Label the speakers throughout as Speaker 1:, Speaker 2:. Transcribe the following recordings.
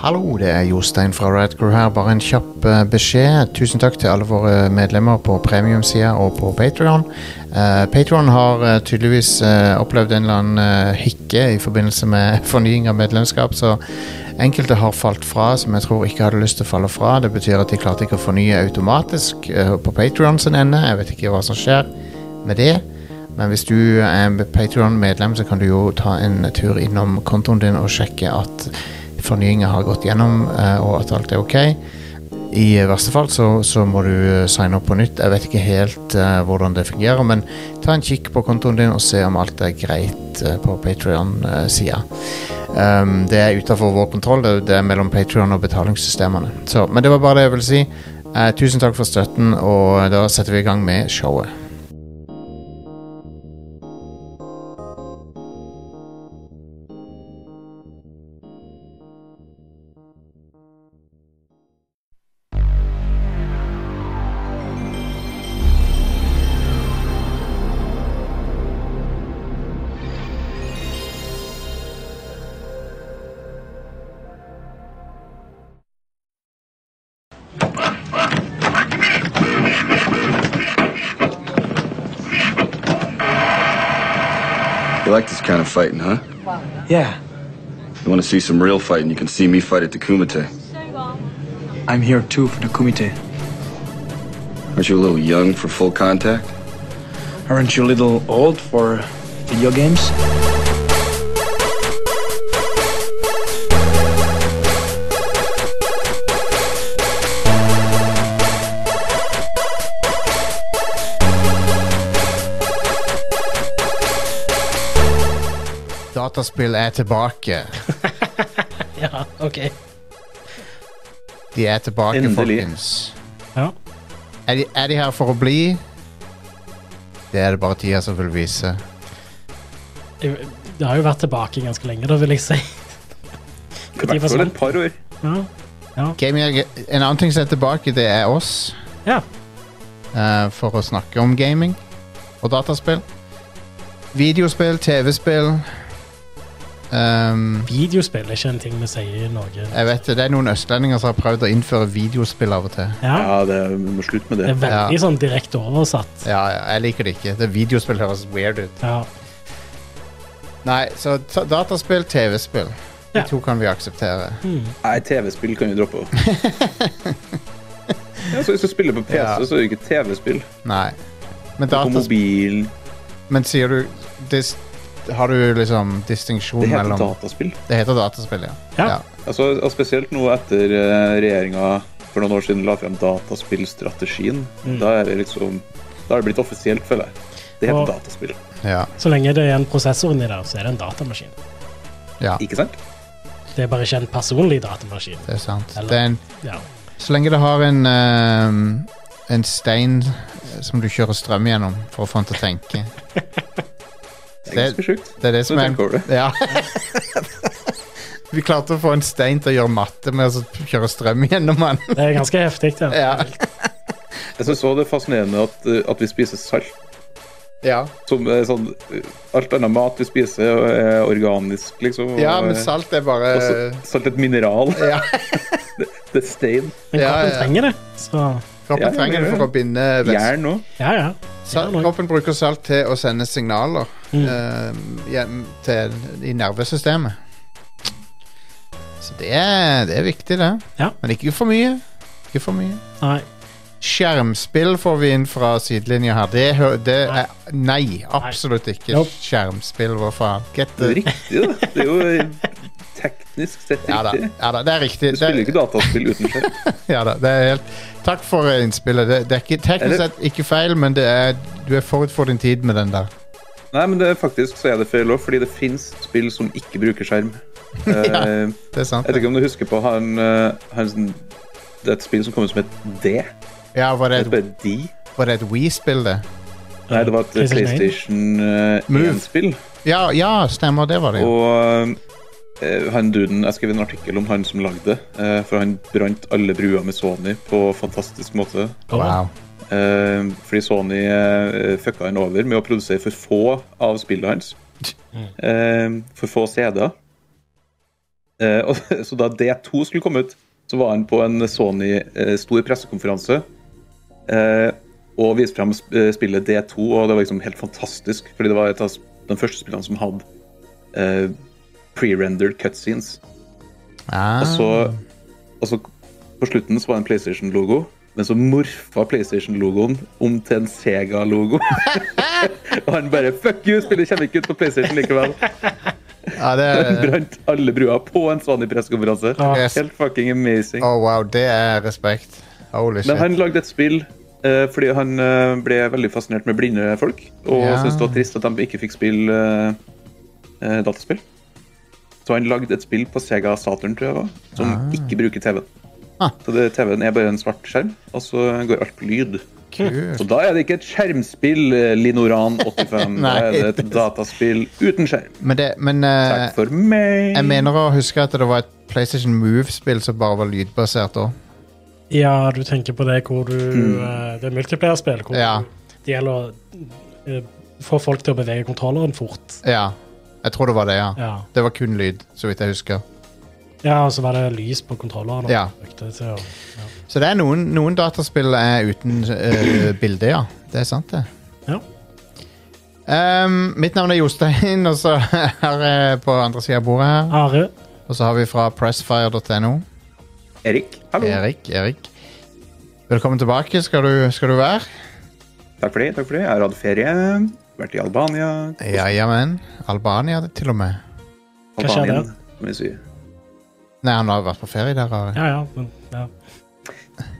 Speaker 1: Hallo, det er Jostein fra Radcrew her. Bare en kjapp eh, beskjed. Tusen takk til alle våre medlemmer på premiumsida og på Patreon. Uh, Patreon har eh, tydeligvis eh, opplevd en eller annen eh, hikke i forbindelse med fornying av medlemskap, så enkelte har falt fra som jeg tror ikke hadde lyst til å falle fra. Det betyr at de klarte ikke å fornye automatisk eh, på Patreon sin ende. Jeg vet ikke hva som skjer med det. Men hvis du er Patreon-medlem, så kan du jo ta en tur innom kontoen din og sjekke at fornyinga har gått gjennom, eh, og at alt er ok. I verste fall så, så må du eh, signe opp på nytt. Jeg vet ikke helt eh, hvordan det fungerer, men ta en kikk på kontoen din og se om alt er greit eh, på Patrion-sida. Um, det er utafor vår kontroll. Det, det er mellom Patrion og betalingssystemene. Så, men det var bare det jeg ville si. Eh, tusen takk for støtten, og da setter vi i gang med showet.
Speaker 2: You like this kind of fighting, huh?
Speaker 3: Yeah,
Speaker 2: You want to see some real fighting? You can see me fight at the Kumite.
Speaker 3: I'm here too for the kumite.
Speaker 2: Aren't you a little young for full contact?
Speaker 3: Aren't you a little old for video games?
Speaker 1: Dataspill er tilbake.
Speaker 4: Ja, ok.
Speaker 1: De er tilbake,
Speaker 5: Endelig.
Speaker 1: folkens.
Speaker 4: Ja.
Speaker 1: Er de, er de her for å bli? Det er det bare tida som vil vise.
Speaker 4: Det har jo vært tilbake ganske lenge, da, vil jeg si. de
Speaker 5: I hvert fall
Speaker 4: forsvant?
Speaker 5: et par år.
Speaker 4: Ja.
Speaker 1: Gaming, er- en annen ting som er tilbake, det er oss.
Speaker 4: Ja.
Speaker 1: Eh, for å snakke om gaming og dataspill. Videospill, TV-spill. Ehm,
Speaker 4: Videospill er ikke en ting vi sier i Norge.
Speaker 1: jeg vet det, det er noen østlendinger som har prøvd å innføre videospill av og til.
Speaker 4: Ja,
Speaker 5: Ja, det, vi må slutte med
Speaker 4: det
Speaker 5: det.
Speaker 4: er veldig sånn direkte oversatt.
Speaker 1: Ja, ja, jeg liker det ikke. Det Videospill høres weird ut.
Speaker 4: Ja.
Speaker 1: Nei, så ta- dataspill, TV-spill. De
Speaker 4: Ja.
Speaker 1: to kan vi akseptere.
Speaker 5: Nei, TV-spill kan vi droppe. ja, så hvis du spiller på PC,
Speaker 1: Ja.
Speaker 5: så er det ikke TV-spill.
Speaker 1: Nei. Men
Speaker 5: På
Speaker 1: dataspill
Speaker 5: mobilen
Speaker 1: Men sier du dis, Har du liksom distinksjon
Speaker 5: Det heter
Speaker 1: mellom
Speaker 5: dataspill.
Speaker 1: Det heter dataspill, ja.
Speaker 4: Ja.
Speaker 5: Altså, og spesielt nå etter eh, regjeringa for noen år siden la frem dataspillstrategien.
Speaker 1: Mm.
Speaker 5: Da er det liksom Da har det blitt offisielt, føler jeg. Det heter
Speaker 4: Og-
Speaker 5: dataspill,
Speaker 1: ja,
Speaker 4: Så lenge det er en prosessor inni der, så er det en datamaskin.
Speaker 1: ja,
Speaker 5: ikke sant?
Speaker 4: Det er bare ikke en personlig datamaskin.
Speaker 1: det er sant.
Speaker 4: Eller-
Speaker 1: Det er en,
Speaker 4: Ja.
Speaker 1: så lenge det har en ehm, En stein eh, som du kjører strøm gjennom for å få den til å tenke.
Speaker 5: Det er ganske sjukt.
Speaker 1: Det er det
Speaker 5: Nå
Speaker 1: som er
Speaker 5: tenker jeg over
Speaker 1: ja. Vi klarte å få en stein til å gjøre matte med å kjøre strøm gjennom den.
Speaker 4: Det er ganske heftig, det.
Speaker 1: Ja.
Speaker 5: Jeg syns også det er fascinerende at, eh, at vi spiser salt.
Speaker 1: Ja.
Speaker 5: Som eh, sånn eh, Alt annet mat vi spiser, og er organisk, liksom. Og,
Speaker 1: ja, men
Speaker 5: eh,
Speaker 1: salt eh, er bare
Speaker 5: og så- Salt er et mineral.
Speaker 1: Ja.
Speaker 5: det, det er stein.
Speaker 4: Men
Speaker 1: Ja,
Speaker 4: kroppen
Speaker 1: ja.
Speaker 4: trenger det. Så
Speaker 1: Kroppen
Speaker 5: Ja,
Speaker 1: trenger det
Speaker 5: ja.
Speaker 1: for å binde væske.
Speaker 5: Jern òg.
Speaker 4: ja, ja. Mm.
Speaker 1: Sal,
Speaker 4: nok.
Speaker 1: kroppen bruker salt til å sende signaler eh, hjem til, i nervesystemet. Så det er, det er viktig, det.
Speaker 4: Ja.
Speaker 1: Men ikke for mye. Ikke for mye.
Speaker 4: Nei.
Speaker 1: Skjermspill får vi inn fra sidelinja her. Det, hø- det er Nei, absolutt ikke.
Speaker 4: Nope.
Speaker 1: Skjermspill, hva faen. Get
Speaker 5: Det
Speaker 1: the
Speaker 5: er riktig, da. Det er jo eh, teknisk sett
Speaker 1: ja da,
Speaker 5: riktig.
Speaker 1: ja da, det er riktig.
Speaker 5: Du
Speaker 1: Det,
Speaker 5: spiller ikke dataspill uten skjerm.
Speaker 1: ja da, det er helt, takk for eh, innspillet. Det, det er ikke, teknisk
Speaker 5: Eller-
Speaker 1: sett ikke feil, men det er, du er forut for din tid med den der.
Speaker 5: Nei, men det er faktisk så er det feil òg, fordi det fins spill som ikke bruker skjerm. Eh,
Speaker 1: Det er sant.
Speaker 5: Jeg vet ikke om du husker på han, eh, han som- Det er et spill som kom ut som et D.
Speaker 1: Ja, var det,
Speaker 5: Det
Speaker 1: et-
Speaker 5: heter bare D.
Speaker 1: var det et We-spill, det?
Speaker 5: Nei, det var et
Speaker 4: PlayStation én.
Speaker 5: PlayStation eh,
Speaker 1: Move.
Speaker 5: 1-spill.
Speaker 1: Ja, ja, stemmer, det var det. ja.
Speaker 5: Og eh, han duden Jeg skrev en artikkel om han som lagde det. eh, for han brant alle bruer med Sony på fantastisk måte.
Speaker 1: Wow.
Speaker 5: Eh, fordi Sony eh, fucka han over med å produsere for få av spillene hans. Eh, for få CD-er. Eh, og, så da D2 skulle komme ut, så var han på en Sony-stor pressekonferanse eh, og viste frem sp- eh, spillet D2, og det var liksom helt fantastisk, fordi det var et av sp- de første spillene som hadde eh, pre-rendered cutscenes.
Speaker 1: Ah,
Speaker 5: Og så, og så på slutten så var det en PlayStation-logo, men så morfa PlayStation-logoen om til en Sega-logo. og han bare Fuck you, spillet kommer ikke ut på PlayStation likevel.
Speaker 1: ja, det
Speaker 5: Han
Speaker 1: er,
Speaker 5: brant alle brua på en sånn i pressekonferanse.
Speaker 1: Yes.
Speaker 5: Helt fucking amazing.
Speaker 1: oh, wow, det er respekt. Holy
Speaker 5: Men
Speaker 1: shit.
Speaker 5: han lagde et spill eh, fordi han eh, ble veldig fascinert med blinde folk. Og
Speaker 1: Ja.
Speaker 5: syntes det var trist at de ikke fikk spille eh, eh, dataspill. Så han lagde et spill på Sega Saturn, tror jeg det var, som ikke bruker TV-en.
Speaker 1: Ah.
Speaker 5: Så det- TV-en er bare en svart skjerm, og så går alt på lyd.
Speaker 1: Kult.
Speaker 5: Så da er det ikke et skjermspill, eh, Linoran 85. da
Speaker 1: Nei,
Speaker 5: er det et
Speaker 1: det-
Speaker 5: dataspill uten skjerm.
Speaker 1: Men, det, men eh,
Speaker 5: Takk for meg.
Speaker 1: jeg mener å huske at det var et PlayStation Move-spill som bare var lydbasert òg.
Speaker 4: Ja, du tenker på det hvor du eh, Det er multiplierspill hvor
Speaker 1: Mm. Ja.
Speaker 4: du- det gjelder å eh, få folk til å bevege kontrolleren fort.
Speaker 1: Ja. Jeg tror det var det, ja.
Speaker 4: Ja.
Speaker 1: Det var kun lyd, så vidt jeg husker.
Speaker 4: ja, og så var det lys på kontrolleren. og
Speaker 1: Ja.
Speaker 4: brukte til å-
Speaker 1: Så det er noen, noen dataspill er uten eh, bilde, ja. Det er sant, det.
Speaker 4: Ja.
Speaker 1: Ehm, mitt navn er Jostein, og så her eh, på andre sida av bordet her.
Speaker 4: Are.
Speaker 1: Og så har vi fra pressfire.no.
Speaker 5: Erik, hallo.
Speaker 1: Erik, Erik. Velkommen tilbake skal du, skal du være.
Speaker 5: Takk for det. takk for det. Jeg har hatt ferie, vært i Albania.
Speaker 1: Ja, jamen. Albania det til og med.
Speaker 4: Hva skjer
Speaker 5: Albanien,
Speaker 4: der?
Speaker 5: må jeg si.
Speaker 1: Nei, han har vært på ferie der. Ari.
Speaker 4: Ja, ja. Men, ja.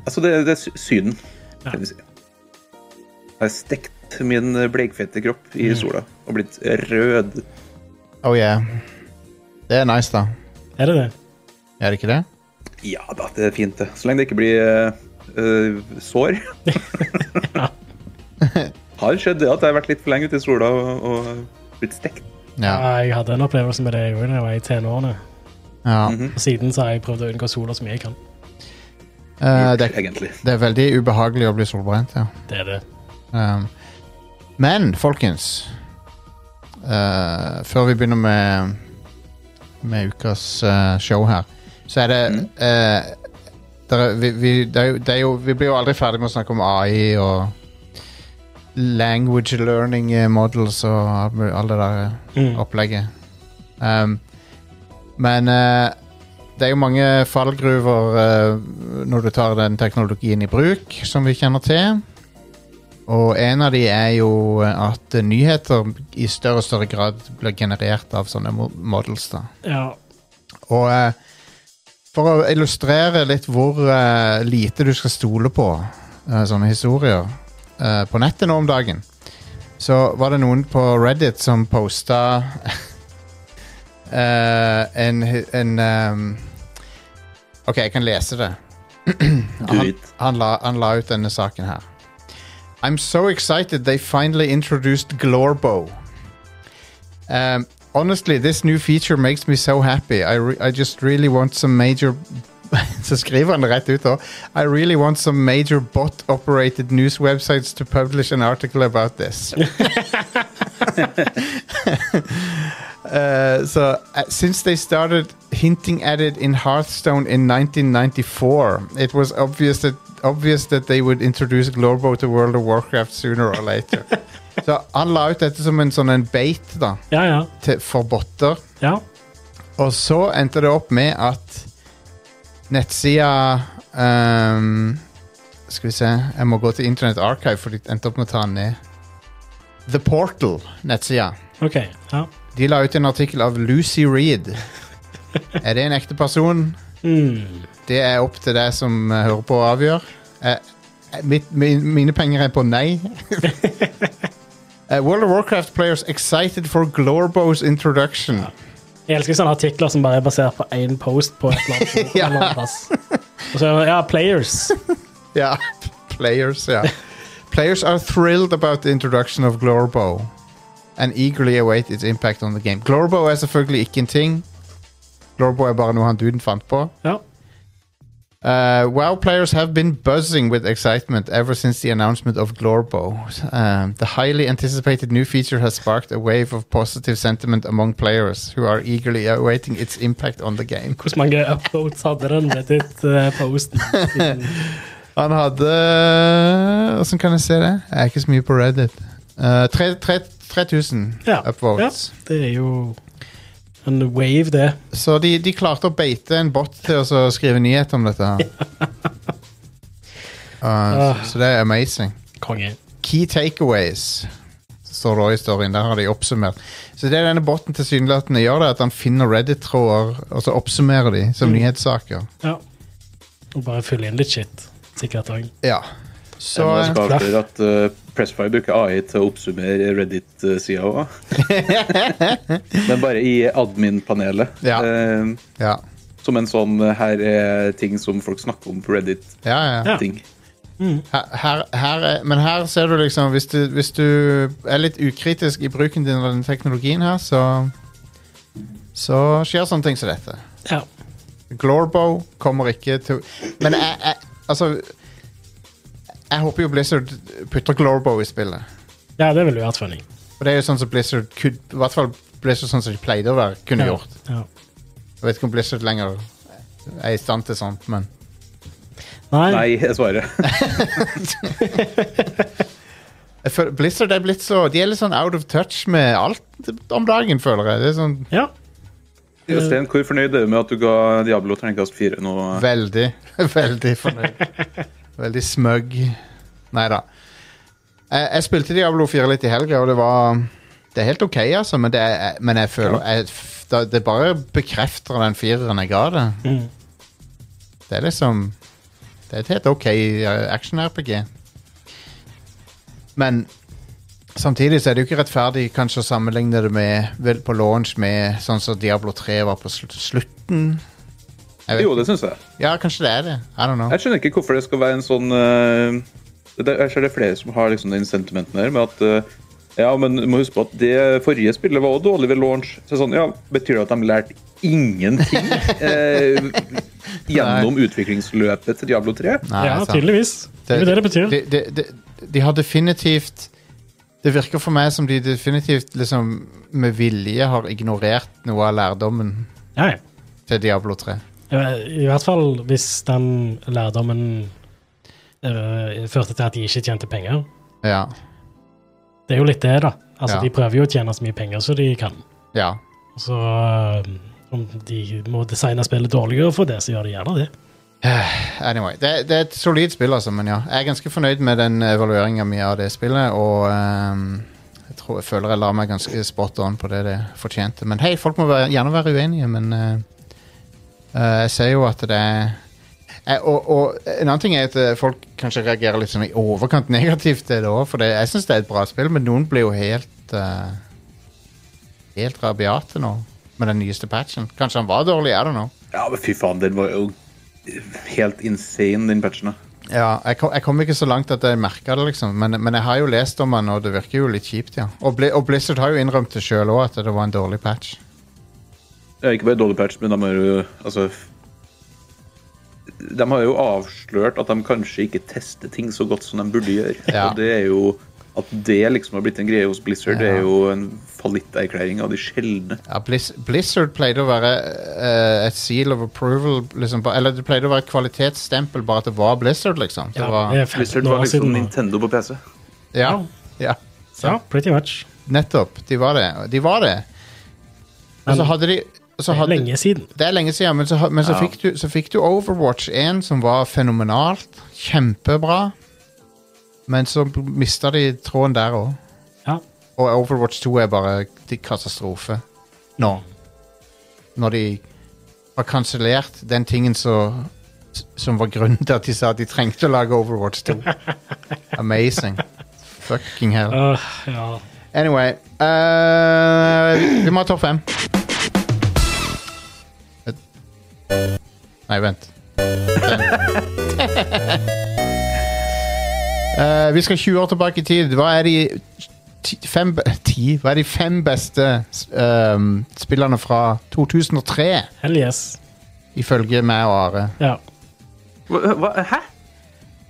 Speaker 5: Altså, det, det er Sy- Syden,
Speaker 4: Ja.
Speaker 5: kan vi si. Jeg har stekt min bleikfete kropp i sola og blitt rød.
Speaker 1: Oh yeah. Det er nice, da.
Speaker 4: Er det det?
Speaker 1: Er det ikke det?
Speaker 5: Ja da, det er fint, det. Så lenge det ikke blir eh, eh, sår. har skjedd det at jeg har vært litt for lenge ute i sola og, og blitt stekt.
Speaker 1: Ja.
Speaker 4: Jeg hadde en opplevelse med det jeg gjorde da jeg var i tenårene.
Speaker 1: ja.
Speaker 4: Og siden så har jeg prøvd å unngå sola så mye jeg kan.
Speaker 1: Eh, det, er-
Speaker 5: egentlig.
Speaker 1: det er veldig ubehagelig å bli solbrent, ja.
Speaker 4: Det er det.
Speaker 1: Um, men, folkens eh, Før vi begynner med Med ukas eh, show her Så er det eh, der er- vi, vi, det er jo, det er jo, vi blir jo aldri ferdig med å snakke om AI og language learning eh, models og alt mul- alt det der eh,
Speaker 4: Mm.
Speaker 1: opplegget. Um, men eh, det er jo mange fallgruver eh, når du tar den teknologien i bruk, som vi kjenner til. Og en av de er jo eh, at nyheter i større og større grad blir generert av sånne mo- models. da.
Speaker 4: Ja.
Speaker 1: Og eh, for å illustrere litt hvor eh, lite du skal stole på eh, sånne historier eh, på nettet nå om dagen, så var det noen på Reddit som posta eh, en, hi- en ehm, OK, jeg kan lese det.
Speaker 5: Do it.
Speaker 1: Han la, han la ut denne saken her. I'm so excited they finally introduced Glorbo. Um, honestly, this new feature makes me so happy. I, re I just really want some major... Så skriver han det rett ut da. I really want some major bot-operated news websites to publish an article about this. Uh, so, uh, since they started hinting at it in Hearthstone in 1994, it was obvious that obvious that they would introduce Glorbo to World of Warcraft sooner or later. så han la ut dette som en sånn en bait da,
Speaker 4: Ja, ja.
Speaker 1: til, for botter.
Speaker 4: ja.
Speaker 1: Og så endte det opp med at nettsida ehm, Skal vi se Jeg må gå til Internet Archive, for de endte opp med å ta den ned. The Portal-nettsida.
Speaker 4: OK. Ja.
Speaker 1: De la ut en artikkel av Lucy Reed. Er det en ekte person?
Speaker 4: Mm.
Speaker 1: Det er opp til deg som eh, hører på å avgjøre. Eh, eh, mitt, min, mine penger er på nei. Eh, World of Warcraft players excited for Glorbos introduction.
Speaker 4: Jeg elsker sånne artikler som bare er basert på én post på et eller annet forum
Speaker 1: Ja.
Speaker 4: eller annet plass. Og så er det, ja, players.
Speaker 1: Ja, players, ja. Players are thrilled about the introduction of Glorbo and eagerly await its impact on the game. Glorbo er selvfølgelig ikke en ting. Glorbo er bare noe han duden fant på.
Speaker 4: Ja.
Speaker 1: Uh, WoW players have been buzzing with excitement ever since the announcement of Glorbo. Um, the highly anticipated new feature has sparked a wave of positive sentiment among players who are eagerly awaiting its impact on the game.
Speaker 4: Hvor mange upvotes hadde den eh, Reddit-posten?
Speaker 1: Han hadde Hvordan kan jeg se det? Jeg er ikke så mye på Reddit. Eh, tre- tre- 3000
Speaker 4: Ja.
Speaker 1: upvotes.
Speaker 4: Ja, det er jo en wave, det.
Speaker 1: Så de, de klarte å beite en bot til å så skrive nyhet om dette. her. Eh, så, så det er amazing.
Speaker 4: Konge.
Speaker 1: Key takeaways står det også i storyen. Der har de oppsummert. Så det denne botten tilsynelatende gjør, det er at han finner Reddit-tråder, og så oppsummerer de som nyhetssaker.
Speaker 4: Ja. Og bare fylle inn litt shit. Sikkert òg.
Speaker 1: Ja. Så
Speaker 5: Jeg må også avsløre at eh, Pressfire bruker AI til å oppsummere Reddit-sida òg. Men bare i admin-panelet.
Speaker 1: Ja.
Speaker 5: Eh,
Speaker 1: Ja.
Speaker 5: som en sånn eh, her er ting som folk snakker om på Reddit-ting.
Speaker 1: Ja, ja.
Speaker 4: Ja.
Speaker 1: Her, her, her er, men her ser du liksom hvis du, hvis du er litt ukritisk i bruken din av den teknologien her, så Så skjer sånne ting som dette.
Speaker 4: Ja.
Speaker 1: Glorbo kommer ikke til Men jeg, jeg Altså Jeg håper jo Blizzard putter Glorbo i spillet.
Speaker 4: ja, det ville jo vært funny.
Speaker 1: Og det er jo sånn som Blizzard kud, I hvert fall Blizzard sånn som de pleide å være, kunne
Speaker 4: Ja.
Speaker 1: gjort.
Speaker 4: Ja.
Speaker 1: Jeg vet ikke om Blizzard lenger er i stand til sånt, men
Speaker 4: Nei.
Speaker 5: Nei, jeg svarer.
Speaker 1: jeg føler, Blizzard er blitt så De er litt sånn out of touch med alt om dagen, føler jeg. Det er sånn
Speaker 4: Ja.
Speaker 5: Jostein, hvor fornøyd er du med at du ga Diablo terningkast fire nå?
Speaker 1: Veldig, veldig fornøyd. Veldig smøgg. Nei da. Jeg, jeg spilte Diablo 4 litt i helga, og det var Det er helt OK, altså, men, det er, men jeg føler jeg, f- da- Det bare bekrefter den fireren jeg ga det. Det er liksom Det er et helt OK eh, action-RPG. Men samtidig så er det jo ikke rettferdig kanskje å sammenligne det med vel, på launch med sånn som Diablo 3 var på sl slutten. Jeg vet
Speaker 5: Jo, det syns jeg.
Speaker 1: ja, kanskje det er det. I don't know.
Speaker 5: Jeg skjønner ikke hvorfor det skal være en sånn eh, det, Jeg ser det er flere som har liksom den sentimenten her med at eh, Ja, men du må huske på at det forrige spillet var også dårlig ved launch. Så sånn, ja, Betyr det at de lærte ingenting eh, gjennom utviklingsløpet til Diablo 3?
Speaker 1: Nei, altså.
Speaker 4: ja,
Speaker 1: sant.
Speaker 4: tydeligvis. Det er jo det det betyr.
Speaker 1: De, de, de, de har definitivt Det virker for meg som de definitivt liksom med vilje har ignorert noe av lærdommen
Speaker 4: Ja, ja.
Speaker 1: til Diablo 3.
Speaker 4: I hvert fall hvis den lærdommen eh, førte til at de ikke tjente penger.
Speaker 1: Ja.
Speaker 4: Det er jo litt det, da. Altså,
Speaker 1: Ja.
Speaker 4: De prøver jo å tjene så mye penger som de kan.
Speaker 1: ja.
Speaker 4: Så eh, om de må designe spillet dårligere for det, så gjør de gjerne det.
Speaker 1: Anyway. Det, det er et solid spill, altså, men ja. Jeg er ganske fornøyd med den evalueringa mi av det spillet, og ehm, jeg, tror, jeg føler jeg la meg ganske spot on på det det fortjente. Men hei, folk må være, gjerne være uenige, men eh, eh, jeg ser jo at det er Eh, og, og en annen ting er at eh, folk kanskje reagerer litt sånn i overkant negativt til det òg, for det, jeg syns det er et bra spill, men noen blir jo helt eh, Helt rabiate nå med den nyeste patchen. Kanskje han var dårlig, er det nå?
Speaker 5: Ja, men fy faen, den var jo helt insane, den patchen. da.
Speaker 1: Ja, jeg kom, jeg kom ikke så langt at jeg merka det, liksom. Men, men jeg har jo lest om han, og det virker jo litt kjipt, ja. Og, Bli, og Blizzard har jo innrømt det sjøl òg, at det var en dårlig patch.
Speaker 5: Ja, ikke bare dårlig patch, men de har jo altså De har jo avslørt at de kanskje ikke tester ting så godt som de burde gjøre.
Speaker 1: Ja.
Speaker 5: Og det er jo At det liksom har blitt en greie hos Blizzard, det er jo en fallitterklæring av de sjeldne.
Speaker 1: Ja, Blizz, Blizzard pleide å være eh, et seal of approval, liksom. ba- Eller det pleide å være et kvalitetsstempel, bare at det var Blizzard, liksom. Det
Speaker 4: Ja,
Speaker 1: var,
Speaker 4: det er 15
Speaker 5: Blizzard var
Speaker 4: år
Speaker 5: liksom
Speaker 4: siden. nå.
Speaker 5: Nintendo på PC.
Speaker 1: ja, ja,
Speaker 4: Ja, pretty much.
Speaker 1: nettopp. De var det. De var det. Og så hadde de så
Speaker 4: Det er
Speaker 1: hadde,
Speaker 4: lenge siden.
Speaker 1: Det er lenge siden, men så, ha- men så,
Speaker 5: Ja.
Speaker 1: fikk, du, så fikk du Overwatch 1, som var fenomenalt. Kjempebra. Men så mista de tråden der òg.
Speaker 4: Ja.
Speaker 1: Og Overwatch 2 er bare de- katastrofe. Nå. Når de har kansellert den tingen så, som var grunnen til at de sa at de trengte å lage Overwatch 2. Amazing. Fucking hell.
Speaker 4: Øh, ja.
Speaker 1: Anyway eh, vi- Vi må ha topp fem. Nei, vent. Eh, vi skal 20 år tilbake i tid. Hva er de ti, fem, be- ti? Hva er de fem beste um, spillerne fra 2003,
Speaker 4: Hell yes.
Speaker 1: ifølge meg og Are?
Speaker 4: E Ja.
Speaker 5: Hva, hva- hæ?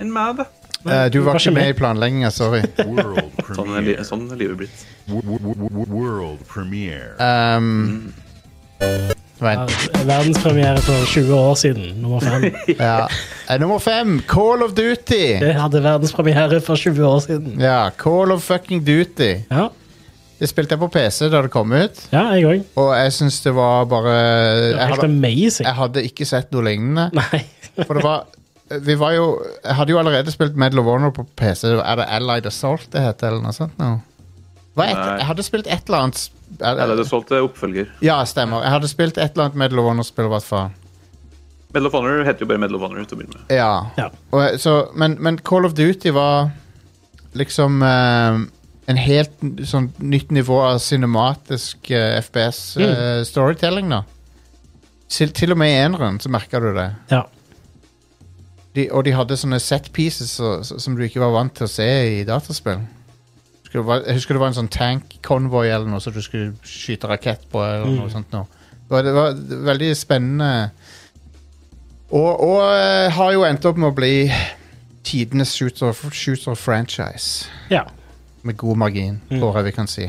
Speaker 5: En mad?
Speaker 1: Eh, du var ikke med i planlegginga, sorry.
Speaker 6: World
Speaker 5: Sånn er, li
Speaker 6: premiere.
Speaker 5: sånn er livet blitt.
Speaker 6: Wo- wo- wo- wo- World premiere.
Speaker 1: Um, vent.
Speaker 4: Verdenspremiere for 20 år siden, nummer fem.
Speaker 1: Ja. Eh, nummer fem, Call of Duty.
Speaker 4: Det hadde verdenspremiere for 20 år siden.
Speaker 1: Ja, Call of fucking Duty.
Speaker 4: Ja,
Speaker 1: Det spilte jeg på PC da det kom ut,
Speaker 4: ja jeg òg.
Speaker 1: og jeg syns det var bare jeg
Speaker 4: Helt
Speaker 1: hadde,
Speaker 4: amazing.
Speaker 1: jeg hadde ikke sett noe lignende.
Speaker 4: Nei.
Speaker 1: For det var Vi var jo Jeg hadde jo allerede spilt Medal of Honor på PC. Er det Allied Assault det heter, eller noe sånt? nå? Hva er et,
Speaker 5: Nei.
Speaker 1: jeg hadde spilt et eller annet sp- er-
Speaker 5: Eller det solgte oppfølger.
Speaker 1: Ja, stemmer. Jeg hadde spilt et eller annet Medal of Honor-spill, i hvert fall.
Speaker 5: Medal of Honor heter jo bare Medal of Honor. til å begynne med.
Speaker 1: Ja.
Speaker 4: Ja.
Speaker 1: Og, jeg- så, men, men Call of Duty var liksom eh, en helt n- sånn nytt nivå av cinematisk eh, FPS eh, storytelling, da. Til, til og med i eneren så merka du det.
Speaker 4: Ja.
Speaker 1: de, og de hadde sånne set pieces så, så, som du ikke var vant til å se i dataspill. Husker det var- Jeg husker det var en sånn tank-konvoi eller noe som du skulle skyte rakett på. eller
Speaker 4: Mm.
Speaker 1: noe sånt nå. Det var, det var veldig spennende. Og, og eh, har jo endt opp med å bli tidenes shooter, shooter franchise.
Speaker 4: ja.
Speaker 1: Med god margin,
Speaker 4: Mm.
Speaker 1: tror jeg vi kan si.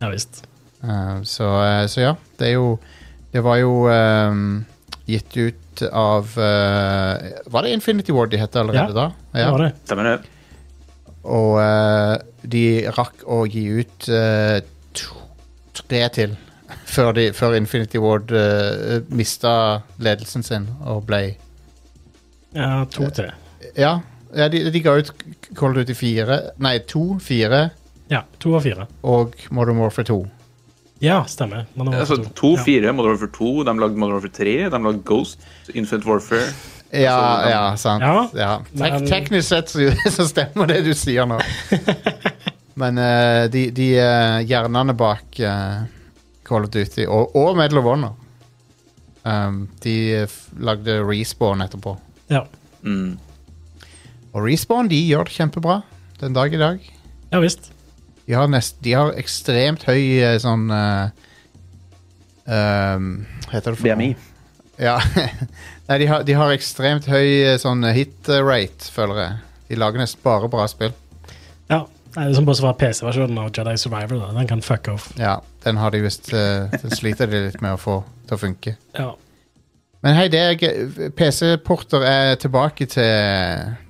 Speaker 4: Ja visst.
Speaker 1: Eh, så, eh, så ja, det er jo Det var jo ehm, gitt ut av eh, Var det Infinity Ward de het allerede
Speaker 4: Ja,
Speaker 1: da?
Speaker 4: Det var det.
Speaker 5: Stemmer det?
Speaker 1: Og eh, de rakk å gi ut eh, to, tre til før, de, før Infinity Ward uh, mista ledelsen sin og ble
Speaker 4: Ja, to til.
Speaker 1: Ja, ja de, de ga ut Cold Duty 4 Nei, 2, 4
Speaker 4: Ja, to av fire.
Speaker 1: og Modern Warfare 2.
Speaker 4: Ja, stemmer. Man har
Speaker 5: Altså,
Speaker 4: også Ja.
Speaker 5: 2-4, Modern Warfare 2, de lagde Modern Warfare 3, de lagde Ghost, Infinite Warfare
Speaker 1: Ja,
Speaker 5: Altså,
Speaker 1: ja, sant.
Speaker 4: Ja,
Speaker 1: Ja. Tek
Speaker 4: men-
Speaker 1: teknisk sett så, så stemmer det du sier nå. Men eh, de, de eh, hjernene bak eh, Call of Duty og, og Medal of Honor um, De eh, f- lagde Respawn etterpå.
Speaker 4: Ja.
Speaker 5: mm.
Speaker 1: Og Respawn de gjør det kjempebra den dag i dag.
Speaker 4: ja visst.
Speaker 1: De har, nest, de har ekstremt høy eh, sånn eh, um, Hva heter det for noe?
Speaker 5: BMI.
Speaker 1: Ja. Nei, de har, de har ekstremt høy eh, sånn hit rate, føler jeg. De lager nesten bare bra spill.
Speaker 4: Ja. Nei, det er som bare var PC-versjonen av Jedi Survivor. Da. Den kan fuck off.
Speaker 1: Ja, den har de visst eh, Den sliter de litt med å få til å funke.
Speaker 4: Ja.
Speaker 1: Men hei, det er gøy. PC-porter er tilbake til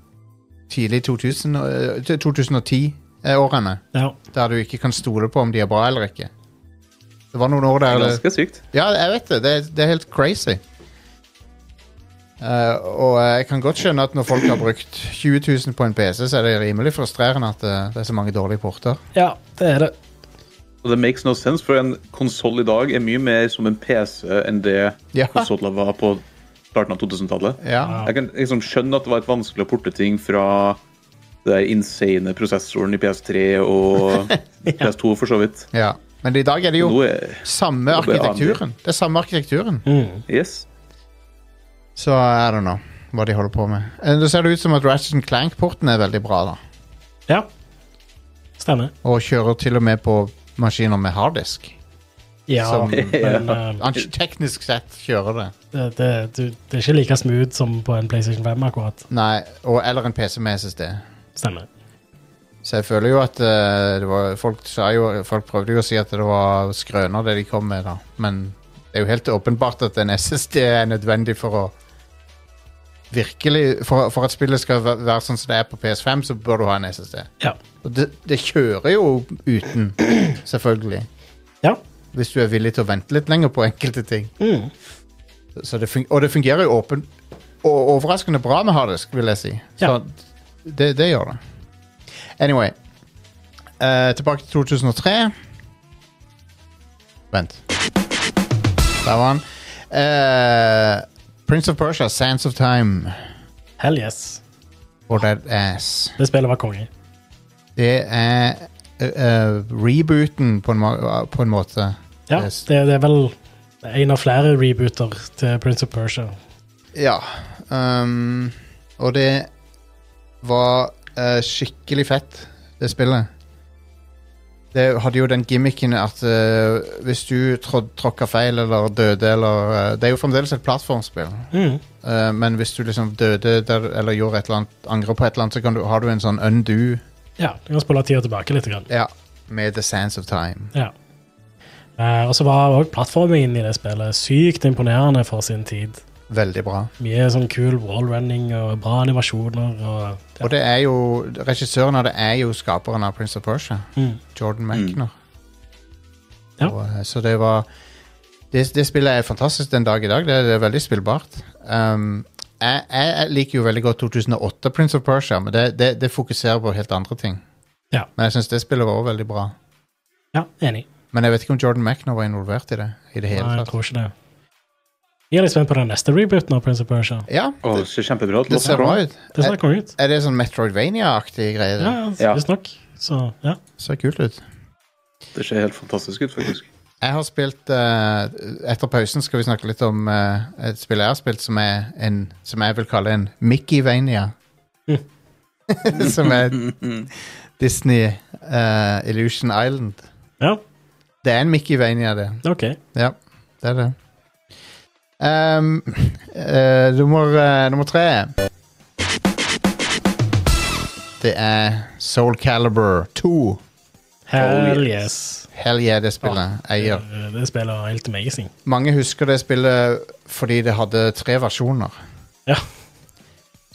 Speaker 1: tidlig 2000, eh, til 2010-årene.
Speaker 4: ja.
Speaker 1: Der du ikke kan stole på om de er bra eller ikke. Det var noen år der det-
Speaker 5: Ganske sykt.
Speaker 1: Ja, jeg vet det. Det er, det er helt crazy. Eh, og eh, jeg kan godt skjønne at når folk har brukt 20 000 på en PC, så er det rimelig frustrerende at eh, det er så mange dårlige porter.
Speaker 4: ja, det er det.
Speaker 5: Og det makes no sense, for en konsoll i dag er mye mer som en PC enn det
Speaker 1: Ja.
Speaker 5: konsoller var på starten av 2000-tallet.
Speaker 1: Ja.
Speaker 5: Jeg kan liksom skjønne at det var et vanskelig å porte ting fra det der insane prosessoren i PS3 og PS2, for så vidt.
Speaker 1: ja. Men i dag er det jo
Speaker 5: Nå er
Speaker 1: samme
Speaker 5: Nå blir det
Speaker 1: arkitekturen. Det er samme arkitekturen.
Speaker 4: Mm.
Speaker 5: Yes.
Speaker 1: Så eh, I don't know hva de holder på med. Eh, Det ser det ut som at Ratchet Clank-porten er veldig bra, da.
Speaker 4: Ja. Stemmer.
Speaker 1: Og kjører til og med på maskiner med harddisk.
Speaker 4: Ja,
Speaker 1: Som-
Speaker 4: men eh,
Speaker 1: Han Teknisk sett kjører det.
Speaker 4: det, det, du, det er ikke like smooth som på en PlayStation 5, akkurat.
Speaker 1: Nei, og, eller en PC med SSD.
Speaker 4: Stemmer.
Speaker 1: Så jeg føler jo at eh, det var, folk, sa jo, folk prøvde jo å si at det var skrøner, det de kom med, da. Men det er jo helt åpenbart at en SSD er nødvendig for å Virkelig, for, for at spillet skal væ- være sånn som det er på PS5, så bør du ha en SSD.
Speaker 4: Ja.
Speaker 1: Og det, det kjører jo uten, selvfølgelig.
Speaker 4: Ja.
Speaker 1: Hvis du er villig til å vente litt lenger på enkelte ting. Så det fun- og det fungerer jo åpen og overraskende bra med harddisk, vil jeg si. Så
Speaker 4: Ja.
Speaker 1: det, det gjør det. Anyway. Eh, tilbake til 2003. Vent. Der var han. Eh, Prince of Persia, Sands of Time
Speaker 4: Hell yes.
Speaker 1: for Dead Ass.
Speaker 4: Det spillet var konge.
Speaker 1: Det er eh, eh, rebooten på en, ma- på en måte.
Speaker 4: Ja,
Speaker 1: Yes.
Speaker 4: det, det er vel en av flere rebooter til Prince of Persia.
Speaker 1: Ja. ehm, og det var eh, skikkelig fett, det spillet. det hadde jo den gimmicken at eh, hvis du trå- tråkka feil eller døde eller eh, Det er jo fremdeles et plattformspill,
Speaker 4: Mm.
Speaker 1: eh, men hvis du liksom døde der, eller gjorde et eller annet, angrer på et eller annet, så kan du, har du en sånn undo
Speaker 4: Ja, du kan spole tida tilbake litt. Grann.
Speaker 1: ja, med the sands of time.
Speaker 4: Ja. Eh, og så var også plattformingen i det spillet sykt imponerende for sin tid.
Speaker 1: Veldig bra.
Speaker 4: Mye sånn kul wallrunning og bra animasjoner. Og, ja.
Speaker 1: Og det er jo regissøren av det er jo skaperen av Prince of Persia,
Speaker 4: Mm.
Speaker 1: Jordan Mackner.
Speaker 4: Ja.
Speaker 1: Og, eh, så det var det, det spillet er fantastisk den dag i dag. Det er, det er veldig spillbart. Um, jeg, jeg jeg liker jo veldig godt 2008 Prince of Persia, men det, det, det fokuserer på helt andre ting.
Speaker 4: Ja.
Speaker 1: Men jeg syns det spillet var også veldig bra.
Speaker 4: ja, enig.
Speaker 1: Men jeg vet ikke om Jordan Mackner var involvert i det. i det
Speaker 4: Nei,
Speaker 1: hele
Speaker 4: jeg
Speaker 1: tatt.
Speaker 4: tror ikke det. Jeg er litt spent på den neste rebooten av Prince of Persia.
Speaker 1: Ja,
Speaker 5: Å, det ser kjempebra ut.
Speaker 1: det ser bra ut.
Speaker 4: Det ser
Speaker 1: Er,
Speaker 4: konge ut.
Speaker 1: er det sånn Metroidvania-aktig greie?
Speaker 4: Ja,
Speaker 1: Det
Speaker 5: Ja.
Speaker 4: ja. visstnok. Så ja.
Speaker 1: Ser kult ut.
Speaker 5: Det ser helt fantastisk ut, faktisk.
Speaker 1: Jeg har spilt eh, Etter pausen skal vi snakke litt om eh, et spill jeg har spilt som er en Som jeg vil kalle en Mickey-vania. som er Disney eh, Illusion Island.
Speaker 4: ja,
Speaker 1: Det er en Mickey-vania, det.
Speaker 4: OK.
Speaker 1: Ja, det er det. Ehm, eh, nummer, eh, nummer tre Det er Soul Caliber 2.
Speaker 4: Hell
Speaker 5: Oh,
Speaker 4: yes.
Speaker 1: Hell yeah, det spillet. Eier.
Speaker 4: Eh, Det spillet er helt amazing.
Speaker 1: Mange husker det spillet fordi det hadde tre versjoner.
Speaker 4: Ja.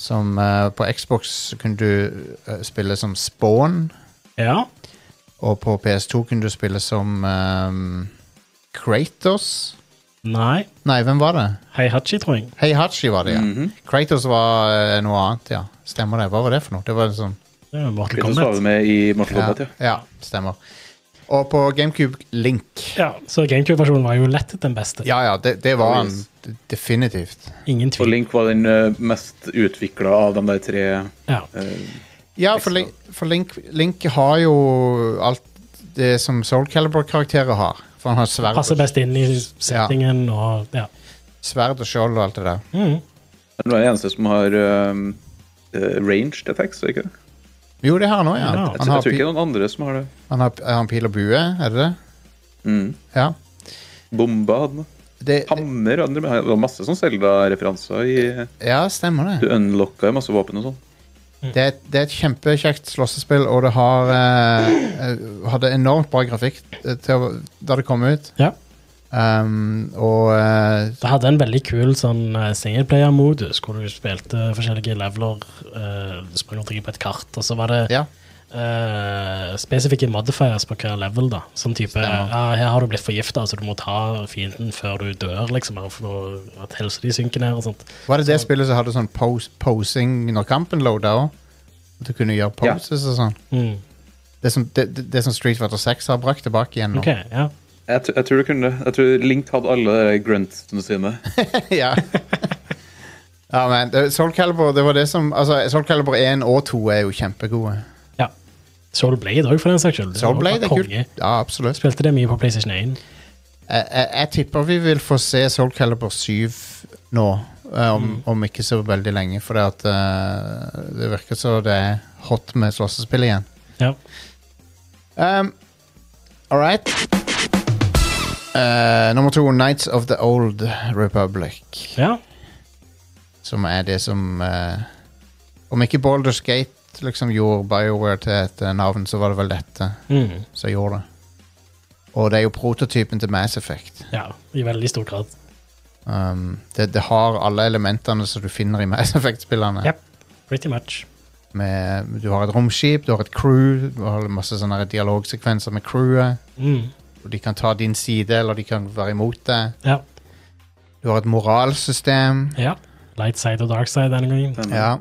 Speaker 1: Som eh, På Xbox kunne du eh, spille som Spawn,
Speaker 4: ja.
Speaker 1: og på PS2 kunne du spille som ehm, Kratos.
Speaker 4: Nei.
Speaker 1: Nei, hvem var det?
Speaker 4: Heihachi, tror jeg.
Speaker 1: Heihachi var det, ja. Kratos var eh, noe annet, ja. Stemmer det. Hva var det for noe? Det var en sånn
Speaker 4: Det er jo Mortal
Speaker 5: Kratos var
Speaker 4: Kombat.
Speaker 5: jo med i Mortal
Speaker 1: ja,
Speaker 5: Kombat, ja.
Speaker 1: ja, stemmer. Og på GameCube Link.
Speaker 4: Ja, så GameCube-versjonen var jo lett den beste.
Speaker 1: Ja, ja, det, det var
Speaker 5: Oh,
Speaker 1: han
Speaker 5: yes.
Speaker 1: d- definitivt.
Speaker 4: Ingen
Speaker 5: Og
Speaker 4: tvil.
Speaker 5: Link var den eh, mest utvikla av de der tre
Speaker 4: Ja.
Speaker 5: eh,
Speaker 1: Ja, for,
Speaker 5: Liksom.
Speaker 1: Link, for Link, Link har jo alt det som Soul Calibur-karakterer har. For han har sverd,
Speaker 4: Passer
Speaker 1: og-
Speaker 4: best inn i settingen og ja.
Speaker 1: sverd og skjold og alt det der.
Speaker 5: Han er den eneste som har um, eh, ranged attacks, er det ikke det?
Speaker 1: Jo, det har han òg, ja.
Speaker 4: Ja.
Speaker 5: Jeg,
Speaker 1: Han,
Speaker 5: tror-
Speaker 1: har
Speaker 5: jeg tror ikke
Speaker 1: pi,
Speaker 5: det er noen andre som har det.
Speaker 1: han, har, er han pil og bue, er det det?
Speaker 5: Mm.
Speaker 1: Ja.
Speaker 5: Bomba hadde han.
Speaker 1: Det,
Speaker 5: Hammer hadde han. Det var masse sånn Selda-referanser i
Speaker 1: ja, stemmer det.
Speaker 5: Du unlocka jo masse våpen og sånn.
Speaker 1: Det er, et- det er et kjempekjekt slåssespill, og det har eh, eh, hadde enormt bra grafikk eh, til, å- da det kom ut.
Speaker 4: ja.
Speaker 1: Um, og eh,
Speaker 4: Det hadde en veldig kul sånn eh, singleplayer-modus, hvor du spilte forskjellige leveler, eh, du sprang omkring på et kart, og så var det
Speaker 1: ja.
Speaker 4: eh, spesifikke modifiers på hver level, da. Som type
Speaker 1: Stemmer.
Speaker 4: ja, 'Her har du blitt forgifta, så du må ta fienden før du dør', liksom, bare for å- at helsa di synker ned og sånt.
Speaker 1: Var det det spillet som hadde sånn pose, posing når kampen loada òg? At du kunne gjøre
Speaker 5: Ja.
Speaker 1: poses og sånn?
Speaker 4: Mm.
Speaker 1: Det som, det, det- det som Street Fighter 6 har brakt tilbake igjen nå.
Speaker 4: OK, ja.
Speaker 5: Jeg, tr- jeg tror du kunne det. Jeg tror Link hadde alle de gruntsene sine.
Speaker 1: ja. ja, men det- Soul Calibur, det var det som Altså, Soul Calibur 1 og 2 er jo kjempegode.
Speaker 4: ja. Soul Blade òg, for den saks skyld. Det
Speaker 1: Soul
Speaker 4: var
Speaker 1: Blade er
Speaker 4: konge.
Speaker 1: kult. Ja, absolutt.
Speaker 4: Spilte det mye på PlayStation 1.
Speaker 1: Jeg, jeg, jeg tipper vi vil få se Soul Calibur 7 nå. eh, Om,
Speaker 4: Mm.
Speaker 1: om ikke så veldig lenge, for det, at, eh, det virker som det er hot med slåssespill igjen.
Speaker 4: Ja.
Speaker 1: Um, all right. Eh, nummer to, Nights of the Old Republic.
Speaker 4: ja.
Speaker 1: Som er det som eh, Om ikke Baldur's Gate liksom gjorde BioWare til et eh, navn, så var det vel dette
Speaker 4: Mm.
Speaker 1: som gjorde det. Og det er jo prototypen til Mass Effect.
Speaker 4: ja. I veldig stor grad.
Speaker 1: Um, det, det har alle elementene som du finner i Mass Effect-spillene.
Speaker 4: Yep. Pretty much.
Speaker 1: Med- Du har et romskip, du har et crew, du har masse sånne dialogsekvenser med crewet.
Speaker 4: Mm.
Speaker 1: Og de kan ta din side, eller de kan være imot deg.
Speaker 4: Ja.
Speaker 1: Du har et moralsystem.
Speaker 4: ja. Light side og dark side denne gangen.
Speaker 1: Ja.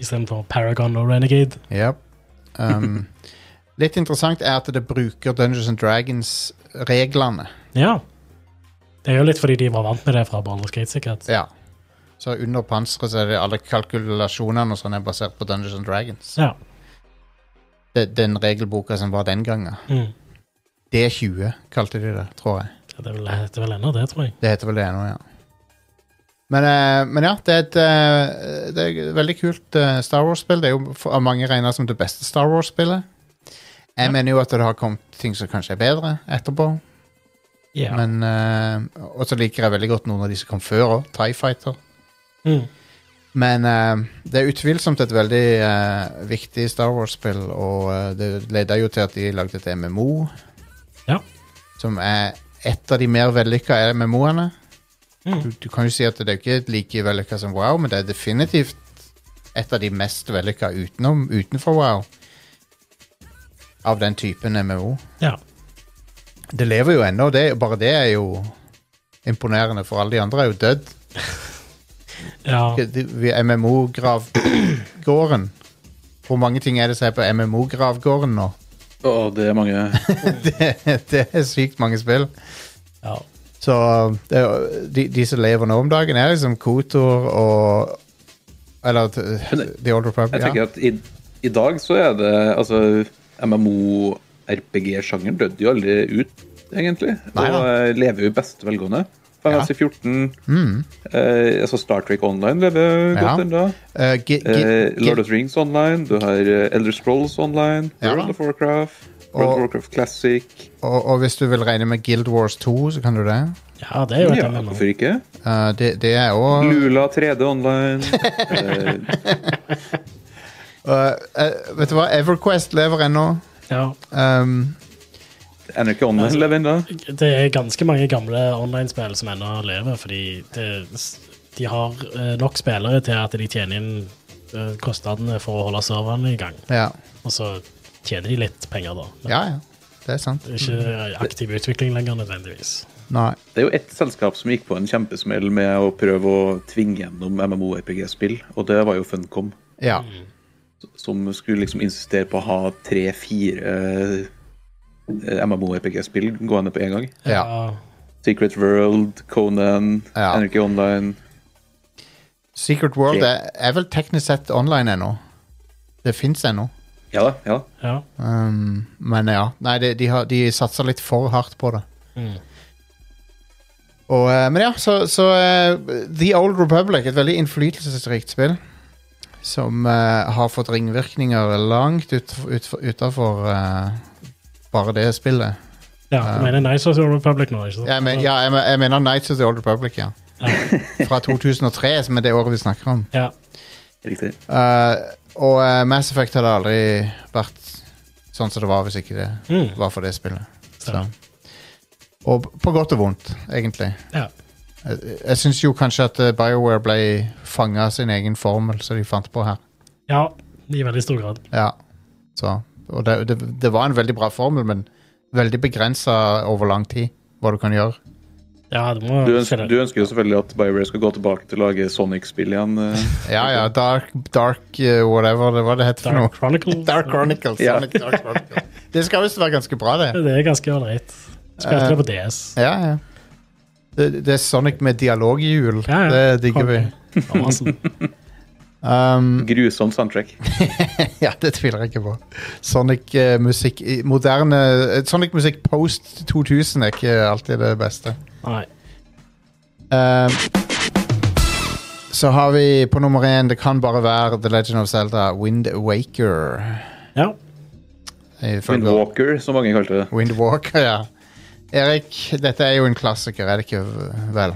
Speaker 4: Istedenfor Paragon og Renegade.
Speaker 1: ja. Um, litt interessant er at det bruker Dungeons and Dragons-reglene.
Speaker 4: Ja. Det er jo litt fordi de var vant med det fra Baldur's Gate, sikkert.
Speaker 1: Ja. Så under panseret så er det alle kalkulasjonene og sånn er basert på Dungeons and Dragons.
Speaker 4: Ja.
Speaker 1: Det, den regelboka som var den gangen.
Speaker 4: Mm.
Speaker 1: D20 kalte de det, tror jeg.
Speaker 4: Ja, Det er vel, det er vel ennå det, tror jeg.
Speaker 1: Det heter vel det nå, ja. Men, eh, men ja, det er et eh, det er et veldig kult eh, Star Wars-spill. Det er jo for- av mange regna som det beste Star Wars-spillet. Jeg mener jo at det har kommet ting som kanskje er bedre etterpå.
Speaker 4: Ja.
Speaker 1: Men eh, Og så liker jeg veldig godt noen av de som kom før òg. Tie Fighter.
Speaker 4: Mm.
Speaker 1: Men eh, det er utvilsomt et veldig eh, viktig Star Wars-spill, og eh, det leda jo til at de lagde et MMO,
Speaker 4: ja.
Speaker 1: som er et av de mer vellykka MMO-ene.
Speaker 4: Mm.
Speaker 1: Du, du kan jo si at det er jo ikke like vellykka som Wow, men det er definitivt et av de mest vellykka utenom, utenfor Wow. Av den typen MMO.
Speaker 4: ja.
Speaker 1: Det lever jo ennå, det, bare det er jo imponerende, for alle de andre er jo dødd.
Speaker 4: Ja.
Speaker 1: Det- det- vi- MMO-gravgården. Hvor mange ting er det som er på MMO-gravgården nå?
Speaker 5: Å, det er mange
Speaker 1: det, det er sykt mange spill.
Speaker 4: ja.
Speaker 1: Så det, er jo- de, de som lever nå om dagen, er liksom Kotor og Eller t- The Old Republic.
Speaker 5: Jeg tenker
Speaker 1: Ja.
Speaker 5: at i, i dag så er det Altså, MMO-RPG-sjangeren dødde jo aldri ut, egentlig.
Speaker 1: Nei da.
Speaker 5: og eh, lever jo i beste velgående. Final Fantasy 14, eh, altså Star Trek Online lever
Speaker 1: Mm. Ja.
Speaker 5: godt ennå.
Speaker 1: Eh, Gi- Gi-
Speaker 5: Eh, Lord
Speaker 1: Gi-
Speaker 5: of the Rings Online, du har eh, Elder Scrolls Online,
Speaker 1: Ja.
Speaker 5: World of Warcraft, World
Speaker 1: Og-
Speaker 5: of Warcraft Classic
Speaker 1: og, og hvis du vil regne med Guild Wars 2, så kan du det.
Speaker 4: ja, det er jo et
Speaker 5: Ja,
Speaker 4: MMO.
Speaker 5: hvorfor ikke?
Speaker 1: Eh, det, det er òg
Speaker 5: Lula 3D Online. eh,
Speaker 1: eh, Vet du hva, Everquest lever ennå.
Speaker 4: Ja.
Speaker 1: Um,
Speaker 5: Anarchy Online lever ennå.
Speaker 4: Det er ganske mange gamle online-spill som ennå lever, fordi det, de har eh, nok spillere til at de tjener inn eh, kostnadene for å holde serverne i gang.
Speaker 1: ja.
Speaker 4: Og så tjener de litt penger, da. Men
Speaker 1: ja, ja. Det er sant.
Speaker 4: det er ikke aktiv utvikling lenger, nødvendigvis.
Speaker 1: Nei.
Speaker 5: Det er jo ett selskap som gikk på en kjempesmell med å prøve å tvinge gjennom MMO-RPG-spill, og det var jo Funcom.
Speaker 1: Ja.
Speaker 5: Som skulle liksom insistere på å ha eh, tre-fire MMO-RPG-spill gående på én gang.
Speaker 1: ja.
Speaker 5: Secret World, Conan,
Speaker 1: Ja.
Speaker 5: Anarchy Online.
Speaker 1: Secret World er, er vel teknisk sett online ennå. Det fins ennå.
Speaker 5: Ja da, ja da.
Speaker 4: Ja.
Speaker 1: Um, men ja, nei, de, de, har, de satser litt for hardt på det.
Speaker 4: Mm.
Speaker 1: Og, eh, men ja, så, så eh, The Old Republic, et veldig innflytelsesrikt spill. Som eh, har fått ringvirkninger langt ut, ut, utafor eh, bare det spillet.
Speaker 4: ja du mener Nice of the Republic nå, ikke sant?
Speaker 1: Jeg, men, Um, ja, jeg, men- jeg mener Nights of the Old Republic, ja. Fra 2003, som er det året vi snakker om.
Speaker 4: Ja.
Speaker 5: Riktig.
Speaker 1: Eh, og eh, Mass Effect hadde aldri vært sånn som det var hvis ikke det
Speaker 4: Mm.
Speaker 1: var for det spillet. Så.
Speaker 4: Stemmer.
Speaker 1: Og på godt og vondt, egentlig.
Speaker 4: ja.
Speaker 1: Jeg, jeg syns jo kanskje at eh, BioWare ble fanga av sin egen formel som de fant på her.
Speaker 4: Ja, i veldig stor grad.
Speaker 1: Ja. Så. Og det, det, det var en veldig bra formel, men veldig begrensa over lang tid hva du kan gjøre.
Speaker 4: Ja, du må
Speaker 5: Du, ønsker,
Speaker 4: se det.
Speaker 5: du ønsker jo selvfølgelig at BioWare skal gå tilbake til å lage Sonic-spill igjen. eh.
Speaker 1: Ja ja, Dark, dark eh, whatever det var det het for
Speaker 4: Dark
Speaker 1: noe.
Speaker 4: Chronicles.
Speaker 1: Dark Chronicles.
Speaker 5: Ja.
Speaker 1: Sonic Dark Chronicles. Det skal visst være ganske bra, det.
Speaker 4: Ja, Det er ganske ålreit.
Speaker 1: Eh,
Speaker 4: Spilte det på DS.
Speaker 1: Ja, ja. Det, det er Sonic med dialoghjul.
Speaker 4: Ja, ja.
Speaker 1: Det digger vi.
Speaker 4: Awesome.
Speaker 1: Um,
Speaker 5: Grusom soundtrack.
Speaker 1: ja, det tviler jeg ikke på. Sonic-musikk moderne eh, Sonic-musikk post 2000 er ikke alltid det beste.
Speaker 4: Nei.
Speaker 1: Um, så har vi på nummer én Det kan bare være The Legend of Zelda Wind Waker.
Speaker 4: Ja.
Speaker 1: Ifølge-
Speaker 5: Windwalker, som mange kalte det.
Speaker 1: Wind Waker, ja. Erik, dette er jo en klassiker, er det ikke vel?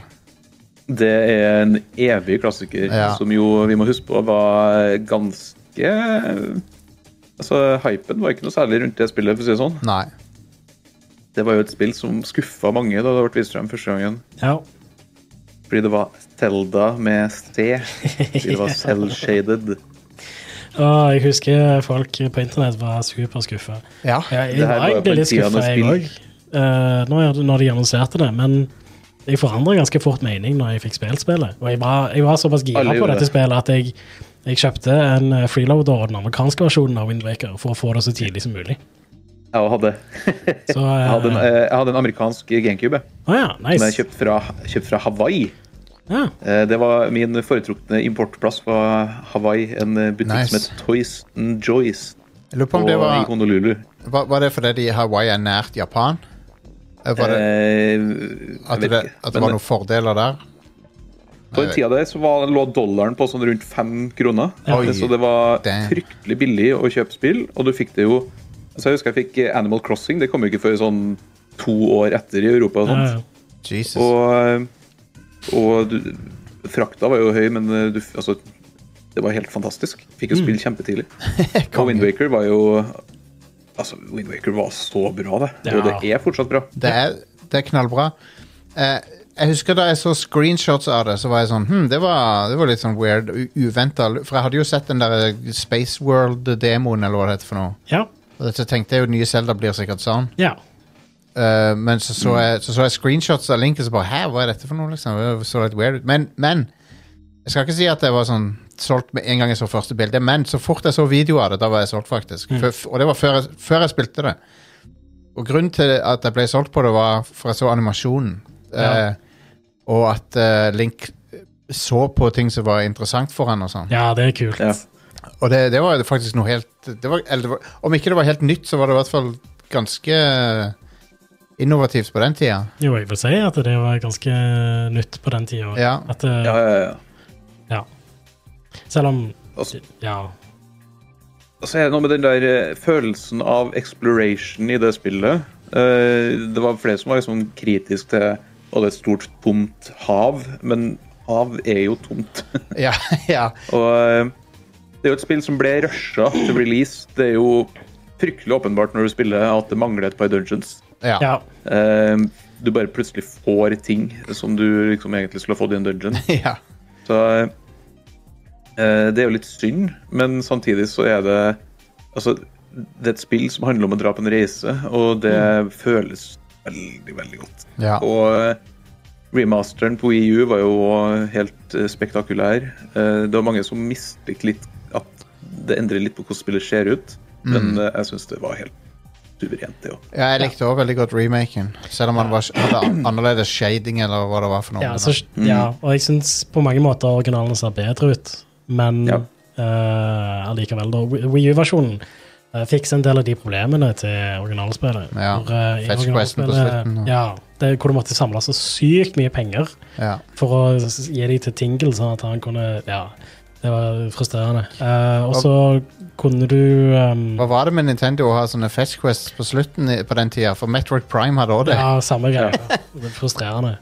Speaker 5: Det er en evig klassiker,
Speaker 1: Ja.
Speaker 5: som jo vi må huske på var ganske Altså, Hypen var ikke noe særlig rundt det spillet. for å si Det sånn.
Speaker 1: Nei.
Speaker 5: Det var jo et spill som skuffa mange da det ble vist frem første gangen.
Speaker 4: Ja.
Speaker 5: Fordi det var Zelda med C. Fordi det var cell-shaded.
Speaker 4: Og jeg husker folk på internett var superskuffa.
Speaker 1: Ja.
Speaker 4: Ja, jeg
Speaker 5: Det
Speaker 4: var
Speaker 5: her var jo på
Speaker 4: egentlig litt
Speaker 5: en tid han
Speaker 4: skuffa, jeg
Speaker 5: har
Speaker 4: òg, eh, når, jeg- når de annonserte det. Men jeg forandra ganske fort mening når jeg fikk spilt spillet. Og jeg var, jeg var såpass gira
Speaker 5: Alle
Speaker 4: på
Speaker 5: gjorde
Speaker 4: dette
Speaker 5: det.
Speaker 4: spillet at jeg, jeg kjøpte en eh, freeloader og den amerikanske versjonen av Windwaker for å få det så tidlig som mulig.
Speaker 5: Jeg hadde,
Speaker 4: Så,
Speaker 5: jeg hadde, en,
Speaker 4: eh,
Speaker 5: eh, jeg hadde en amerikansk GameCube jeg,
Speaker 4: å ja,
Speaker 5: som jeg
Speaker 4: nice.
Speaker 5: kjøpte fra, kjøpt fra Hawaii.
Speaker 4: Ja,
Speaker 5: Eh, Det var Min foretrukne importplass var Hawaii, en eh, butikk
Speaker 1: Nice.
Speaker 5: som het Toys and Joys.
Speaker 1: Jeg lurer på
Speaker 5: Og
Speaker 1: om det var
Speaker 5: i Honolulu.
Speaker 1: Var, var det fordi de Hawaii er nært Japan? Eh, Var det,
Speaker 5: Eh,
Speaker 1: at,
Speaker 5: jeg
Speaker 1: det,
Speaker 5: vet ikke.
Speaker 1: at det var
Speaker 5: Men eh,
Speaker 1: noen fordeler der? Eh,
Speaker 5: På den tida der så var, lå dollaren på sånn rundt fem kroner.
Speaker 1: Oi.
Speaker 5: Så det var
Speaker 1: Damn.
Speaker 5: fryktelig billig å kjøpe spill, og du fikk det jo Altså, jeg husker jeg fikk eh, Animal Crossing. Det kom jo ikke før sånn to år etter i Europa. Og,
Speaker 4: Ja,
Speaker 5: sånt.
Speaker 4: ja.
Speaker 1: Jesus.
Speaker 5: og, eh, og du, frakta var jo høy, men eh, du, altså, det var helt fantastisk. Fikk
Speaker 1: Mm.
Speaker 5: jo spill kjempetidlig. Og Windwaker var jo Altså, Windwaker var så bra, det. Og det
Speaker 4: Ja.
Speaker 5: er fortsatt bra.
Speaker 1: Det er, det er knallbra. Eh, jeg husker da jeg så screenshots av det, så var jeg sånn hm, det, var, det var litt sånn weird. Uventa. For jeg hadde jo sett den der eh, Space World-demoen, eller hva det heter for noe.
Speaker 4: ja.
Speaker 1: Og så tenkte jeg jo nye Zelda blir sikkert sånn.
Speaker 4: ja.
Speaker 1: Eh, men så så, jeg, så så jeg screenshots av Link, og så bare Hæ, hva er dette for noe? liksom? Det så litt weird ut. Men, men jeg skal ikke si at jeg var sånn solgt med en gang jeg så første bilde, men så fort jeg så video av det, da var jeg solgt, faktisk. Før- og det var før jeg, før jeg spilte det. Og grunnen til at jeg ble solgt på det, var for jeg så animasjonen. Eh, og at eh, Link så på ting som var interessant for han og sånn.
Speaker 4: ja, det er kult.
Speaker 5: Ja.
Speaker 1: Og det, det var faktisk noe helt det var, eller, det var, Om ikke det var helt nytt, så var det i hvert fall ganske innovativt på den tida.
Speaker 4: Jo, jeg vil si at det var ganske nytt på den tida.
Speaker 1: Ja.
Speaker 4: At, eh,
Speaker 5: Ja, ja, ja.
Speaker 4: ja. Selv om
Speaker 5: Altså-
Speaker 4: Ja.
Speaker 5: Og så er det noe med den der eh, følelsen av exploration i det spillet. Eh, det var flere som var liksom kritisk til Og det er et stort, tomt hav, men hav er jo tomt.
Speaker 1: Ja, ja.
Speaker 5: og eh, det er jo et spill som ble rusha til release. Det er jo fryktelig åpenbart når du spiller at det mangler et par dungeons.
Speaker 1: ja.
Speaker 4: ja.
Speaker 5: Eh, du bare plutselig får ting som du liksom egentlig skulle ha fått i en dungeon.
Speaker 1: ja.
Speaker 5: Så eh, det er jo litt synd, men samtidig så er det Altså, det er et spill som handler om å dra på en reise, og det føles veldig, veldig godt.
Speaker 1: Ja.
Speaker 5: Og eh, remasteren på EU var jo helt eh, spektakulær. Eh, Det var mange som mislikte litt at det endrer litt på hvordan spillet ser ut, men eh, jeg syns det var helt suverent, det òg.
Speaker 1: Jeg likte òg veldig godt remaken, selv om han var, hadde an- annerledes shading eller hva det var for noe.
Speaker 4: Ja, så, ja,
Speaker 1: Mm.
Speaker 4: og jeg syns på mange måter originalen ser bedre ut, men
Speaker 5: Ja.
Speaker 4: eh, allikevel, da. WiiU-versjonen uh, fikser en del av de problemene til originalspillet.
Speaker 1: Ja,
Speaker 4: For, eh, i
Speaker 1: fetch questen på
Speaker 4: originalspillet-
Speaker 1: slutten, og-
Speaker 4: Ja, det, hvor du måtte samle så sykt mye penger
Speaker 1: ja.
Speaker 4: for å s- gi dem til Tingle, sånn at han kunne Ja, det var frustrerende. Eh, og så kunne du ehm,
Speaker 1: Hva var det med Nintendo å ha sånne fetch quests på slutten i- på den tida? For Metroid Prime hadde òg det.
Speaker 4: Ja, samme greie. Det er frustrerende.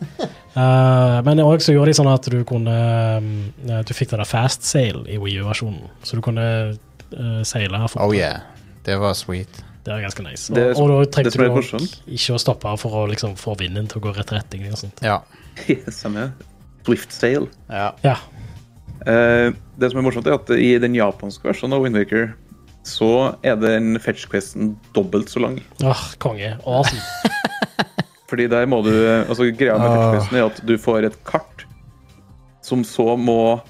Speaker 4: Eh, men òg så gjorde de sånn at du kunne mm, eh, Du fikk det der fast sail i Wii U-versjonen, så du kunne eh, seile her
Speaker 1: Oh yeah. Det var sweet.
Speaker 4: Det er ganske nice. Og,
Speaker 5: Det som-
Speaker 4: og da
Speaker 5: det
Speaker 4: trengte
Speaker 5: som
Speaker 4: du
Speaker 5: er
Speaker 4: også
Speaker 5: morsomt.
Speaker 4: ikke å stoppe for å liksom få vinden til å gå rett retning. Og sånt.
Speaker 1: Ja.
Speaker 5: Samme Swift Sail.
Speaker 1: ja.
Speaker 4: Ja.
Speaker 5: Eh, det som er morsomt, er at i den japanske versjonen av Windwaker så er den fetch-questen dobbelt så lang.
Speaker 4: Åh, konge. Awesome.
Speaker 5: Fordi der må du Altså, greia med fetch-questen er at du får et kart som så må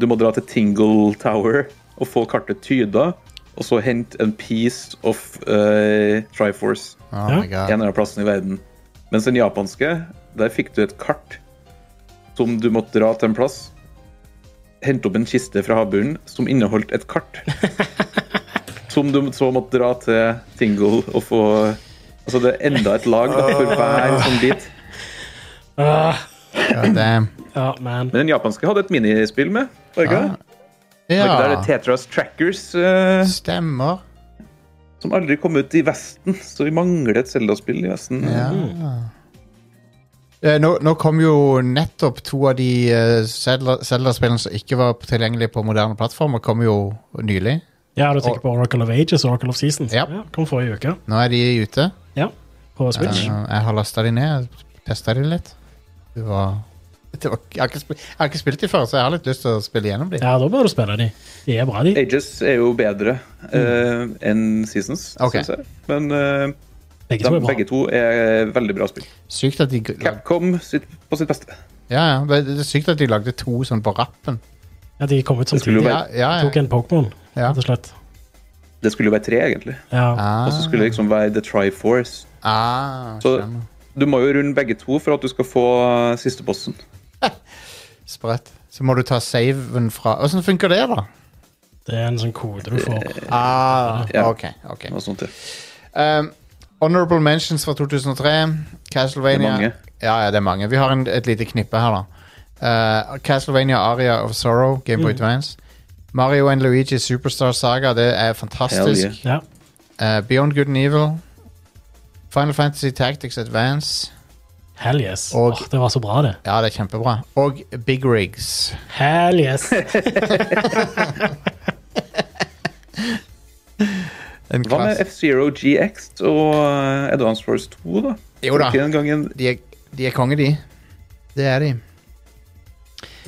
Speaker 5: Du må dra til Tingle Tower og få kartet tyda, og så hente en piece of eh, Triforce
Speaker 1: Oh my
Speaker 5: en
Speaker 1: god.
Speaker 5: eller annen plass i verden. Mens den japanske, der fikk du et kart som du måtte dra til en plass, hente opp en kiste fra havbunnen som inneholdt et kart. som du så måtte dra til Tingle og få Altså, det er enda et lag da, for hver sånn bit.
Speaker 4: Ah,
Speaker 1: God damn.
Speaker 4: ja, man.
Speaker 5: Men den japanske hadde et minispill med. Var det ikke det? Var ikke det
Speaker 1: Ja,
Speaker 5: det Tetras Trackers, eh,
Speaker 1: stemmer.
Speaker 5: som aldri kom ut i Vesten. Så vi mangler et Zelda-spill i Vesten.
Speaker 1: Ja. Eh, Nå, nå kom jo nettopp to av de eh, Zelda- Zelda-spillene som ikke var tilgjengelige på moderne plattformer, kom jo nylig.
Speaker 4: Ja, du tenker på Oracle of Ages og Oracle of Seasons?
Speaker 1: Ja.
Speaker 4: kom forrige uke.
Speaker 1: Nå er de ute.
Speaker 4: Ja. På
Speaker 1: Eh,
Speaker 4: Switch.
Speaker 1: Jeg har lasta de ned, testa de litt. Det var, det var jeg, har ikke spilt, jeg har ikke spilt de før, så jeg har litt lyst til å spille gjennom de.
Speaker 4: Ja, da bør du spille de. De er bra, de.
Speaker 5: Ages er jo bedre eh, enn Seasons,
Speaker 1: Mm. Ok.
Speaker 5: synes jeg. Men eh,
Speaker 4: Begge
Speaker 5: de,
Speaker 4: to er bra.
Speaker 5: begge to er veldig bra spill.
Speaker 1: Sykt at de g- lag,
Speaker 5: Capcom sitt, på sitt beste.
Speaker 1: ja, ja, det det er sykt at de lagde to sånn på rappen.
Speaker 4: Ja, de kom ut
Speaker 5: Det skulle jo
Speaker 4: samtidig.
Speaker 1: Ja, ja,
Speaker 4: Jeg tok
Speaker 1: ja.
Speaker 4: en Pokémon,
Speaker 1: Ja.
Speaker 4: rett og slett.
Speaker 5: Det skulle jo være tre, egentlig.
Speaker 4: Ja.
Speaker 5: Og så skulle det liksom være The Triforce.
Speaker 1: Ah,
Speaker 5: Så
Speaker 1: skjønner.
Speaker 5: du må jo runde begge to for at du skal få eh, siste bossen.
Speaker 1: Sprøtt. Så må du ta saven fra Åssen funker det, da?
Speaker 4: Det er en sånn kode du får.
Speaker 1: Ah,
Speaker 5: Ja.
Speaker 1: ok, ok.
Speaker 5: Og sånt, ja.
Speaker 1: Um, honorable mentions fra 2003. Castlevania.
Speaker 5: Det er mange.
Speaker 1: Ja, ja, det er mange. Vi har en, et lite knippe her, da. Uh, Castlevania Aria of Sorrow, Game Boy Advance. Mario and Luigi Superstar Saga, det er fantastisk.
Speaker 4: Ja.
Speaker 5: Hell
Speaker 1: Eh, Beyond Good and Evil. Final Fantasy Tactics Advance.
Speaker 4: Hell yes.
Speaker 1: Og-
Speaker 4: Åh, det var så bra, det.
Speaker 1: Ja, det er kjempebra. Og Big Rigs.
Speaker 4: Hell yes.
Speaker 1: En
Speaker 5: Hva med
Speaker 1: klass-
Speaker 5: F0 GX og eh, Advance Force 2, da?
Speaker 1: Jo da,
Speaker 5: Ikke en gang en,
Speaker 1: de er, de er konge, de. Det er de.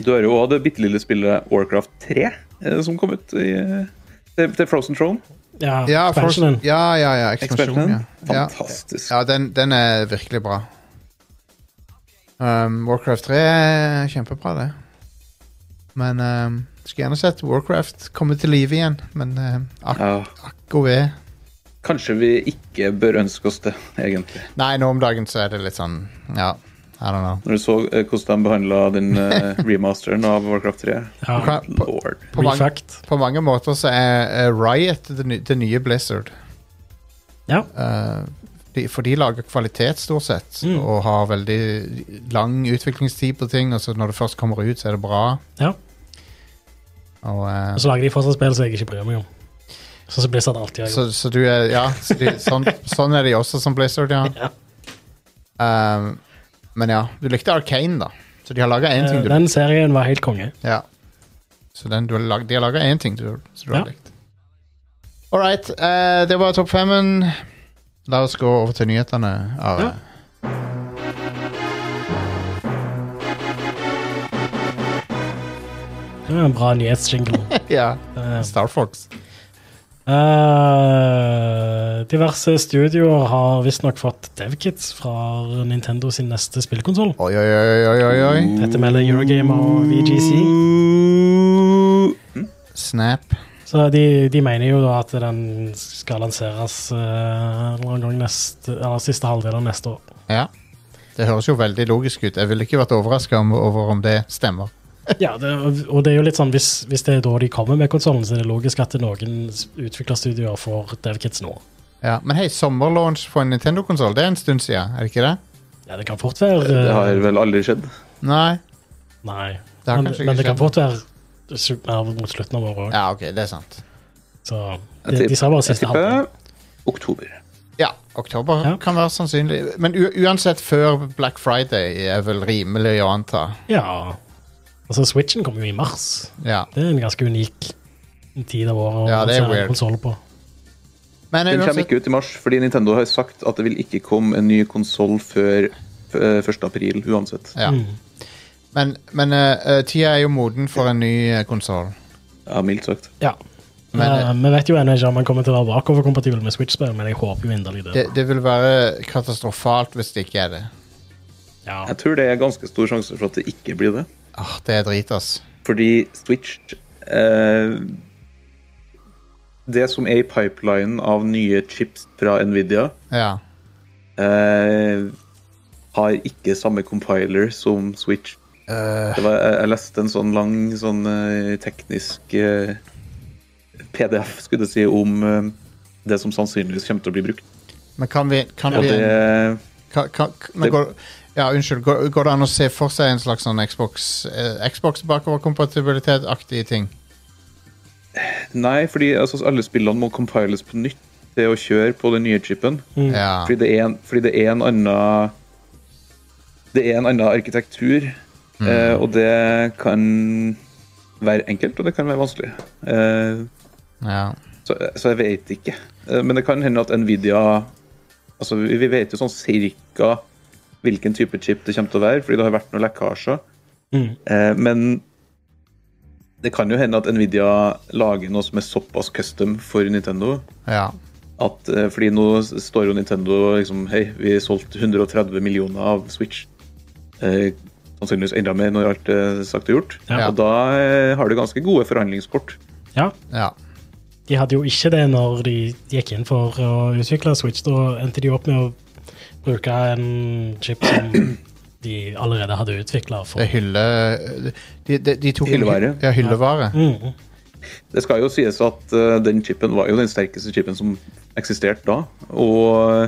Speaker 5: du har jo òg det bitte lille spillet Warcraft 3 eh, som kom ut i, eh, til, til Frozen Throne.
Speaker 4: Ja,
Speaker 1: Ja, for,
Speaker 4: expansionen.
Speaker 1: ja, ja, ja ekspansjon.
Speaker 5: Eksperten.
Speaker 1: Ja, ja.
Speaker 5: Fantastisk.
Speaker 1: ja den, den er virkelig bra. Um, Warcraft 3 er kjempebra, det. Men um, skulle gjerne sett Warcraft komme til live igjen, men um, ak
Speaker 5: Ja.
Speaker 1: akko ved
Speaker 5: Kanskje vi ikke bør ønske oss det, egentlig.
Speaker 1: Nei, nå om dagen så er det litt sånn Ja, I don't know.
Speaker 5: Når du så eh, hvordan de behandla den eh, remasteren av Warcraft 3.
Speaker 4: Ja,
Speaker 1: På,
Speaker 5: Lord.
Speaker 1: på, mange,
Speaker 4: Refucked.
Speaker 1: på mange måter så er, er Riot det, ny- det nye Blizzard.
Speaker 4: Ja.
Speaker 1: Eh, de, for de lager kvalitet stort sett,
Speaker 4: Mm.
Speaker 1: og har veldig lang utviklingstid på ting. Og så når det først kommer ut, så er det bra.
Speaker 4: Ja.
Speaker 1: Og, eh,
Speaker 4: Og så lager de fortsatt spill som jeg ikke bryr meg om. Sånn som Blizzard alltid har gjort.
Speaker 1: så, så du er Ja, så de, sånn, sånn er de også som Blizzard, ja.
Speaker 4: Ja.
Speaker 1: Um, men ja, du likte Arcane, da. Så de har laga én ting
Speaker 4: Eh,
Speaker 1: du
Speaker 4: Den serien var helt konge.
Speaker 1: Ja. Så den du har lag, de har laga én ting du, som du har
Speaker 4: Ja.
Speaker 1: likt. All right. eh, det var topp femmen. La oss gå over til nyhetene. Are.
Speaker 4: Ja. Det var en bra nyhetsjingle.
Speaker 1: Ja.
Speaker 4: Eh,
Speaker 1: Star Fox.
Speaker 4: eh, diverse studioer har visstnok fått devkits fra Nintendo sin neste spillkonsoll.
Speaker 1: Oi, oi, oi, oi, oi, oi.
Speaker 4: Dette melder Eurogamer og VGC.
Speaker 1: Snap.
Speaker 4: Så de, de mener jo da at den skal lanseres eh, en eller annen gang neste, eller siste halvdel av neste år.
Speaker 1: Ja. Det høres jo veldig logisk ut. Jeg ville ikke vært overraska om, over om det stemmer.
Speaker 4: Ja, det, og det er jo litt sånn, hvis, hvis det er da de kommer med konsollen, så er det logisk at noen s- utviklerstudioer får devkits nå.
Speaker 1: Ja. Men hei, sommerlaunch for en Nintendo-konsoll, det er en stund siden, er det ikke det?
Speaker 4: Ja, det kan fort være
Speaker 5: Det
Speaker 4: eh,
Speaker 5: har vel aldri skjedd.
Speaker 1: Nei.
Speaker 4: Nei.
Speaker 1: Det har
Speaker 4: men,
Speaker 1: kanskje ikke
Speaker 4: men det kan
Speaker 1: skjedd.
Speaker 4: fort være su- mer mot slutten av året òg.
Speaker 1: Ja, ok, det er sant.
Speaker 4: Så
Speaker 5: Jeg
Speaker 4: Eh, de, de sa bare
Speaker 5: Jeg
Speaker 4: siste
Speaker 5: tipper
Speaker 4: halvdel.
Speaker 5: oktober.
Speaker 1: Ja, oktober
Speaker 4: Ja.
Speaker 1: kan være sannsynlig. Men u uansett før Black Friday er vel rimelig å anta.
Speaker 4: Ja. Altså, Switchen kommer jo i mars.
Speaker 1: Ja.
Speaker 4: Det er en ganske unik tid av året å
Speaker 1: Ja, det er
Speaker 4: lansere en
Speaker 1: weird.
Speaker 4: konsoll på.
Speaker 1: Men altså-
Speaker 5: Den kommer
Speaker 1: uansett,
Speaker 5: ikke ut i mars, fordi Nintendo har sagt at det vil ikke komme en ny konsoll før eh, 1. april, uansett.
Speaker 1: ja. men, men eh, eh, tida er jo moden for en ny uh, konsoll.
Speaker 5: Ja, mildt sagt.
Speaker 4: Ja.
Speaker 1: Men,
Speaker 4: Eh, vi vet jo ennå ikke om man kommer til å være bakoverkompatibel med Switch-spill, men jeg håper jo inderlig det.
Speaker 1: Det, det vil være katastrofalt hvis det ikke er det.
Speaker 4: Ja.
Speaker 5: Jeg tror det er ganske stor sjanse for at det ikke blir det.
Speaker 1: Ah, det er drit, ass.
Speaker 5: Fordi Switch eh, Det som er i pipelinen av nye chips fra Nvidia,
Speaker 1: Ja.
Speaker 5: eh, har ikke samme compiler som Switch. Det var, jeg, jeg leste en sånn lang sånn eh, teknisk eh, PDF, skulle jeg si, om eh, det som sannsynligvis kommer til å bli brukt.
Speaker 1: Men kan vi, kan
Speaker 5: Og
Speaker 1: vi
Speaker 5: det
Speaker 1: Ka- ka- ka- men
Speaker 5: Det-
Speaker 1: går, ja, unnskyld. Går, går det an å se for seg en slags sånn Xbox eh, Xbox bakoverkompatibilitet-aktige ting?
Speaker 5: Nei, fordi altså, alle spillene må compiles på nytt til å kjøre på den nye chipen.
Speaker 1: Ja.
Speaker 5: Fordi det er en, fordi det er en annen Det er en annen arkitektur, eh, og det kan være enkelt, og det kan være vanskelig. Eh,
Speaker 1: ja.
Speaker 5: så, så jeg vet ikke. Eh, men det kan hende at Nvidia Altså, vi, vi vet jo sånn cirka hvilken type chip det kommer til å være, fordi det har vært noen lekkasjer.
Speaker 4: Mm.
Speaker 5: Eh, men det kan jo hende at Nvidia lager noe som er såpass custom for Nintendo
Speaker 1: ja.
Speaker 5: at eh, Fordi nå s- står jo Nintendo liksom Hei, vi solgte 130 millioner av Switch. Eh, sannsynligvis enda mer når alt er sagt og gjort.
Speaker 4: Ja.
Speaker 5: Og da eh, har du ganske gode forhandlingskort.
Speaker 4: ja.
Speaker 1: ja.
Speaker 4: De hadde jo ikke det når de gikk inn for å utvikle Switch. Da endte de opp med å bruke en chip som de allerede hadde utvikla for
Speaker 1: Det er hylle... De, de, de tok
Speaker 5: Hyllevare.
Speaker 1: Ja, hyllevare.
Speaker 4: Mm.
Speaker 5: Det skal jo sies at eh, den chipen var jo den sterkeste chipen som eksisterte da. Og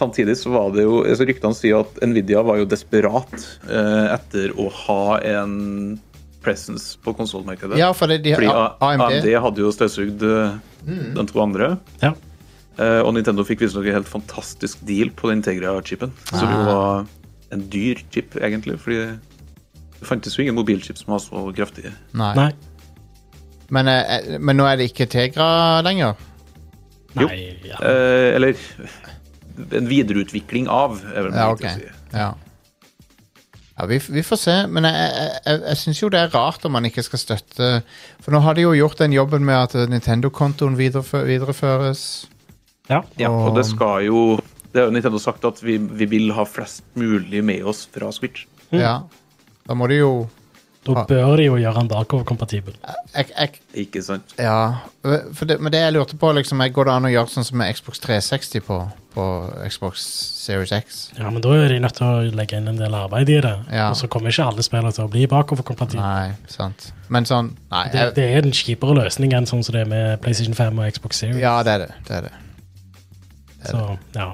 Speaker 5: samtidig så var det jo altså Ryktene sier at Nvidia var jo desperat eh, etter å ha en presence på konsollmarkedet.
Speaker 1: Ja, for det, de,
Speaker 5: Fordi A-
Speaker 1: AMD,
Speaker 5: AMD hadde jo støvsugd eh, de to andre.
Speaker 4: Ja.
Speaker 5: Eh, og Nintendo fikk visstnok en helt fantastisk deal på den Integra-chipen. Så det var en dyr chip, egentlig, fordi det fantes jo ingen mobilchip som var så kraftige.
Speaker 1: Nei.
Speaker 4: Nei.
Speaker 1: Men, eh, men nå er det ikke Tegra lenger?
Speaker 5: Jo.
Speaker 4: Nei ja.
Speaker 5: Eh, eller en videreutvikling av, er vel det
Speaker 1: Ja,
Speaker 5: jeg
Speaker 1: ok.
Speaker 5: vil si.
Speaker 1: Ja. Ja, vi, vi får se, men jeg, jeg, jeg, jeg syns jo det er rart om man ikke skal støtte For nå har de jo gjort den jobben med at eh, Nintendo-kontoen viderefø videreføres.
Speaker 4: ja.
Speaker 5: Ja, og
Speaker 1: Og-
Speaker 5: det skal jo Det har jo Nintendo sagt at vi, vi vil ha flest mulig med oss fra Switch.
Speaker 1: Ja. Da må de jo Ah.
Speaker 4: Da bør de jo gjøre den bakoverkompatibel.
Speaker 1: jeg, jeg,
Speaker 5: Ikke sant?
Speaker 1: Ja, for det, men det jeg lurte på, liksom, jeg- går det an å gjøre sånn som med Xbox 360 på, på Xbox Series X?
Speaker 4: Ja, men da er de nødt til å legge inn en del arbeid i det.
Speaker 1: Ja.
Speaker 4: Og så kommer ikke alle spillere til å bli bakoverkompatible.
Speaker 1: Nei, sant. Men sånn Nei.
Speaker 4: Det,
Speaker 1: Jeg,
Speaker 4: det er en kjipere løsning enn sånn som det er med PlayStation 5 og Xbox Series.
Speaker 1: ja, det er det. det, er det.
Speaker 4: Så, ja.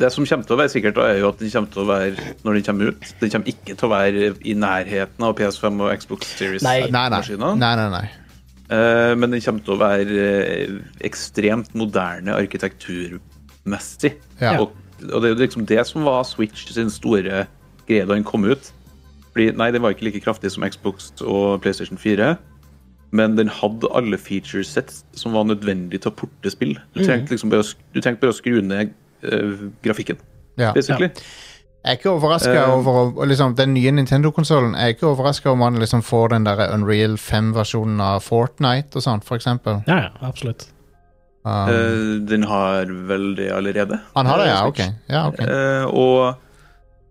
Speaker 5: Det som kommer til å være sikkert, da, er jo at den kommer til å være når den kommer ut Den kommer ikke til å være i nærheten av PS5 og Xbox
Speaker 4: Nei.
Speaker 1: Nei, nei.
Speaker 5: Series-maskinene.
Speaker 1: nei, nei, nei.
Speaker 5: Eh, men den kommer til å være eh, ekstremt moderne arkitekturmessig.
Speaker 1: Ja.
Speaker 5: Og, og det er jo liksom det som var Switch sin store greie da den kom ut. Fordi, nei, den var ikke like kraftig som Xbox og PlayStation 4. Men den hadde alle feature sets som var nødvendig til å porte spill.
Speaker 1: Mm.
Speaker 5: Du trengte liksom bare, å sk- du trengte bare å skru ned eh, grafikken,
Speaker 1: Ja.
Speaker 5: basically.
Speaker 1: Jeg er ikke overraska
Speaker 5: Eh.
Speaker 1: over å- liksom, den nye Nintendo-konsollen. Jeg er ikke overraska om man liksom får den der Unreal 5-versjonen av Fortnite og sånn, for eksempel.
Speaker 4: ja, ja, absolutt.
Speaker 1: Um,
Speaker 5: Eh, den har vel det allerede.
Speaker 1: han har det, ja?
Speaker 5: Eh,
Speaker 1: Ok. Ja, ok.
Speaker 5: Eh, og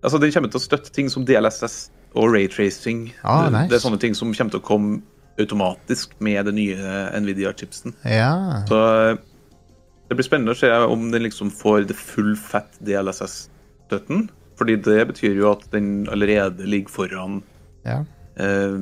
Speaker 5: altså, den kommer til å støtte ting som DLSS og raytracing.
Speaker 1: Ah,
Speaker 5: det,
Speaker 1: nice.
Speaker 5: det er sånne ting som kommer til å komme automatisk med den nye Nvidia-chipsen.
Speaker 1: Ja.
Speaker 5: Så eh, det blir spennende å se om den liksom får det full fat DLSS-støtten. Fordi det betyr jo at den allerede ligger foran
Speaker 1: ja.
Speaker 5: eh,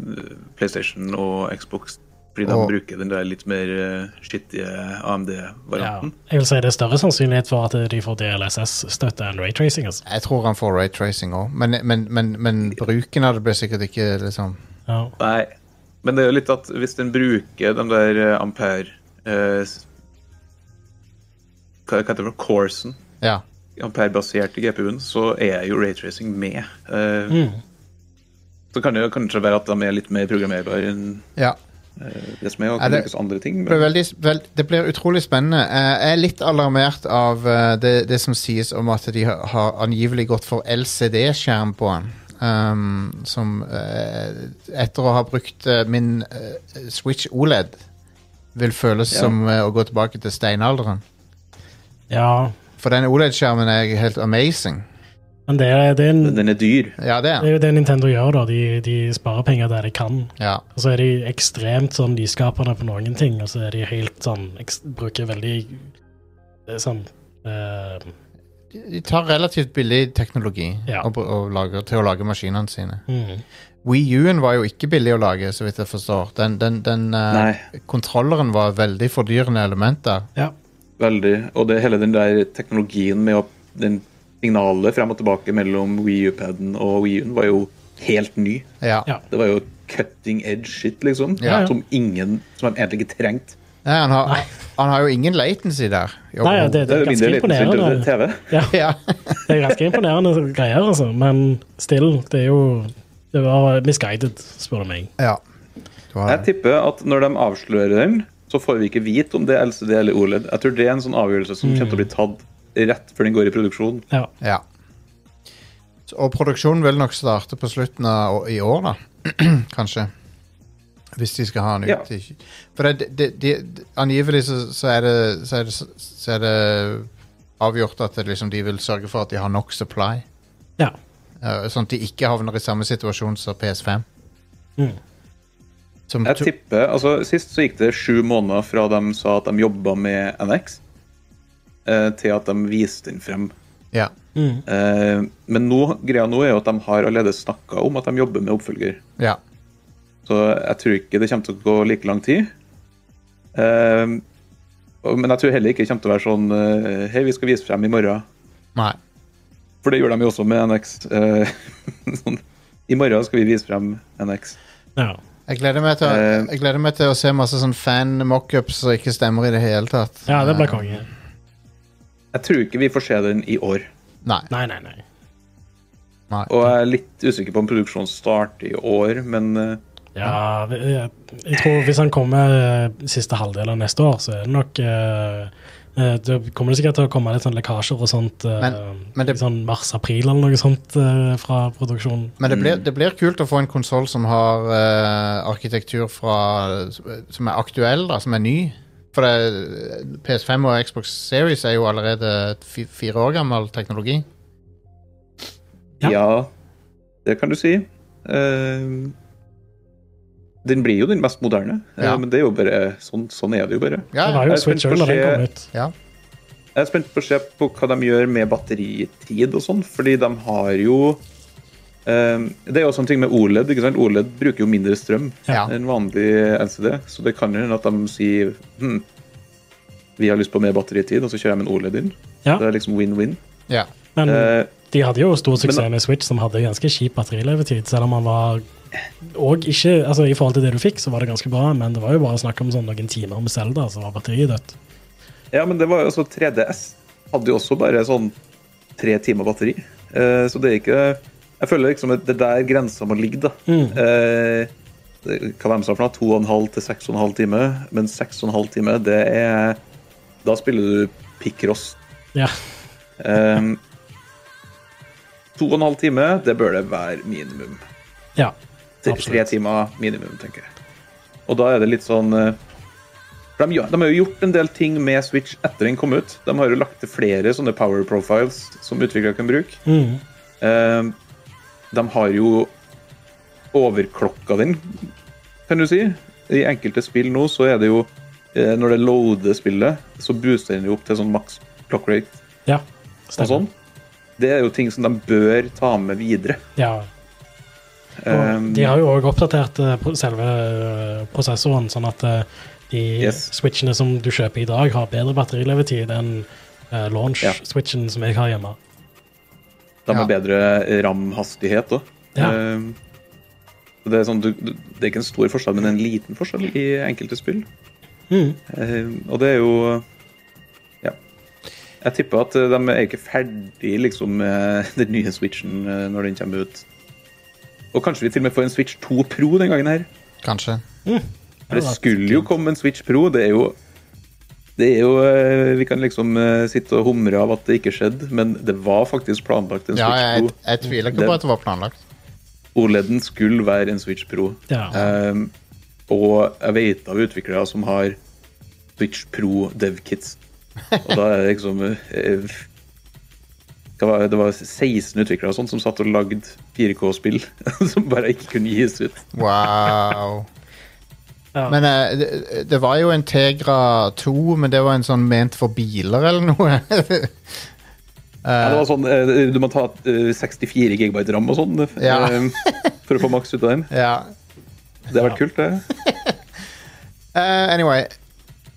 Speaker 5: PlayStation og Xbox. Fordi
Speaker 1: Og-
Speaker 5: de bruker den der litt mer eh, skittige
Speaker 4: Ja.
Speaker 5: AMD-varianten.
Speaker 4: Jeg vil si det er større sannsynlighet for at de får DLSS-støtte enn raytracing. Altså.
Speaker 1: Jeg tror han får raytracing òg, men, men, men, men bruken av det blir sikkert ikke liksom
Speaker 4: Ja.
Speaker 5: Nei, men det er jo litt at hvis den bruker de der eh, ampere eh, s- Hva hva heter det? for noe? Coursen.
Speaker 1: Ja.
Speaker 5: Ampere-basert i GPU-en, så er jo raytracing med. Eh,
Speaker 4: Mm.
Speaker 5: Så kan det jo kanskje være at de er litt mer programmerbare enn
Speaker 1: ja.
Speaker 5: det som er, og
Speaker 1: Er
Speaker 5: kan
Speaker 1: det-
Speaker 5: brukes andre
Speaker 1: Det,
Speaker 5: ting.
Speaker 1: blir
Speaker 5: Men
Speaker 1: veldig, vel, det blir utrolig spennende. Eh, Jeg er litt alarmert av eh, det, det som sies om at de har, har angivelig gått for LCD-skjerm på den. Um, som eh, etter å ha brukt eh, min eh, Switch OLED vil føles
Speaker 5: Ja.
Speaker 1: som eh, å gå tilbake til steinalderen.
Speaker 4: ja.
Speaker 1: For den OLED-skjermen er helt amazing.
Speaker 4: Men det er, det, er en, det
Speaker 5: den er dyr.
Speaker 1: Ja, det er
Speaker 4: er
Speaker 1: den.
Speaker 4: jo det Nintendo gjør, da. De, de sparer penger der de kan.
Speaker 1: Ja.
Speaker 4: Og så er de ekstremt sånn nyskapende på noen ting, og så er de helt sånn ekst, Bruker veldig eh, sånn eh,
Speaker 1: De tar relativt billig teknologi
Speaker 4: Ja.
Speaker 1: og, br- og lager, til å lage maskinene sine.
Speaker 4: mm.
Speaker 1: Wii U-en var jo ikke billig å lage, så vidt jeg forstår. Den, den, den eh, kontrolleren var veldig fordyrende elementer.
Speaker 4: Ja.
Speaker 5: Veldig. Og det hele den der teknologien med å, den signalet frem og tilbake mellom Wii U-paden og Wii U-en var jo helt ny.
Speaker 1: Ja.
Speaker 4: Ja.
Speaker 5: Det var jo cutting edge shit, liksom.
Speaker 1: Ja, ja.
Speaker 5: Som ingen Som de egentlig ikke trengte.
Speaker 1: Nei, han, har, han har jo ingen latency der. Jo.
Speaker 4: Nei, ja, det,
Speaker 5: Det er jo
Speaker 4: ganske
Speaker 5: mindre liten synd til
Speaker 4: imponerende.
Speaker 5: TV.
Speaker 4: Ja,
Speaker 1: Ja.
Speaker 4: det er ganske imponerende greier, altså. Men still, det er jo Det var misguided, spør du meg.
Speaker 1: ja. Du har
Speaker 5: Jeg
Speaker 1: det.
Speaker 5: tipper at når de avslører den, så får vi ikke vite om det er LCD eller OLED. Jeg tror det er en sånn avgjørelse som
Speaker 1: Mm.
Speaker 5: kommer til å bli tatt rett før den går i produksjon.
Speaker 4: Ja.
Speaker 1: Ja. Så- Og produksjonen vil nok starte på slutten av å- i år, da. Kanskje. Hvis de skal ha den ut. i- For det, det, de- de- angivelig så, så, er det, så, er det, så er det avgjort at det, liksom, de vil sørge for at de har nok supply.
Speaker 4: ja.
Speaker 1: Eh, sånn at de ikke havner i samme situasjon som PS5.
Speaker 4: Mm.
Speaker 1: Som
Speaker 5: Jeg
Speaker 1: to-
Speaker 5: tipper, altså Sist så gikk det sju måneder fra de sa at de jobba med NX, eh, til at de viste den frem.
Speaker 1: ja.
Speaker 5: Eh, Men nå, greia nå er jo at de har allerede snakka om at de jobber med oppfølger.
Speaker 1: ja.
Speaker 5: Så jeg tror ikke det kommer til å gå like lang tid. Ehm, og- men jeg tror heller ikke det kommer til å være sånn eh, Hei, vi skal vise frem i morgen.
Speaker 1: Nei.
Speaker 5: For det gjorde de jo også med NX. eh, sånn, I morgen skal vi vise frem NX.
Speaker 4: ja.
Speaker 1: Jeg gleder meg til, å-
Speaker 5: Eh.
Speaker 1: jeg gleder meg til å se masse sånn fan mockups som ikke stemmer i det hele tatt.
Speaker 4: Ja, det
Speaker 1: Eh,
Speaker 4: blir konge.
Speaker 5: Jeg tror ikke vi får se den i år.
Speaker 1: Nei.
Speaker 4: Nei, nei, nei.
Speaker 1: nei.
Speaker 5: Og eh, jeg er litt usikker på om produksjonen starter i år, men eh,
Speaker 4: Ja, vi- jeg, jeg tror hvis han kommer eh, siste halvdel av neste år, så er det nok eh, eh, Da kommer det sikkert til å komme litt sånn lekkasjer og sånt eh,
Speaker 1: Men- men det-
Speaker 4: i sånn mars-april eller noe sånt eh, fra produksjonen.
Speaker 1: Men det
Speaker 5: mm.
Speaker 1: blir, det blir kult å få en konsoll som har eh, arkitektur fra Som er aktuell, da, som er ny. For det, PS5 og Xbox Series er jo allerede fi- fire år gammel teknologi.
Speaker 4: Ja.
Speaker 5: ja. det kan du si. Eh, den blir jo den mest moderne, eh,
Speaker 1: Ja.
Speaker 5: men det er jo bare sånn, sånn er det jo bare.
Speaker 1: Ja,
Speaker 4: Det var
Speaker 5: jeg
Speaker 4: jo
Speaker 5: er spent
Speaker 4: Switch
Speaker 5: på
Speaker 4: òg da den
Speaker 5: å se-
Speaker 4: kom ut.
Speaker 1: ja.
Speaker 5: Jeg er spent på å se på hva de gjør med batteritid og sånn, fordi de har jo eh, Det er jo også en ting med OLED. ikke sant? OLED bruker jo mindre strøm
Speaker 1: Ja.
Speaker 5: enn vanlig LCD, så det kan jo hende at de sier hm, vi har lyst på mer batteritid, og så kjører jeg med en OLED inn.
Speaker 4: Ja.
Speaker 5: Det er liksom win-win.
Speaker 1: ja.
Speaker 4: Men
Speaker 5: Eh,
Speaker 4: de hadde jo stor suksess
Speaker 5: men-
Speaker 4: med Switch, som hadde ganske kjip batterilevetid, selv om han var og ikke, altså I forhold til det du fikk, så var det ganske bra, men det var jo bare snakk om sånn noen timer med Zelda, så var batteriet dødt.
Speaker 5: ja, men det var jo også 3DS. Hadde jo også bare sånn tre timer batteri. Eh, så det er ikke Jeg føler liksom at det er der grensa må ligge, da. Eh, det- hva var det de sa for noe? To og en halv til seks og en halv time. Men seks og en halv time, det er Da spiller du Picross.
Speaker 4: Ja,
Speaker 5: Eh, to og en halv time, det bør det være minimum.
Speaker 4: ja.
Speaker 5: Tre, tre
Speaker 4: Absolutt.
Speaker 5: timer minimum, tenker jeg. Og da er det litt sånn eh, for de, gjør- de har jo gjort en del ting med Switch etter den kom ut. De har jo lagt til flere sånne power profiles som utviklere kan bruke.
Speaker 4: Mm.
Speaker 5: Eh, de har jo overklokka den, kan du si. I enkelte spill nå så er det jo eh, Når det loader spillet, så booster den jo opp til sånn maks clock rate
Speaker 4: ja.
Speaker 5: og sånn. Det er jo ting som de bør ta med videre.
Speaker 4: Ja. Og
Speaker 5: Eh,
Speaker 4: de har jo òg oppdatert eh, pro- selve eh, prosessoren, sånn at eh, de
Speaker 5: Yes.
Speaker 4: switchene som du kjøper i dag, har bedre batterilevetid enn eh,
Speaker 5: Ja.
Speaker 4: launch-switchen som jeg har hjemme.
Speaker 5: De har
Speaker 1: Ja.
Speaker 5: bedre ramhastighet òg.
Speaker 4: Ja.
Speaker 5: det, er sånn, du, du, det er ikke en stor forskjell, men en liten forskjell i enkelte spill.
Speaker 4: Mm.
Speaker 5: Eh, og det er jo Ja. Jeg tipper at eh, de er ikke ferdig liksom, med den nye Switchen eh, når den kommer ut. Og kanskje vi til og med får en Switch 2 Pro den gangen her.
Speaker 1: Kanskje.
Speaker 5: For det
Speaker 4: Ja,
Speaker 5: skulle jo komme en Switch Pro. Det er jo det er jo, eh, Vi kan liksom eh, sitte og humre av at det ikke skjedde, men det var faktisk planlagt en
Speaker 1: Ja,
Speaker 5: Switch
Speaker 1: jeg,
Speaker 5: Pro.
Speaker 1: jeg tviler ikke
Speaker 5: Det-
Speaker 1: på at det var planlagt.
Speaker 5: OLED-en E skulle være en Switch Pro.
Speaker 4: Ja.
Speaker 5: Ehm, og jeg vet av utviklere som har Switch Pro dev-kits. Og da er det liksom eh, det var, det var 16 utviklere og sånt som satt og lagde 4K-spill som bare ikke kunne gis ut.
Speaker 1: Wow.
Speaker 4: Ja.
Speaker 1: Men eh, det, det var jo en Tegra 2, men det var en sånn ment for biler eller noe.
Speaker 5: Ja, det var sånn, eh, Du må ta eh, 64 gigabyte ram og sånn eh,
Speaker 1: Ja.
Speaker 5: for å få maks ut av den.
Speaker 1: ja.
Speaker 5: Det har vært kult, det.
Speaker 1: Eh, anyway.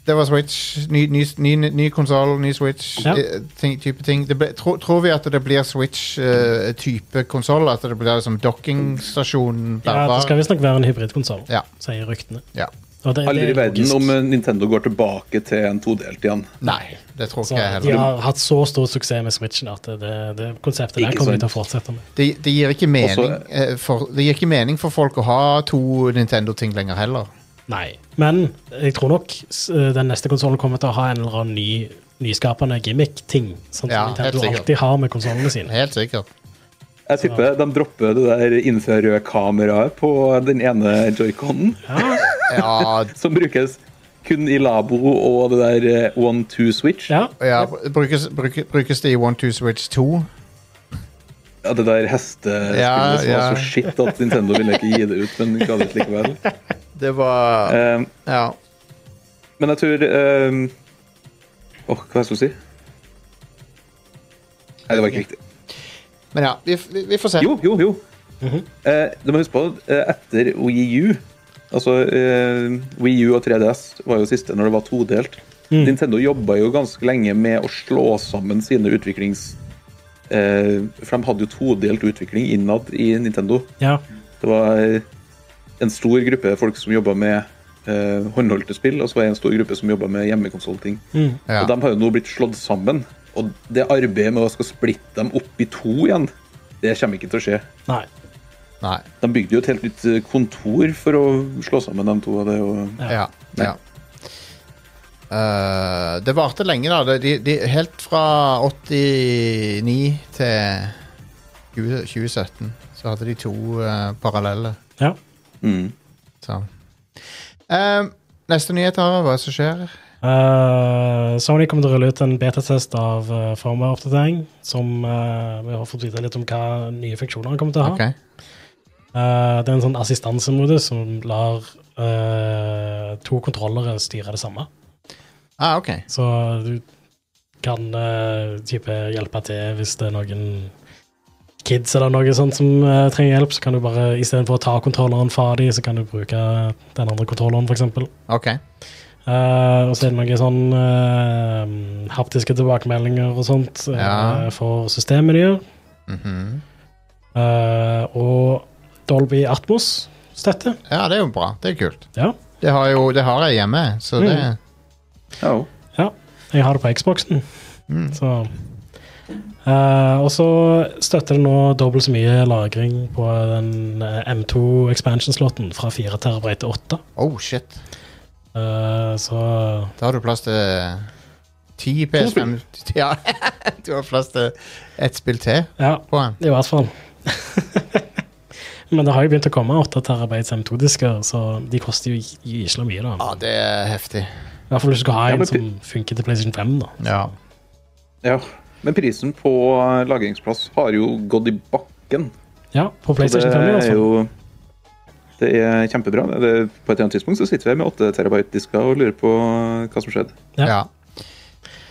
Speaker 1: Det var Switch. Ny, ny, ny, ny konsoll, ny Switch.
Speaker 4: Ja.
Speaker 1: eh, Ting, type ting. Det ble, tro, tror vi at det blir Switch-type konsoll? At det blir som dockingstasjon?
Speaker 4: Ja, det skal visstnok være en hybridkonsoll,
Speaker 1: Ja.
Speaker 4: sier ryktene.
Speaker 1: ja.
Speaker 4: Og det-
Speaker 5: Aldri
Speaker 4: det
Speaker 5: i
Speaker 4: er
Speaker 5: verden
Speaker 4: logisk.
Speaker 5: om eh, Nintendo går tilbake til en todelt igjen.
Speaker 1: Nei, det tror
Speaker 4: Så
Speaker 1: ikke jeg
Speaker 4: de
Speaker 1: heller.
Speaker 4: har hatt så stor suksess med Switchen at det, det, det konseptet der
Speaker 5: Ikke
Speaker 4: kommer de
Speaker 5: sant.
Speaker 4: til å fortsette med.
Speaker 1: Det, det, gir ikke mening,
Speaker 5: Også-
Speaker 1: eh, for, det gir ikke mening for folk å ha to Nintendo-ting lenger heller.
Speaker 4: Nei. Men jeg tror nok s- eh, den neste konsollen kommer til å ha en eller annen ny, nyskapende gimmick-ting. Sånn som
Speaker 1: Ja, helt
Speaker 4: Nintendo
Speaker 1: sikkert.
Speaker 4: alltid har med konsollene sine.
Speaker 1: Helt sikkert.
Speaker 5: Jeg tipper de dropper det der infrarøde-kameraet på den ene joyconen,
Speaker 1: Ja, d-
Speaker 5: som brukes kun i labo og det der eh, one-two-switch.
Speaker 4: Ja,
Speaker 1: ja br- brukes, bruk- brukes det i One Two Switch 2?
Speaker 5: Ja, det der hestespillet
Speaker 1: Ja,
Speaker 5: som var
Speaker 1: ja.
Speaker 5: så shit at Nintendo ville ikke gi det ut, men ga det ut likevel.
Speaker 1: Det var
Speaker 5: Eh,
Speaker 1: Ja.
Speaker 5: men jeg tror eh, Åh, hva skal jeg si? Nei, det var ikke riktig.
Speaker 1: Men ja, vi, f- vi, vi får se.
Speaker 5: Jo, jo, jo. eh, du må huske på at eh, etter Wii U Altså, eh, Wii U og 3DS var jo siste når det var todelt. Nintendo jobba jo ganske lenge med å slå sammen sine utviklings... Eh, for de hadde jo todelt utvikling innad i Nintendo.
Speaker 4: ja.
Speaker 5: Det var eh, en stor gruppe folk som jobba med
Speaker 4: Mm.
Speaker 5: eh, håndholdte spill, og så var det en stor gruppe som jobba med hjemmekonsollting.
Speaker 1: Ja.
Speaker 5: Og de har jo nå blitt slått sammen. Og det arbeidet med å skal splitte dem opp i to igjen, det kommer ikke til å skje.
Speaker 4: Nei.
Speaker 1: Nei.
Speaker 5: De bygde jo et helt nytt eh, kontor for å slå sammen de to. og Det, er jo-
Speaker 1: Ja. ja. Eh, det varte lenge, da. Det- De, de, helt fra 89 til 20, 2017 så hadde de to eh, parallelle.
Speaker 4: Ja.
Speaker 5: Mm.
Speaker 1: Så. Eh, neste nyhet, Are. Hva som skjer?
Speaker 4: Eh, Sony kommer til å rulle ut en betatest av uh, firmware-oppdatering. Som eh, vi har fått vite litt om hva nye funksjoner den kommer til å ha.
Speaker 1: Ok.
Speaker 4: Eh, det er en sånn assistansemodus som lar eh, to kontrollere styre det samme.
Speaker 1: Ah, ok.
Speaker 4: Så du kan eh, type hjelpe til hvis det er noen kids eller noe sånt som eh, trenger hjelp. Så kan du bare, Istedenfor å ta kontrolleren fra dem, så kan du bruke den andre kontrolleren, f.eks.
Speaker 1: ok.
Speaker 4: Eh, og så er det noen sånn eh, haptiske tilbakemeldinger og sånt eh,
Speaker 1: Ja.
Speaker 4: for systemet de gjør.
Speaker 1: Mhm.
Speaker 4: Eh, og Dolby Atmos-støtte.
Speaker 1: Ja, det er jo bra. Det er kult.
Speaker 4: Ja.
Speaker 1: Det har, jo, det har jeg hjemme, så
Speaker 4: Mm.
Speaker 1: det
Speaker 5: Ja, jo.
Speaker 4: Jeg har det på Xboxen.
Speaker 1: Mm.
Speaker 4: Så. Eh, og så støtter det nå dobbelt så mye lagring på den eh, M2 expansion-slåtten fra 4 terabyte til 8.
Speaker 1: Oh, shit.
Speaker 4: Eh, så
Speaker 1: Da har du plass til ti PS5 Ja, du har plass til ett spill til
Speaker 4: ja,
Speaker 1: på den.
Speaker 4: i hvert fall. Men det har jo begynt å komme 8 terabytes M2-disker, så de koster jo gysla mye, da.
Speaker 1: Ja, det er heftig.
Speaker 4: I hvert fall hvis du skal ha
Speaker 5: Ja,
Speaker 4: en
Speaker 5: men
Speaker 4: som funker til PlayStation 5, da.
Speaker 1: Ja.
Speaker 5: ja. Men prisen på eh, lagringsplass har jo gått i bakken.
Speaker 4: Ja, altså. på
Speaker 5: Og
Speaker 4: PlayStation 5 i
Speaker 5: det
Speaker 4: hvert
Speaker 5: er
Speaker 4: fall.
Speaker 5: jo det er kjempebra. Det er, på et eller annet tidspunkt så sitter vi med 8 terabyte-disker og lurer på eh, hva som skjedde.
Speaker 4: Ja.
Speaker 1: ja.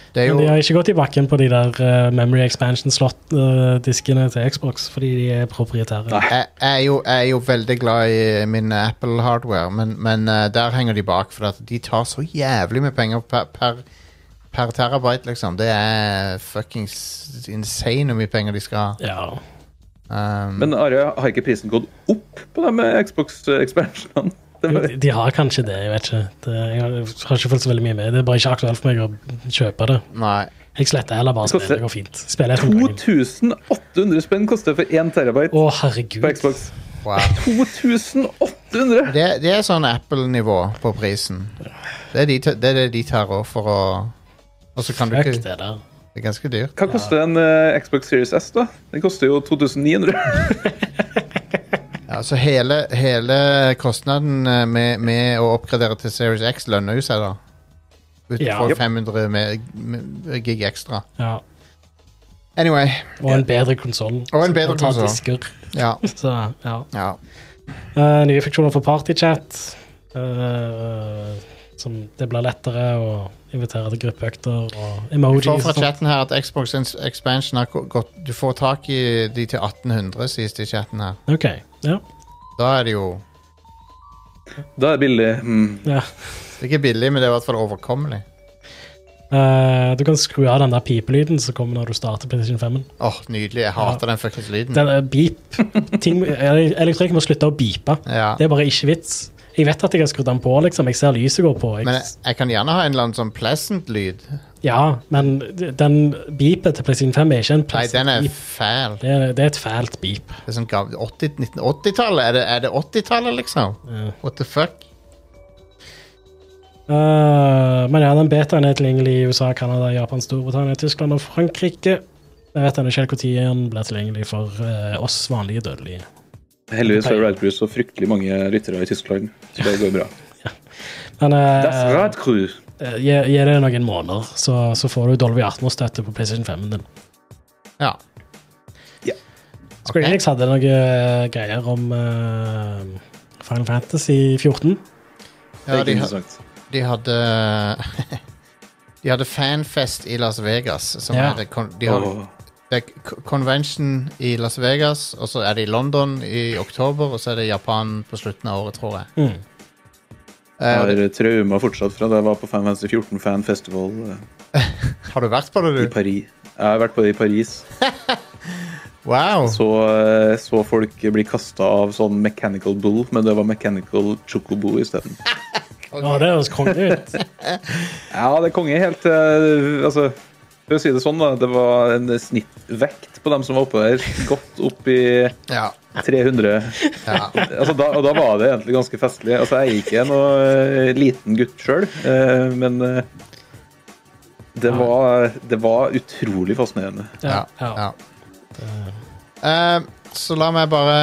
Speaker 1: Det er
Speaker 4: Men de
Speaker 1: jo
Speaker 4: har ikke gått i bakken på de der eh, memory expansion-slott-diskene til Xbox, fordi de er proprietære.
Speaker 5: Nei.
Speaker 1: jeg, jeg er jo jeg er jo veldig glad i min Apple hardware, men, men eh, der henger de bak. For at de tar så jævlig med penger per, per, per terabyte, liksom. Det er fuckings insane hvor mye penger de skal ha.
Speaker 4: Ja. Mm.
Speaker 1: Um,
Speaker 5: Men Are, har ikke prisen gått opp på de eh, Xbox-expansionene? Det
Speaker 4: Jo,
Speaker 5: var-
Speaker 4: De, de har kanskje det, jeg vet ikke. Det, jeg har jeg har ikke fulgt så veldig mye med. Det er bare ikke aktuelt for meg å kjøpe det.
Speaker 1: nei.
Speaker 4: Jeg sletter heller bare
Speaker 5: Det koster-
Speaker 4: spillet. Det går fint. Spiller jeg to ganger.
Speaker 5: 2800 spenn koster for 1 terabyte
Speaker 4: Å,
Speaker 5: på
Speaker 4: herregud.
Speaker 5: Xbox.
Speaker 1: Wow.
Speaker 5: 2800!
Speaker 1: Det, det er sånn Apple-nivå på prisen. Det er, de, ta- det er det de tar òg, for å Og så kan du
Speaker 4: Fuck
Speaker 1: ikke
Speaker 4: det der.
Speaker 1: Det er ganske dyrt.
Speaker 5: Hva koster en eh, Xbox Series S, da? Den koster jo 2900.
Speaker 1: Ja, så hele, hele kostnaden eh, med, med å oppgradere til Series X lønner jo seg, da. Utenfor
Speaker 4: Ja.
Speaker 1: 500 med, med gig ekstra.
Speaker 4: Ja.
Speaker 1: Anyway.
Speaker 4: Og en bedre konsoll.
Speaker 1: Og en bedre konsoll. Ja.
Speaker 4: Så, ja.
Speaker 1: ja.
Speaker 4: Eh, nye funksjoner for partychat. eh, som det blir lettere å invitere til gruppeøkter og
Speaker 1: Vi
Speaker 4: emojis.
Speaker 1: får
Speaker 4: og
Speaker 1: fra
Speaker 4: sånt.
Speaker 1: chatten her at Xbox ins- Expansion har ko- gått Du får tak i de til 1800, sies det i chatten her.
Speaker 4: Ok, ja.
Speaker 1: Da er det jo
Speaker 5: Da er det billig. Mm.
Speaker 4: ja.
Speaker 1: Det er ikke billig, men det er i hvert fall overkommelig.
Speaker 4: Eh, du kan skru av den der pipelyden som kommer når du starter PlayStation 5.
Speaker 1: Åh, Nydelig. Jeg hater den fuckings lyden.
Speaker 4: Den er beep. Ting, ele- elektronikk må slutte å beepe.
Speaker 1: Ja.
Speaker 4: Det er bare ikke vits. Jeg vet at jeg har skrudd den på, liksom. Jeg ser lyset går på. Jeg,
Speaker 1: Men jeg, jeg kan gjerne ha en eller annen sånn pleasant lyd.
Speaker 4: ja, men den beepet til PlayStation 5 er ikke en
Speaker 1: Nei,
Speaker 4: plass.
Speaker 1: den er
Speaker 4: beep.
Speaker 1: fæl.
Speaker 4: det, er, det er et fælt beep.
Speaker 1: Det er sånn gav- 80 1980-tallet? Er det- Er det 80-tallet, liksom?
Speaker 4: Ja.
Speaker 1: What the fuck?
Speaker 4: Eh, men ja, den betaen er tilgjengelig i USA, Canada, Japan, Storbritannia, Tyskland og Frankrike. Jeg vet ennå ikke helt når den blir tilgjengelig for eh, oss vanlige dødelige.
Speaker 5: Heldigvis er Ride Crew så fryktelig mange lyttere i Tyskland, så det går bra.
Speaker 4: Men eh,
Speaker 5: That's Ride Crew.
Speaker 4: eh, gi, gi det noen måneder, så, så får du Dolby Atmos-støtte på PlayStation 5-en din.
Speaker 1: Ja.
Speaker 5: Ja.
Speaker 4: Square
Speaker 1: Ok.
Speaker 4: Enix hadde noen greier om eh, Final Fantasy 14.
Speaker 5: Det er
Speaker 1: ja
Speaker 5: ikke
Speaker 1: de, ha-
Speaker 5: interessant.
Speaker 1: de hadde De hadde fanfest i Las Vegas. Som
Speaker 4: Ja.
Speaker 1: er det, kon- de har,
Speaker 5: Åh.
Speaker 1: det er k- convention i Las Vegas, og så er det i London i oktober, og så er det Japan på slutten av året, tror jeg.
Speaker 5: Hmm.
Speaker 4: Mm.
Speaker 1: Eh,
Speaker 5: Jeg har traumer fortsatt fra da jeg var på Fan Fantasy 14 Fan Festival eh,
Speaker 1: har du vært på
Speaker 5: i
Speaker 1: det, du?
Speaker 5: Paris. Jeg har vært på det i Paris.
Speaker 1: Wow!
Speaker 5: Så, eh, så folk bli kasta av sånn Mechanical Bull, men det var Mechanical Chocobo isteden.
Speaker 4: Ja, det høres konge ut.
Speaker 5: Ja, det er konge helt til altså, For å si det sånn, da, det var en snittvekt på dem som var oppe der, godt opp i
Speaker 1: Ja.
Speaker 5: 300.
Speaker 1: ja.
Speaker 5: Altså, da, og da var det egentlig ganske festlig. Altså, jeg er ikke noen eh, liten gutt sjøl, men eh, det var, det var utrolig fascinerende.
Speaker 1: Ja.
Speaker 4: ja.
Speaker 1: ja. Eh, så la meg bare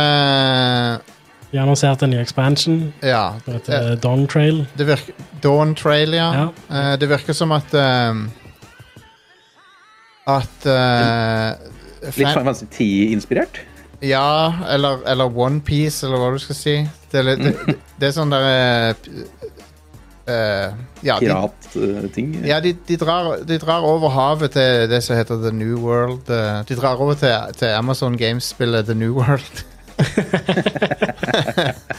Speaker 4: De annonserte en ny expansion.
Speaker 1: Ja.
Speaker 4: som
Speaker 1: eh,
Speaker 4: heter Dawn Trail.
Speaker 1: Det virker, Dawn Trail, ja.
Speaker 4: Ja.
Speaker 1: Eh, det virker som at eh, At eh,
Speaker 5: Litt
Speaker 1: fan-
Speaker 5: sånn Fancy 10-inspirert.
Speaker 1: Ja, eller, eller OnePiece, eller hva du skal si. Det, er litt-
Speaker 5: Mm.
Speaker 1: det, det er sånn derre eh, Ja, de,
Speaker 5: Piratting.
Speaker 1: ja de, de, drar, de drar over havet til det som heter The New World. eh, De drar over til, til Amazon Games-spillet The New World.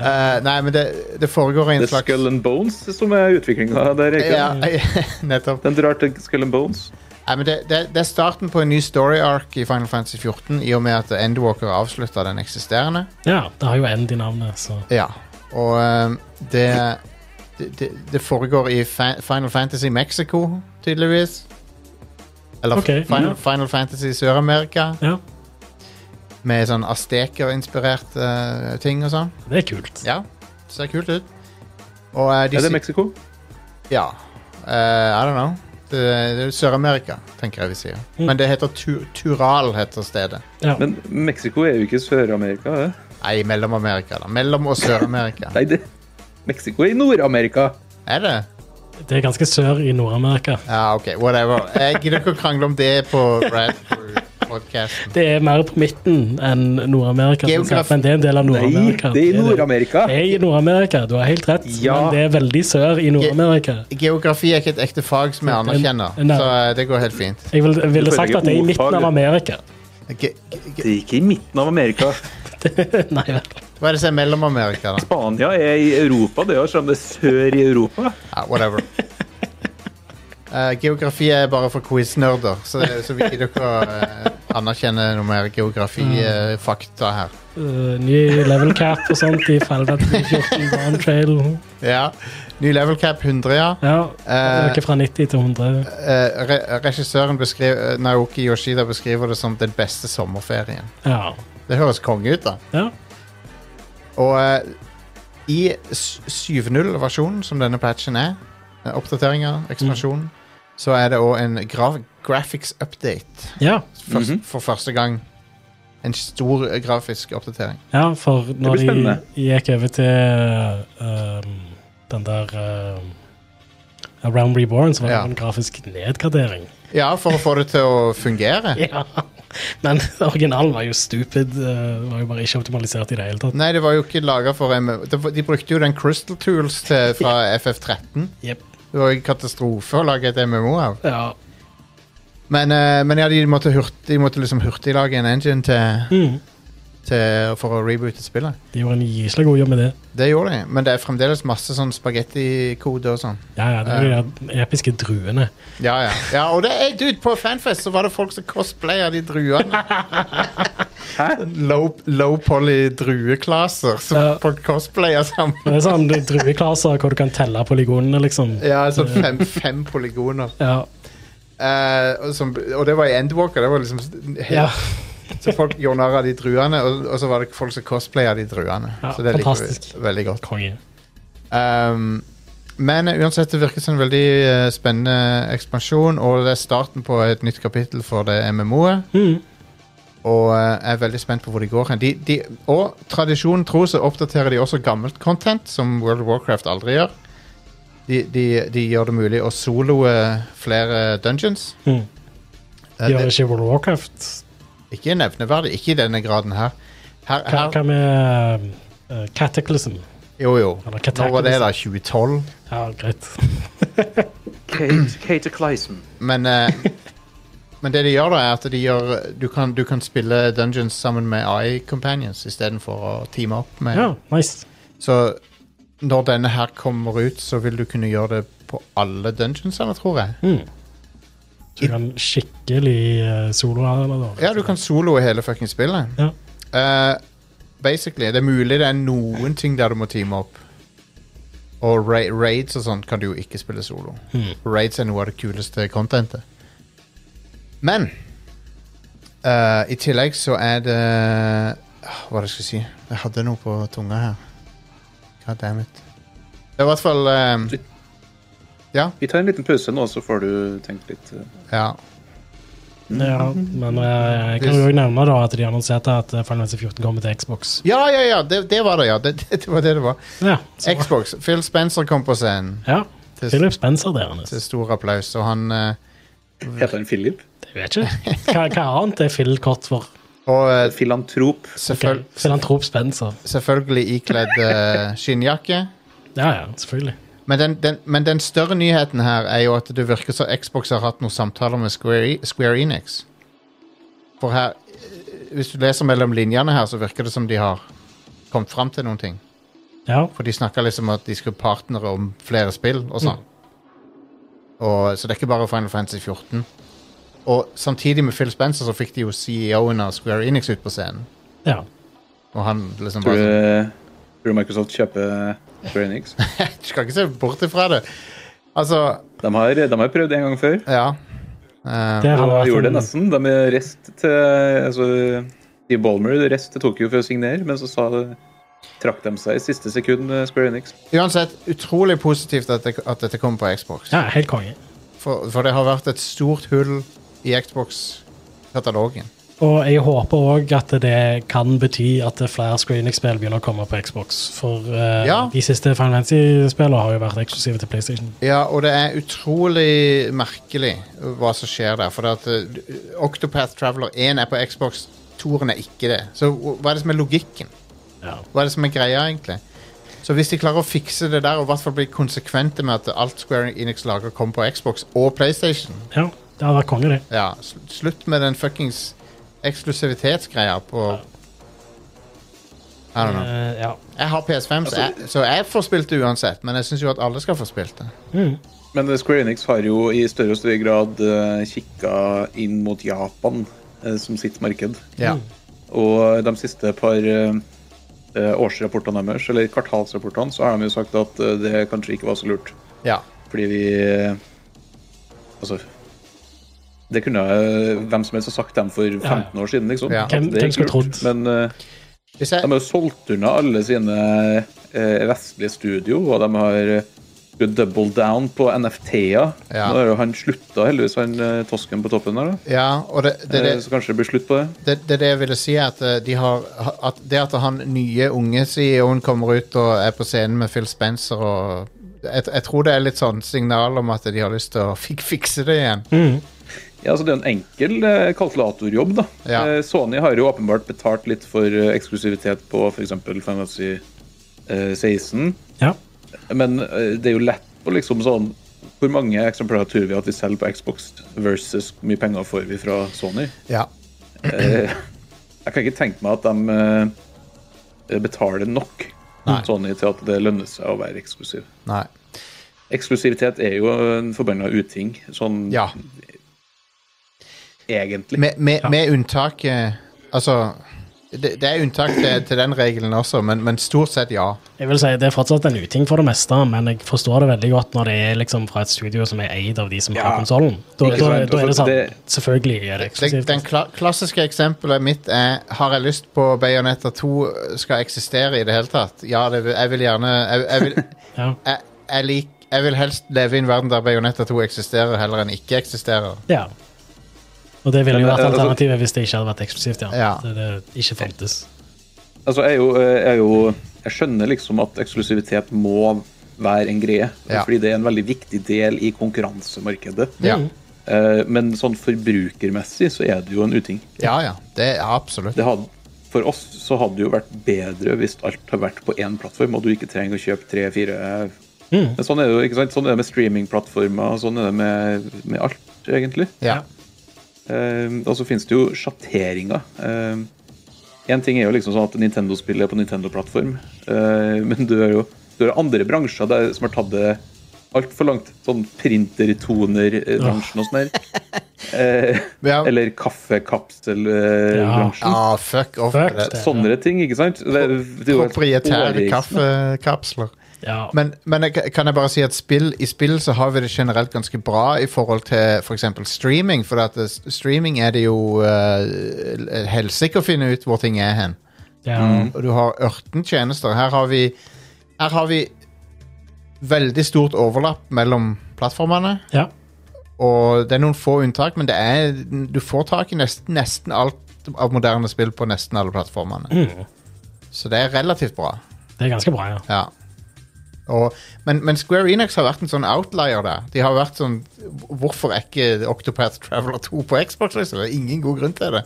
Speaker 1: Eh, nei, men det, det foregår i en
Speaker 5: Det er
Speaker 1: slags
Speaker 5: Skull and Bones som er utviklinga der. Ikke?
Speaker 1: ja, Nettopp.
Speaker 5: Den drar til Skull and Bones.
Speaker 1: Nei, men det, det, det er starten på en ny story arc i Final Fantasy 14, i og med at Endwalker avslutta den eksisterende.
Speaker 4: Ja, det har jo End i navnet, så
Speaker 1: Ja, og eh, det det, det- det foregår i fa Final Fantasy Mexico, tydeligvis. Eller
Speaker 4: Ok,
Speaker 1: Final,
Speaker 4: ja.
Speaker 1: Final Fantasy Sør-Amerika,
Speaker 4: ja.
Speaker 1: med sånn azteker-inspirerte eh, ting og sånn.
Speaker 4: Det er kult.
Speaker 1: Ja, ser kult ut. Og eh, de
Speaker 5: Er det
Speaker 1: si-
Speaker 5: Mexico?
Speaker 1: Ja. Eh, I don't know. Det, det er jo Sør-Amerika, tenker jeg vi sier.
Speaker 4: Mm.
Speaker 1: Men det heter tu Tural, heter stedet.
Speaker 4: Ja.
Speaker 5: Men Mexico er jo ikke Sør-Amerika. er det?
Speaker 1: Nei, Mellom-Amerika, da. Mellom- og Sør-Amerika.
Speaker 5: Nei, det Mexico er i Nord-Amerika.
Speaker 1: er det?
Speaker 4: Det er ganske sør i Nord-Amerika.
Speaker 1: Ja, OK, whatever. Jeg gidder ikke å krangle om det på Radford-podkasten.
Speaker 4: Det er mer på midten enn Nord-Amerika. som
Speaker 1: Geograf-
Speaker 4: sagt, Men det er en del av
Speaker 5: Nei,
Speaker 4: Nord-Amerika.
Speaker 5: det er i
Speaker 4: det.
Speaker 5: Nord-Amerika.
Speaker 4: Det er i Nord-Amerika, du har helt rett.
Speaker 5: Ja.
Speaker 4: Men det er veldig sør i Nord-Amerika.
Speaker 1: Geografi er ikke et ekte fag som jeg anerkjenner,
Speaker 4: Nei.
Speaker 1: så eh, det går helt fint.
Speaker 4: Jeg ville, jeg ville
Speaker 5: Du
Speaker 4: sagt
Speaker 5: følger
Speaker 4: at det er i midten
Speaker 5: ordfaget.
Speaker 4: av Amerika.
Speaker 1: Ge ge
Speaker 5: Det er ikke i midten av Amerika.
Speaker 4: Nei vel.
Speaker 1: hva er det som er Mellom-Amerika, da?
Speaker 5: Spania er i Europa, det er jo selv om det er sør i Europa.
Speaker 1: Ja, whatever. Eh, geografi er bare for quiz-nerder, så, så vi gidder ikke å eh, anerkjenne noe mer geografifakta her.
Speaker 4: Eh, ny level cap og sånt i Final Fantasy 14 Dawn Trail.
Speaker 1: Ja. Ny level cap 100, ja.
Speaker 4: Ja,
Speaker 1: Eh.
Speaker 4: Øker fra 90 til 100.
Speaker 1: Eh, re regissøren beskriv, eh, Naoki Yoshida beskriver det som den beste sommerferien.
Speaker 4: Ja.
Speaker 1: Det høres konge ut, da.
Speaker 4: ja.
Speaker 1: Og eh, i s- 7.0-versjonen, som denne patchen er, eh, oppdateringa, ekspansjonen, så er det òg en graf graphics update
Speaker 4: ja.
Speaker 1: først, for første gang. En stor eh, grafisk oppdatering.
Speaker 4: Ja, for når
Speaker 5: blir
Speaker 4: de
Speaker 5: spennende.
Speaker 4: gikk over til ehm, den der ehm, Around Reborn, så var det
Speaker 1: Ja.
Speaker 4: en grafisk nedgradering.
Speaker 1: Ja, for å få det til å fungere.
Speaker 4: Ja. Men originalen var jo stupid. eh, var jo bare ikke optimalisert i det hele tatt.
Speaker 1: Nei, det var jo ikke laga for M- det var- De brukte jo den Crystal Tools til, fra FF13.
Speaker 4: Jep.
Speaker 1: Det var jo en katastrofe å lage et MMO av.
Speaker 4: Ja.
Speaker 1: Men, eh, men ja, de måtte, hurt, de måtte liksom hurtiglage en engine til,
Speaker 4: Mm.
Speaker 1: til, for å reboote spillet.
Speaker 4: De gjorde en gyselig god jobb med det.
Speaker 1: Det gjorde de, men det er fremdeles masse sånn spagettikode og sånn.
Speaker 4: Ja, ja, det er jo de der episke druene.
Speaker 1: Ja, ja. ja, og det er, dude, på fanfest så var det folk som cosplayer de druene. Low, low poly drueklaser som
Speaker 4: Ja.
Speaker 1: folk cosplayer sammen.
Speaker 4: Det er sånn drueklaser hvor du kan telle polygonene, liksom.
Speaker 1: Ja, sånn fem, fem polygoner.
Speaker 4: Ja.
Speaker 1: Eh, og, som, og det var i Endwalker. Det var liksom helt,
Speaker 4: ja.
Speaker 1: Så folk gjorde narr av de druene, og, og så var det folk som cosplayer de druene.
Speaker 4: Ja,
Speaker 1: så det liker
Speaker 4: fantastisk.
Speaker 1: vi veldig godt.
Speaker 4: Konge.
Speaker 1: Um, men uansett, det virker som en veldig eh, spennende ekspansjon, og det er starten på et nytt kapittel for det MMO-et.
Speaker 4: Mhm.
Speaker 1: Og eh, jeg er veldig spent på hvor de går hen. De, de, og tradisjonen tro så oppdaterer de også gammelt content, som World of Warcraft aldri gjør. De, de, de gjør det mulig å soloe flere dungeons.
Speaker 4: Mhm.
Speaker 1: Eh,
Speaker 4: Gjør
Speaker 1: det,
Speaker 4: ikke World of Warcraft
Speaker 1: ikke nevneverdig. Ikke i denne graden her. her,
Speaker 4: Hva,
Speaker 1: her
Speaker 4: hva med eh, Cataclysm?
Speaker 1: jo, jo.
Speaker 4: Eller
Speaker 1: Når var det, da? 2012?
Speaker 4: Ja, greit.
Speaker 5: Kate Clyson.
Speaker 1: Men, eh, men det de gjør, da, er at de gjør Du kan, du kan spille dungeons sammen med AI Companions istedenfor å teame opp med
Speaker 4: Ja, nice.
Speaker 1: Så når denne her kommer ut, så vil du kunne gjøre det på alle dungeonsene, tror jeg.
Speaker 4: Så du kan skikkelig uh, solo her, eller da.
Speaker 1: Ja, du kan soloe hele fuckings spillet.
Speaker 4: Ja.
Speaker 1: Eh, basically. Det er mulig det er noen ting der du må teame opp. Og ra raids og sånn kan du jo ikke spille solo.
Speaker 4: Mm.
Speaker 1: Raids er noe av det kuleste contentet. uh, Men eh, i tillegg så er det ah, Hva var det jeg skulle si? Jeg hadde noe på tunga her. God damn it. Det er i hvert fall eh,
Speaker 5: Vi tar en liten pause nå, så får du tenkt litt. eh.
Speaker 1: Ja.
Speaker 4: Ja, men eh, jeg kan jo også nevne da at de annonserte at eh, Final Fantasy 14 kommer til Xbox.
Speaker 1: Ja, ja, ja! Det, det var det, ja. Det, det, det var det det var.
Speaker 4: Ja, så,
Speaker 1: Xbox. Phil Spencer kom på scenen
Speaker 4: ja.
Speaker 1: til,
Speaker 4: Philip Spencer der, Anders.
Speaker 1: til stor applaus, og han eh,
Speaker 5: Heter han Philip?
Speaker 4: Jeg vet ikke. Hva, hva annet er Phil kort for?
Speaker 1: Og eh,
Speaker 5: Filantrop.
Speaker 1: selvføl
Speaker 4: Okay. Filantrop Spencer.
Speaker 1: selvfølgelig ikledd eh, skinnjakke.
Speaker 4: Ja, ja, selvfølgelig.
Speaker 1: Men den, den, men den større nyheten her er jo at det virker som Xbox har hatt noen samtaler med Square, E- Square Enix. For her eh, Hvis du leser mellom linjene her, så virker det som de har kommet fram til noen ting.
Speaker 4: Ja,
Speaker 1: For de snakker liksom at de skal partnere om flere spill og sånn. Og, så det er ikke bare Final Fantasy 14. Og samtidig med Phil Spencer så fikk de jo CEO-en av Square Enix ut på scenen.
Speaker 4: ja.
Speaker 1: Og han liksom
Speaker 5: Tror
Speaker 1: bare sånn
Speaker 5: du, tror du Microsoft kjøper Brainix?
Speaker 1: Du skal ikke se bort ifra det. Altså,
Speaker 5: De har, de har prøvd en gang før.
Speaker 1: ja. Eh,
Speaker 4: Der
Speaker 5: Og
Speaker 4: har det
Speaker 5: gjorde det sånn-
Speaker 4: vært en,
Speaker 5: nesten. De er rest til altså, de Ballmer rest til Tokyo for å signere, men så sa det, trakk de seg i siste sekund, eh, Square Enix.
Speaker 1: uansett, utrolig positivt at, det, at dette kommer på Xbox.
Speaker 4: ja, helt konge.
Speaker 1: For, for det har vært et stort hull i Xbox-katalogen.
Speaker 4: Og jeg håper òg at det kan bety at flere ScreenX-spill begynner å komme på Xbox. For eh,
Speaker 1: Ja.
Speaker 4: de siste Final Fantasy-spillene har jo vært eksklusive til PlayStation.
Speaker 1: Ja, og det er utrolig merkelig hva som skjer der. For det at eh, Octopath Traveler 1 er på Xbox, 2-en er ikke det. Så hva er det som er logikken?
Speaker 4: Ja.
Speaker 1: Hva er det som er greia, egentlig? Så hvis de klarer å fikse det der, og i hvert fall bli konsekvente med at alt Square Enix lager, kommer på Xbox og PlayStation
Speaker 4: ja, det hadde vært konge, det.
Speaker 1: Ja, sl slutt med den fuckings eksklusivitetsgreia på I don't know.
Speaker 4: Eh, altså- ja.
Speaker 1: Jeg har PS5, så jeg, så jeg får spilt det uansett. Men jeg syns jo at alle skal få spilt det.
Speaker 5: Men eh, Square Enix har jo i større og større grad eh, kikka inn mot Japan eh, som sitt marked.
Speaker 1: Ja.
Speaker 4: Mm.
Speaker 5: Og de siste par eh, eh, årsrapportene deres, eller kvartalsrapportene, så har de jo sagt at eh, det kanskje ikke var så lurt.
Speaker 1: ja.
Speaker 5: Fordi vi eh, Altså Det kunne eh, hvem som helst ha sagt dem for 15 år siden, liksom.
Speaker 1: Ja.
Speaker 5: at
Speaker 4: Hvem-
Speaker 5: det er
Speaker 4: hvem
Speaker 5: ikke
Speaker 4: skulle
Speaker 5: lurt.
Speaker 4: trodd?
Speaker 5: Men eh,
Speaker 1: Hvis jeg,
Speaker 5: de har jo solgt unna alle sine eh, vestlige studio, og de har eh, double down på NFT-er.
Speaker 1: Ja.
Speaker 5: Nå har jo han slutta, heldigvis, han eh, tosken på toppen der. da.
Speaker 1: ja, og det, det,
Speaker 5: Eh,
Speaker 1: det,
Speaker 5: Så kanskje det blir slutt på det.
Speaker 1: det, det, er det jeg ville si, er at eh, de har at Det at han nye unge CEO-en kommer ut og er på scenen med Phil Spencer og jeg, jeg tror det er litt sånn signal om at de har lyst til å fik fikse det igjen.
Speaker 4: Mm.
Speaker 5: Ja, altså Det er jo en enkel eh, kalkulatorjobb. da.
Speaker 1: Ja.
Speaker 5: Eh, Sony har jo åpenbart betalt litt for eh, eksklusivitet på f.eks. Fantasy eh, 16.
Speaker 4: Ja.
Speaker 5: Men eh, det er jo lett å liksom sånn Hvor mange eksemplarer tror vi at vi selger på Xbox versus hvor mye penger får vi fra Sony?
Speaker 1: Ja.
Speaker 5: Eh, jeg kan ikke tenke meg at de eh, betaler nok
Speaker 1: Nei.
Speaker 5: Sony til at det lønner seg å være eksklusiv.
Speaker 1: Nei.
Speaker 5: Eksklusivitet er jo en forbanna uting, sånn
Speaker 1: Ja.
Speaker 5: egentlig.
Speaker 1: Med, med, med unntak eh, Altså det, det er unntak til, til den regelen også, men, men stort sett ja.
Speaker 4: Jeg vil si Det er fortsatt en uting for det meste, men jeg forstår det veldig godt når det er liksom fra et studio som er eid av de som har konsollen. Da,
Speaker 5: Ikke
Speaker 4: da,
Speaker 5: sant? Altså,
Speaker 4: da er det sånn.
Speaker 5: Det-
Speaker 4: Selvfølgelig er det
Speaker 1: Den,
Speaker 4: eksklusivt.
Speaker 1: den kla klassiske eksempelet mitt er Har jeg lyst på Bayonetta 2 skal eksistere i det hele tatt? Ja, det, vil- jeg vil gjerne Jeg, jeg, vil,
Speaker 4: Ja.
Speaker 1: jeg, jeg, lik, jeg vil helst leve i en verden der Bayonetta 2 eksisterer, heller enn ikke eksisterer.
Speaker 4: ja. Og det ville jo
Speaker 5: Men,
Speaker 4: vært
Speaker 5: eh, altså-
Speaker 4: alternativet hvis det ikke hadde vært eksklusivt. ja.
Speaker 1: Ja.
Speaker 4: Det, det ikke fantes.
Speaker 5: Altså, jeg, er jo, jeg, er jo, jeg skjønner liksom at eksklusivitet må være en greie,
Speaker 1: Ja.
Speaker 5: fordi det er en veldig viktig del i konkurransemarkedet.
Speaker 1: Ja,
Speaker 4: Mm.
Speaker 5: Eh, Men sånn forbrukermessig så er det jo en uting.
Speaker 1: ja. ja det er absolutt.
Speaker 5: det hadde, for oss så hadde det jo vært bedre hvis alt har vært på én plattform, og du ikke trenger å kjøpe tre-fire Men sånn er det jo, ikke sant? Sånn er det med streamingplattformer, og sånn er det med, med alt, egentlig.
Speaker 1: Ja.
Speaker 5: Eh, og så finnes det jo sjatteringer. Én ting er jo liksom sånn at Nintendo-spill er på Nintendo-plattform, eh, men du har jo du har andre bransjer der, som har tatt det altfor langt. Sånn printer-toner-bransjen og sånn her. Eh,
Speaker 1: Ja.
Speaker 5: Eller eh, kaffekapsel-bransjen.
Speaker 1: Ah, fuck off.
Speaker 4: Fuck
Speaker 1: med det.
Speaker 4: det.
Speaker 5: Sånne ting, ikke sant? Det, det er jo helt
Speaker 1: Proprietære
Speaker 5: hårreisende.
Speaker 1: kaffekapsler.
Speaker 4: Ja.
Speaker 1: Men, men jeg, kan jeg bare si at spill, i spill så har vi det generelt ganske bra i forhold til f.eks. eksempel streaming. For at eh, s- streaming er det jo uh, helsike å finne ut hvor ting er hen.
Speaker 4: ja.
Speaker 5: Mm.
Speaker 1: Og du har ørten tjenester. Her har vi, her har vi veldig stort overlapp mellom plattformene.
Speaker 4: ja.
Speaker 1: Og det er noen få unntak, men det er, du får tak i nesten, nesten alt av moderne spill på nesten alle plattformene. Så det er relativt bra.
Speaker 4: Det er ganske bra, ja.
Speaker 1: Ja. Og, men, men Square Enix har vært en sånn outlier der. De har vært sånn Hvorfor er ikke Octopath Traveler 2 på Xbox? Liksom? Det er ingen god grunn til det.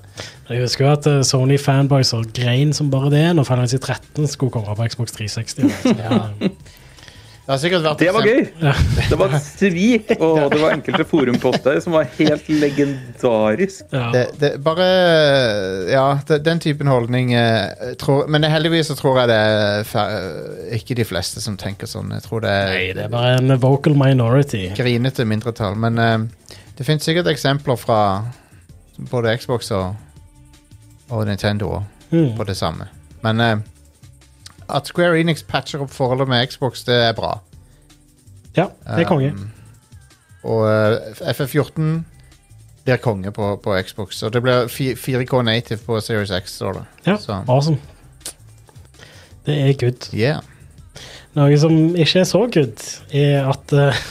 Speaker 4: Jeg husker jo at eh, Sony fanboys og grein som bare det når Final Fantasy 13 skulle komme på Xbox 360. Så, ja.
Speaker 1: Det har sikkert vært
Speaker 5: Det var
Speaker 1: eksempel-
Speaker 5: gøy! Det var et svik, og det var enkelte forumposter som var helt legendarisk.
Speaker 4: Ja.
Speaker 1: Det, det, bare Ja, det, den typen holdning eh, tror, Men heldigvis så tror jeg det er fa- ikke de fleste som tenker sånn. Jeg tror det er,
Speaker 4: Nei, det er bare en vocal minority.
Speaker 1: grinete mindretall. Men eh, det finnes sikkert eksempler fra både Xbox og, og Nintendo
Speaker 4: Mm.
Speaker 1: på det samme. Men eh, at Square Enix patcher opp forholdet med Xbox, det er bra.
Speaker 4: Ja, det er konge.
Speaker 1: Um, Og eh, FF14 blir konge på, på Xbox. Og det blir fi- 4K native på Series X, står det.
Speaker 4: Ja,
Speaker 1: Så,
Speaker 4: awesome. Det er good.
Speaker 1: yeah.
Speaker 4: Noe som ikke er så good, er at eh,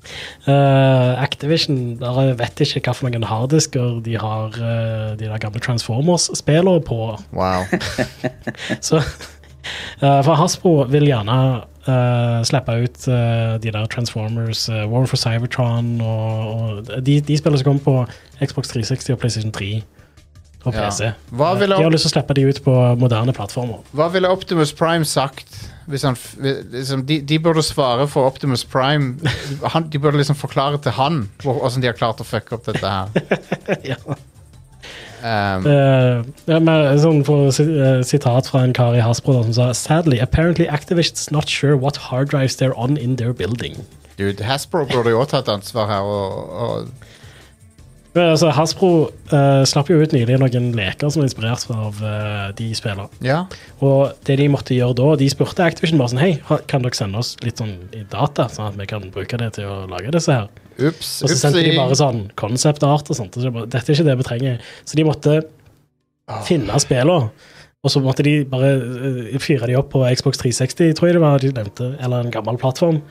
Speaker 4: eh, Activision bare vet ikke hva for noen harddisker de har eh, de der gamle Transformers-spillene på.
Speaker 1: Wow.
Speaker 4: Så, eh, for Hasbro vil gjerne eh, slippe ut eh, de der Transformers, eh, War for Cybertron og, og de, de spillene som kommer på Xbox 360 og PlayStation 3 og
Speaker 1: Ja.
Speaker 4: PC.
Speaker 1: Hva
Speaker 4: Eh,
Speaker 1: ville-
Speaker 4: De har lyst til å slippe de ut på moderne plattformer.
Speaker 1: Hva ville Optimus Prime sagt hvis han f- liksom, de, de burde svare for Optimus Prime. Han, de burde liksom forklare til han hvor- hvordan de har klart å fucke opp dette her.
Speaker 4: ja.
Speaker 1: Um,
Speaker 4: Eh, ja, men sånn for si- eh, sitat fra en kar i Hasbro da, som sa Sadly, apparently Activision's not sure what hard drives they're on in their building.
Speaker 1: dude, Hasbro burde jo også tatt ansvar her. Og, og,
Speaker 4: Men, altså, Hasbro eh, slapp jo ut nylig noen leker som er inspirert av eh, de spillene.
Speaker 1: ja.
Speaker 4: Og det de måtte gjøre da, de spurte Activision bare sånn Hei, ha- kan dere sende oss litt sånn i data, sånn at vi kan bruke det til å lage disse her?
Speaker 1: Ups.
Speaker 4: Og så sendte de
Speaker 1: upsi.
Speaker 4: bare sånn concept art og sånt. Og så bare, Dette er ikke det vi trenger. Så de måtte
Speaker 1: Ah.
Speaker 4: finne spillene. Og så måtte de bare eh, fyre de opp på Xbox 360, tror jeg det var de nevnte, eller en gammel plattform.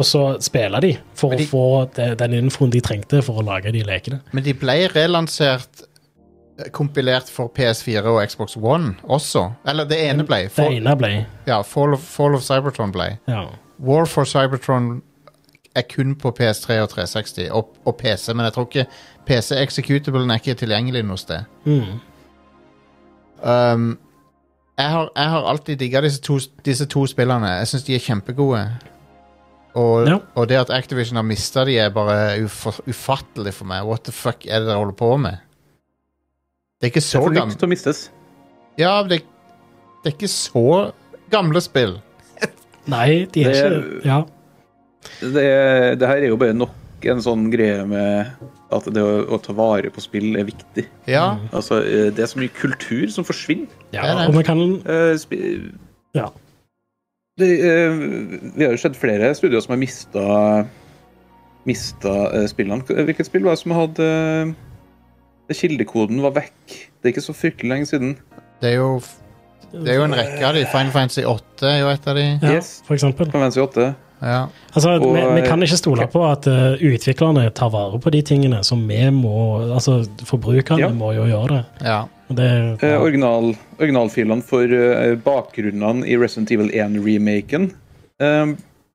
Speaker 4: Og så spille de for
Speaker 1: Men de-
Speaker 4: å få de, den infoen de trengte for å lage de lekene.
Speaker 1: Men de ble relansert eh, kompilert for PS4 og Xbox One også. Eller det ene ble.
Speaker 4: Det
Speaker 1: Fall,
Speaker 4: ene ble
Speaker 1: ja, Fall, of, Fall of Cybertron ble.
Speaker 4: ja.
Speaker 1: War for Cybertron er kun på PS3 og 360 og, og PC, men jeg tror ikke PC Executablen er ikke tilgjengelig noe sted.
Speaker 4: Mm.
Speaker 1: Um, jeg, har, jeg har alltid digga disse, to- disse to spillene. Jeg syns de er kjempegode. Og,
Speaker 4: Ja.
Speaker 1: og det at Activision har mista de, er bare ufor, ufattelig for meg. What the fuck er det dere holder på med? Det er ikke
Speaker 5: Det
Speaker 1: så
Speaker 5: er for nytt
Speaker 1: gamle
Speaker 5: til å mistes.
Speaker 1: Ja, men det, det er ikke så gamle spill.
Speaker 4: Nei, de er
Speaker 5: Det-
Speaker 4: ikke Ja.
Speaker 5: Det, det her er jo bare nok en sånn greie med at det å, å ta vare på spill er viktig.
Speaker 1: Ja,
Speaker 5: Altså, eh, Det er så mye kultur som forsvinner.
Speaker 4: ja.
Speaker 1: Ja, nei.
Speaker 4: Og vi kan
Speaker 5: Eh, spi-
Speaker 4: Ja.
Speaker 5: det, eh, vi har jo sett flere studier som har mista Mista eh, spillene. Hvilket spill var det som hadde eh, Kildekoden var vekk. Det er ikke så fryktelig lenge siden.
Speaker 1: det er jo Det er jo en rekke av de. Final Fantasy 8 er jo et av de.
Speaker 4: ja
Speaker 5: Yes.
Speaker 4: For eksempel.
Speaker 5: Convency 8.
Speaker 1: Ja.
Speaker 4: Altså,
Speaker 5: Og,
Speaker 4: vi, vi
Speaker 5: eh,
Speaker 4: kan ikke stole på at eh, utviklerne tar vare på de tingene som vi må Altså, forbrukerne
Speaker 5: Ja.
Speaker 4: må jo gjøre det.
Speaker 1: ja.
Speaker 4: Og det
Speaker 5: Eh, original, originalfilene for eh, bakgrunnene i Resident Evil 1-remaken eh,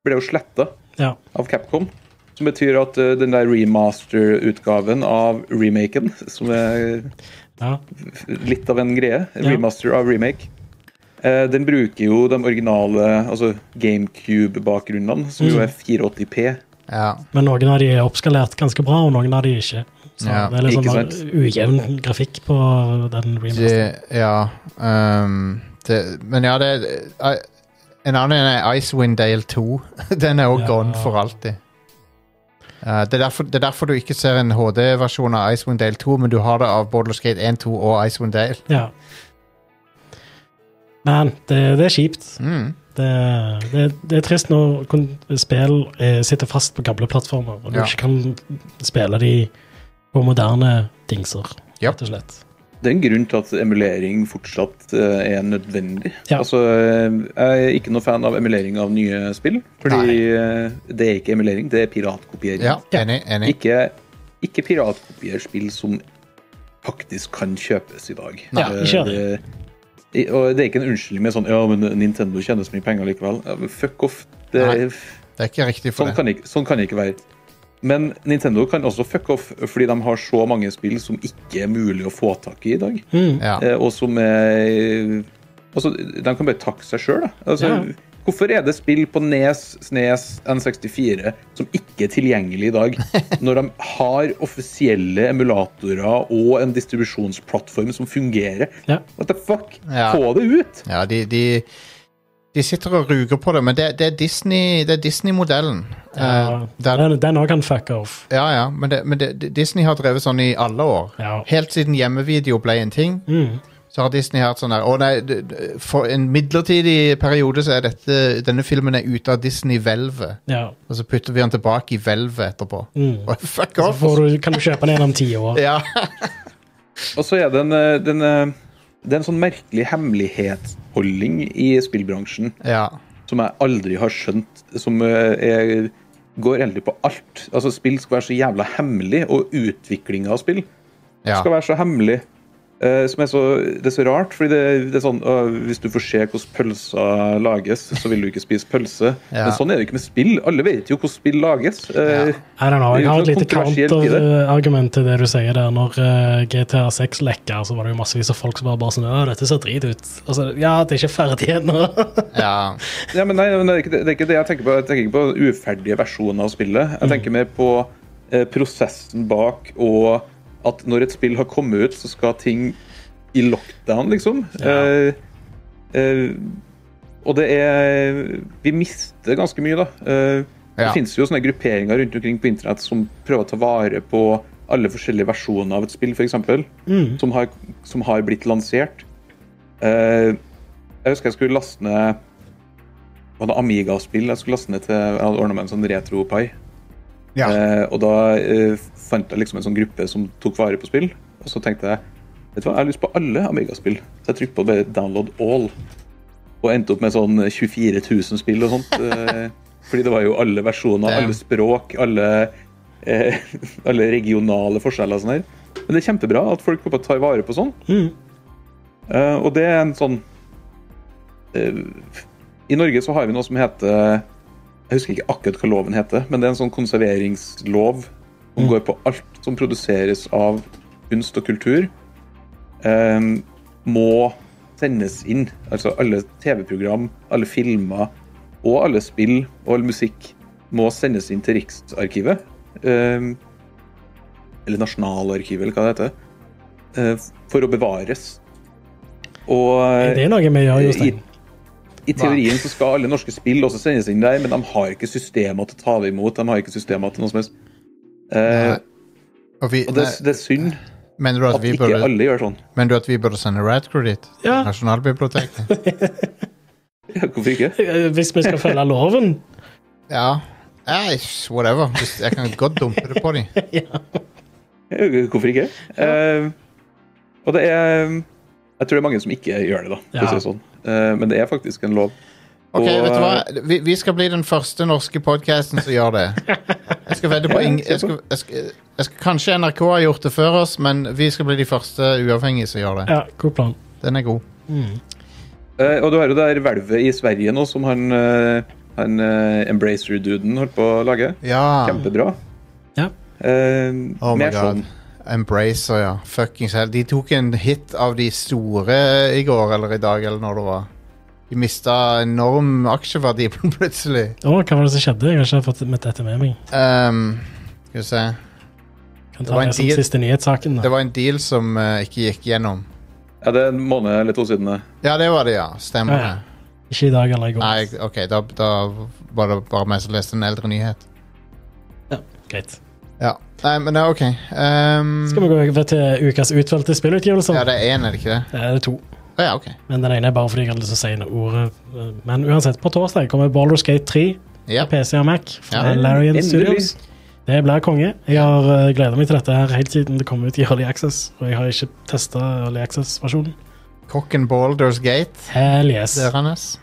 Speaker 5: ble jo sletta
Speaker 4: ja.
Speaker 5: av Capcom. Som betyr at eh, den der remaster-utgaven av remaken, som er
Speaker 4: ja.
Speaker 5: litt av en greie, remaster av remake, eh, den bruker jo de originale altså GameCube-bakgrunnene, som jo er 480P.
Speaker 1: ja.
Speaker 4: Men noen av de er oppskalert ganske bra, og noen av de ikke. Så
Speaker 1: Ja,
Speaker 4: det er litt
Speaker 5: ikke
Speaker 4: sånn
Speaker 5: sant.
Speaker 4: ujevn grafikk på den remasteren.
Speaker 1: Det, ja ehm, det, Men ja, det eh, En annen en er Icewind Dale 2. Den er òg
Speaker 4: Ja.
Speaker 1: gone for alltid. Eh, det, er derfor, det er derfor du ikke ser en HD-versjon av Icewind Dale 2, men du har det av Borderlands Gate 1, 2 og Icewind Dale.
Speaker 4: Ja. Men det, det er kjipt.
Speaker 1: Mm.
Speaker 4: Det, det, det er trist når kun- spill eh, sitter fast på gamle plattformer, og du
Speaker 1: Ja.
Speaker 4: ikke kan spille de på moderne dingser,
Speaker 1: Ja.
Speaker 4: rett og slett.
Speaker 5: Det er en grunn til at emulering fortsatt eh, er nødvendig.
Speaker 4: Ja.
Speaker 5: Altså, eh, jeg er ikke noe fan av emulering av nye spill, fordi eh, det er ikke emulering, det er piratkopiering.
Speaker 1: Ja, enig. enig.
Speaker 5: Ikke, ikke piratkopier spill som faktisk kan kjøpes i dag.
Speaker 4: Nei.
Speaker 5: Eh,
Speaker 4: Ja, ikke gjør
Speaker 5: det. i- Og det er ikke en unnskyldning med sånn Ja, men Nintendo tjener så mye penger likevel. Ja, men fuck off. Det,
Speaker 1: Nei, Det er ikke riktig for
Speaker 5: sånn,
Speaker 1: det.
Speaker 5: kan ikke, sånn kan det ikke være. Men Nintendo kan også fuck off, fordi de har så mange spill som ikke er mulig å få tak i i dag.
Speaker 4: Hmm.
Speaker 1: Ja.
Speaker 5: Eh, og som eh, Altså, de kan bare takke seg sjøl, da. Altså,
Speaker 4: Ja.
Speaker 5: Hvorfor er det spill på Nes, Snes, N64 som ikke er tilgjengelig i dag, når de har offisielle emulatorer og en distribusjonsplattform som fungerer?
Speaker 4: Ja.
Speaker 5: What the fuck?
Speaker 1: Ja.
Speaker 5: Få det ut!
Speaker 1: Ja, de, de, de sitter og ruger på det, men det, det er Disney- det er Disney-modellen. Disney
Speaker 4: Ja,
Speaker 1: der,
Speaker 4: Eh, den- Den òg kan fuck off.
Speaker 1: ja, ja, men, det, men det, Disney har drevet sånn i alle år.
Speaker 4: Ja.
Speaker 1: Helt siden hjemmevideo ble en ting,
Speaker 4: Mm.
Speaker 1: så har Disney hatt sånn der Å nei, d- d- for en midlertidig periode så er dette Denne filmen er ute av Disney-hvelvet.
Speaker 4: Ja.
Speaker 1: Og så putter vi den tilbake i hvelvet etterpå.
Speaker 4: Mm.
Speaker 1: Bare, Fuck
Speaker 4: Så
Speaker 1: off!
Speaker 4: får du, kan du kjøpe den igjen om ti år.
Speaker 1: Ja.
Speaker 5: Og så er det en, eh, den, eh, det er en sånn merkelig hemmelighetsholdning i spillbransjen
Speaker 1: ja.
Speaker 5: som jeg aldri har skjønt, som eh, er, går egentlig på alt. Altså, spill skal være så jævla hemmelig, og utviklinga av spill
Speaker 1: ja.
Speaker 5: skal være så hemmelig. eh, som er så, det er så rart, fordi det, det er sånn «Å, Hvis du får se hvordan pølser lages, så vil du ikke spise pølse.
Speaker 1: Ja.
Speaker 5: Men sånn er det ikke med spill. Alle vet jo hvordan spill lages. Eh,
Speaker 1: Ja.
Speaker 4: I don't know,
Speaker 5: Det er
Speaker 4: jeg
Speaker 5: jo
Speaker 4: har et
Speaker 5: ikke noe
Speaker 4: lite
Speaker 5: kontroversielt i det.
Speaker 4: counterargument til det du sier der. Når eh, GTA 6 lekka, så var det jo massevis av folk som bare, bare sånn Å, dette ser drit ut. Og så, ja, det er ikke ferdig ennå.
Speaker 1: ja.
Speaker 5: Ja, men nei, men det, er ikke, det det er ikke det jeg tenker på. Jeg tenker ikke på uferdige versjoner av spillet.
Speaker 4: Mm.
Speaker 5: Jeg tenker mer på eh, prosessen bak, og at når et spill har kommet ut, så skal ting i lockdown, liksom.
Speaker 4: Ja.
Speaker 5: Eh, eh, og det er Vi mister ganske mye, da. Eh,
Speaker 1: Ja.
Speaker 5: Det finnes jo sånne grupperinger rundt omkring på internett som prøver å ta vare på alle forskjellige versjoner av et spill, f.eks.,
Speaker 4: Mm.
Speaker 5: som, har- som har blitt lansert. Eh, jeg husker jeg skulle laste ned var det Amiga-spill jeg skulle laste ned til Jeg hadde ordna meg en sånn retro-pai.
Speaker 1: Ja.
Speaker 5: Eh, og da eh, fant jeg liksom en sånn gruppe som tok vare på spill. Og så tenkte jeg vet du hva, jeg har lyst på alle Amiga-spill. Så jeg trykte på bare 'download all'. Og endte opp med sånn 24 000 spill og sånt. Eh, fordi det var jo alle versjoner,
Speaker 1: Damn.
Speaker 5: alle språk, alle, eh, alle regionale forskjeller og sånn her. Men det er kjempebra at folk bare tar vare på sånn.
Speaker 4: Mm.
Speaker 5: Eh, og det er en sånn eh, I Norge så har vi noe som heter Jeg husker ikke akkurat hva loven heter, men det er en sånn konserveringslov som går på alt som produseres av kunst og kultur. eh, må sendes inn. Altså alle TV-program, alle filmer og alle spill og all musikk må sendes inn til Riksarkivet. eh, eller Nasjonalarkivet, eller hva det heter. eh, for å bevares. Og
Speaker 4: Det er noe vi gjør, Jostein.
Speaker 5: i, i teorien så skal alle norske spill også sendes inn der, men de har ikke systemer til å ta det imot. De har ikke systemer til noe som helst. Eh,
Speaker 1: Nei. Og vi,
Speaker 5: og det,
Speaker 1: nei,
Speaker 5: det er synd
Speaker 1: mener, du at
Speaker 5: at
Speaker 1: vi
Speaker 5: ikke
Speaker 1: burde,
Speaker 5: alle gjør sånn.
Speaker 1: mener du at vi burde sende Radcrew dit?
Speaker 4: Ja.
Speaker 1: Nasjonalbiblioteket?
Speaker 5: Hvorfor ikke?
Speaker 4: Eh, Hvis vi skal følge loven.
Speaker 1: Ja. Nei, whatever. Hvis- Jeg kan godt dumpe det på dem.
Speaker 5: Eh, Hvorfor ikke? Eh, og det er Jeg tror det er mange som ikke gjør det, da. for å
Speaker 4: Ja.
Speaker 5: si det sånn. Eh, men det er faktisk en lov.
Speaker 1: Ok,
Speaker 5: Og,
Speaker 1: vet du hva? Vi, vi skal bli den første norske podcasten som gjør det. Jeg skal vedde på ing- jeg skal, jeg skal, jeg skal, Kanskje NRK har gjort det før oss, men vi skal bli de første uavhengige som gjør det.
Speaker 4: Ja, god plan.
Speaker 1: Den er god.
Speaker 5: Eh, og du har jo det her hvelvet i Sverige nå som han, eh, han eh, Embracer-duden holdt på å lage.
Speaker 1: Ja.
Speaker 5: Kjempebra.
Speaker 4: Ja.
Speaker 5: Eh,
Speaker 1: Oh my
Speaker 5: mer
Speaker 1: god.
Speaker 5: sånn.
Speaker 1: Embracer, ja. Fuckings hell. De tok en hit av de store i går eller i dag, eller når det var. De mista enorm aksjeverdi plutselig.
Speaker 4: Å, hva var det som skjedde? Jeg har ikke fått med dette med meg.
Speaker 1: Ehm, skal vi se
Speaker 4: Kan
Speaker 1: Det
Speaker 4: ta
Speaker 1: var
Speaker 4: det,
Speaker 1: en
Speaker 4: som
Speaker 1: tid-
Speaker 4: siste nyhetssaken.
Speaker 1: Det
Speaker 4: Da.
Speaker 1: var en deal som eh, ikke gikk gjennom.
Speaker 5: Ja, det er en måned eller to siden. eh, det.
Speaker 1: Ja, det var det, ja. Stemmer
Speaker 4: Ja, ja.
Speaker 1: det.
Speaker 4: Ikke i dag eller i går.
Speaker 1: Nei, OK, da, da var det bare meg som leste en eldre nyhet.
Speaker 4: Ja, greit.
Speaker 1: Ja. Nei, men det er OK. Ehm,
Speaker 4: Skal vi gå over til ukas utvalgte spillutgivelser? Eh,
Speaker 1: ja, det er én, er det ikke det?
Speaker 4: Det er det to.
Speaker 1: Å ja, ok.
Speaker 4: Men den ene er bare fordi jeg hadde lyst til å si noe ordet. eh, Men uansett, på torsdag kommer Baller Skate 3
Speaker 1: Ja.
Speaker 4: PC og Mac fra
Speaker 1: Ja.
Speaker 4: Larian
Speaker 5: Endelig.
Speaker 4: Studios. Det blir konge. Jeg har uh, gleda meg til dette her helt siden det kom ut i Early Access, og jeg har ikke testa Early Access-versjonen.
Speaker 1: Kokken Baldur's Gate.
Speaker 4: Hell yes.
Speaker 1: Det er hans.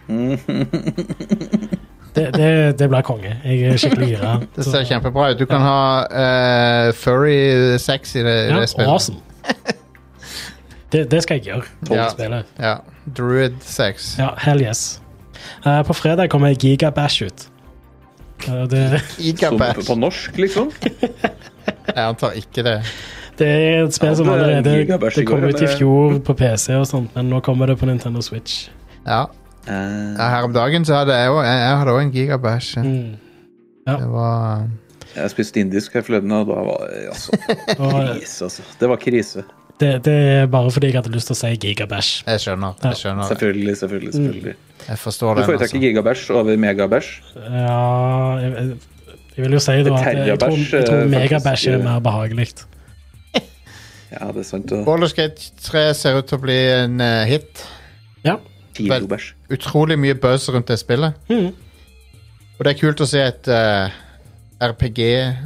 Speaker 4: Det, det, det blir konge. Jeg er skikkelig gira.
Speaker 1: Det ser kjempebra ut. Du kan ha eh, furry sex i det, i
Speaker 4: Ja,
Speaker 1: det spillet.
Speaker 4: awesome. Det, det skal jeg gjøre. på
Speaker 1: Ja.
Speaker 4: spillet.
Speaker 1: Ja. Druid sex.
Speaker 4: Ja, hell yes. Eh, på fredag kommer Gigabash ut. Eh, det,
Speaker 5: Som på,
Speaker 1: Gigabash.
Speaker 5: på norsk, liksom.
Speaker 1: Jeg antar ikke det.
Speaker 4: det er et spill som
Speaker 5: Ja, det er en
Speaker 4: allerede
Speaker 5: Gigabash i
Speaker 4: Det kom
Speaker 5: går,
Speaker 4: ut i
Speaker 5: men- eh,
Speaker 4: fjor på PC, og sånt, men nå kommer det på Nintendo Switch.
Speaker 1: Ja.
Speaker 5: Eh,
Speaker 1: Ja, Her om dagen så hadde jeg òg jeg, jeg hadde også en gigabash.
Speaker 4: Mm.
Speaker 1: Det var
Speaker 5: jeg spiste indisk her forleden, og da var det altså,
Speaker 4: Og eh,
Speaker 5: krise, altså. Det var krise.
Speaker 4: det, det er bare fordi jeg hadde lyst til å si Gigabash.
Speaker 1: Jeg skjønner. Jeg skjønner.
Speaker 5: Selvfølgelig, selvfølgelig. selvfølgelig.
Speaker 1: Jeg forstår
Speaker 5: Du
Speaker 1: den.
Speaker 5: foretrekker
Speaker 1: Mm. Altså.
Speaker 5: gigabæsj over megabæsj?
Speaker 4: Ja jeg, jeg- jeg vil jo si det var at jeg, jeg tror,
Speaker 5: Terjabash,
Speaker 4: jeg tror
Speaker 5: eh,
Speaker 4: Megabash er
Speaker 5: faktisk, eh,
Speaker 4: mer behagelig.
Speaker 5: Ja, det er sant. Og
Speaker 1: Baldur's Gate 3 ser ut til å bli en eh, hit.
Speaker 4: Ja.
Speaker 5: kilobæsj.
Speaker 1: Utrolig mye buzz rundt det spillet.
Speaker 4: Mhm.
Speaker 1: Og det er kult å se et eh, RPG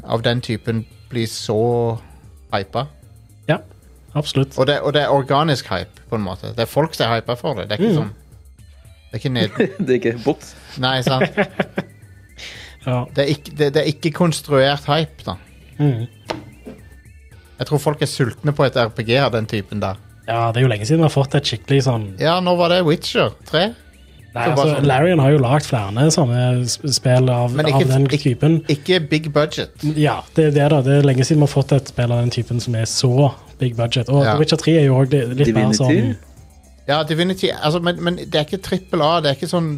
Speaker 1: av den typen bli så hypa.
Speaker 4: ja. Absolutt.
Speaker 1: Og det, og det er organisk hype, på en måte. Det er folk som er hypa for det. Det er ikke sånn Det er ikke ned...
Speaker 5: Det er ikke bot.
Speaker 1: Nei, sant?
Speaker 4: Ja.
Speaker 1: Det er ikke, det, det er ikke konstruert hype, da.
Speaker 4: Mhm.
Speaker 1: Jeg tror folk er sultne på et RPG av den typen der.
Speaker 4: ja, det er jo lenge siden vi har fått et skikkelig sånn
Speaker 1: Ja, nå var det Witcher 3.
Speaker 4: Nei,
Speaker 1: Så bare
Speaker 4: altså,
Speaker 1: sånn-
Speaker 4: Larian har jo lagd flere sånne sp- spill av,
Speaker 1: Men ikke-
Speaker 4: av den
Speaker 1: ikke-
Speaker 4: typen.
Speaker 1: Ikke big budget.
Speaker 4: Ja, det er det, da. Det er lenge siden vi har fått et spill av den typen som er så big budget. Og
Speaker 1: Ja.
Speaker 4: Witcher 3 er jo òg litt mer
Speaker 5: Divinity.
Speaker 4: sånn
Speaker 1: Ja, Divinity, altså, men, men det er ikke trippel A. Det er ikke sånn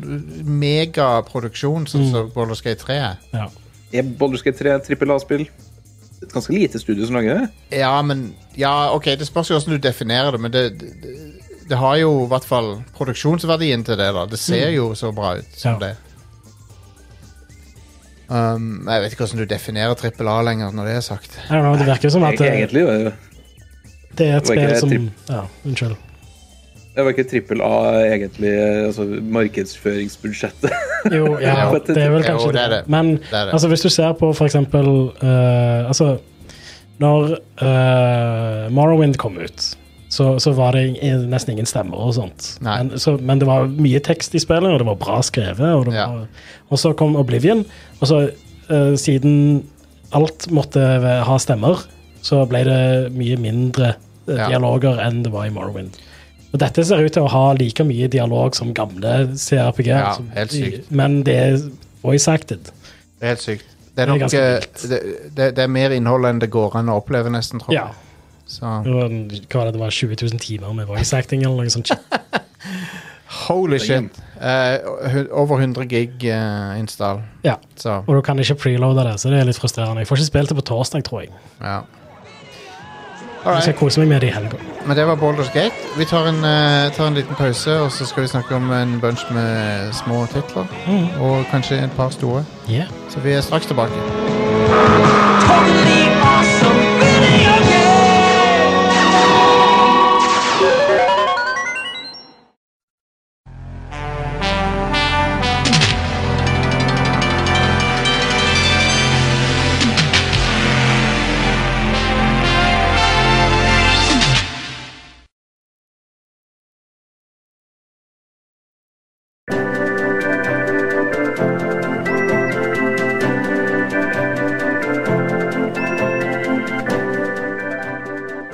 Speaker 1: megaproduksjon sånn som Baldur's Gate 3 er.
Speaker 4: ja.
Speaker 5: Er Baldur's Gate 3 trippel A-spill? Et ganske lite studio som lager det.
Speaker 1: Ja, men Ja, OK, det spørs jo hvordan du definerer det, men det, det, det har jo i hvert fall produksjonsverdien til det, da. Det ser jo så bra ut som
Speaker 4: Mm. Ja.
Speaker 1: det. Um, jeg vet ikke hvordan du definerer trippel A lenger, når det er sagt.
Speaker 4: I don't know, Det virker jo som at
Speaker 5: Egentlig,
Speaker 4: det,
Speaker 5: egentlig det er-
Speaker 4: det er et
Speaker 5: var
Speaker 4: spill
Speaker 5: ikke
Speaker 4: som
Speaker 5: tripp.
Speaker 4: Ja, unnskyld.
Speaker 5: det var ikke trippel A, egentlig, altså markedsføringsbudsjettet.
Speaker 4: Jo, ja,
Speaker 1: Jo,
Speaker 4: det er vel
Speaker 1: jo,
Speaker 4: kanskje
Speaker 1: det er
Speaker 4: det.
Speaker 1: det.
Speaker 4: Men
Speaker 1: Det er det.
Speaker 4: altså, hvis du ser på for eksempel eh, Altså, når eh, Morrowind kom ut, så, så var det i- nesten ingen stemmer og sånt.
Speaker 1: Nei.
Speaker 4: Men, så, men det var mye tekst i spillet, og det var bra skrevet. Og, det
Speaker 1: Ja.
Speaker 4: var, og så kom Oblivion, og så eh, siden alt måtte ha stemmer, så ble det mye mindre eh,
Speaker 1: Ja.
Speaker 4: dialoger enn det var i Morrowind. Og dette ser ut til å ha like mye dialog som gamle CRPG.
Speaker 1: Ja,
Speaker 4: som-
Speaker 1: helt sykt.
Speaker 4: altså. Men det er voice acted.
Speaker 1: Det er helt sykt. Det er
Speaker 4: Det er
Speaker 1: nok
Speaker 4: ganske
Speaker 1: eh,
Speaker 4: vilt.
Speaker 1: det, det, det er mer innhold enn det går an å oppleve, nesten, tror
Speaker 4: Ja.
Speaker 1: jeg. Så
Speaker 4: Det var, hva var det, det var 20 000 timer med voice acting eller noe sånt. shit.
Speaker 1: Holy shit! Eh, hu- over 100 gig eh, install.
Speaker 4: Ja.
Speaker 1: Så
Speaker 4: Og du kan ikke preloade det, så det er litt frustrerende. Jeg får ikke spilt det på torsdag, tror jeg.
Speaker 1: ja.
Speaker 4: Jeg skal
Speaker 1: Alright,
Speaker 4: kose meg med det i helga.
Speaker 1: men det var Baldur's Gate. Vi tar en, eh, tar en liten pause, og så skal vi snakke om en bunch med små titler.
Speaker 5: Mm.
Speaker 1: Og kanskje et par store.
Speaker 4: Yeah.
Speaker 1: Så vi er straks tilbake.
Speaker 7: totally awesome video game.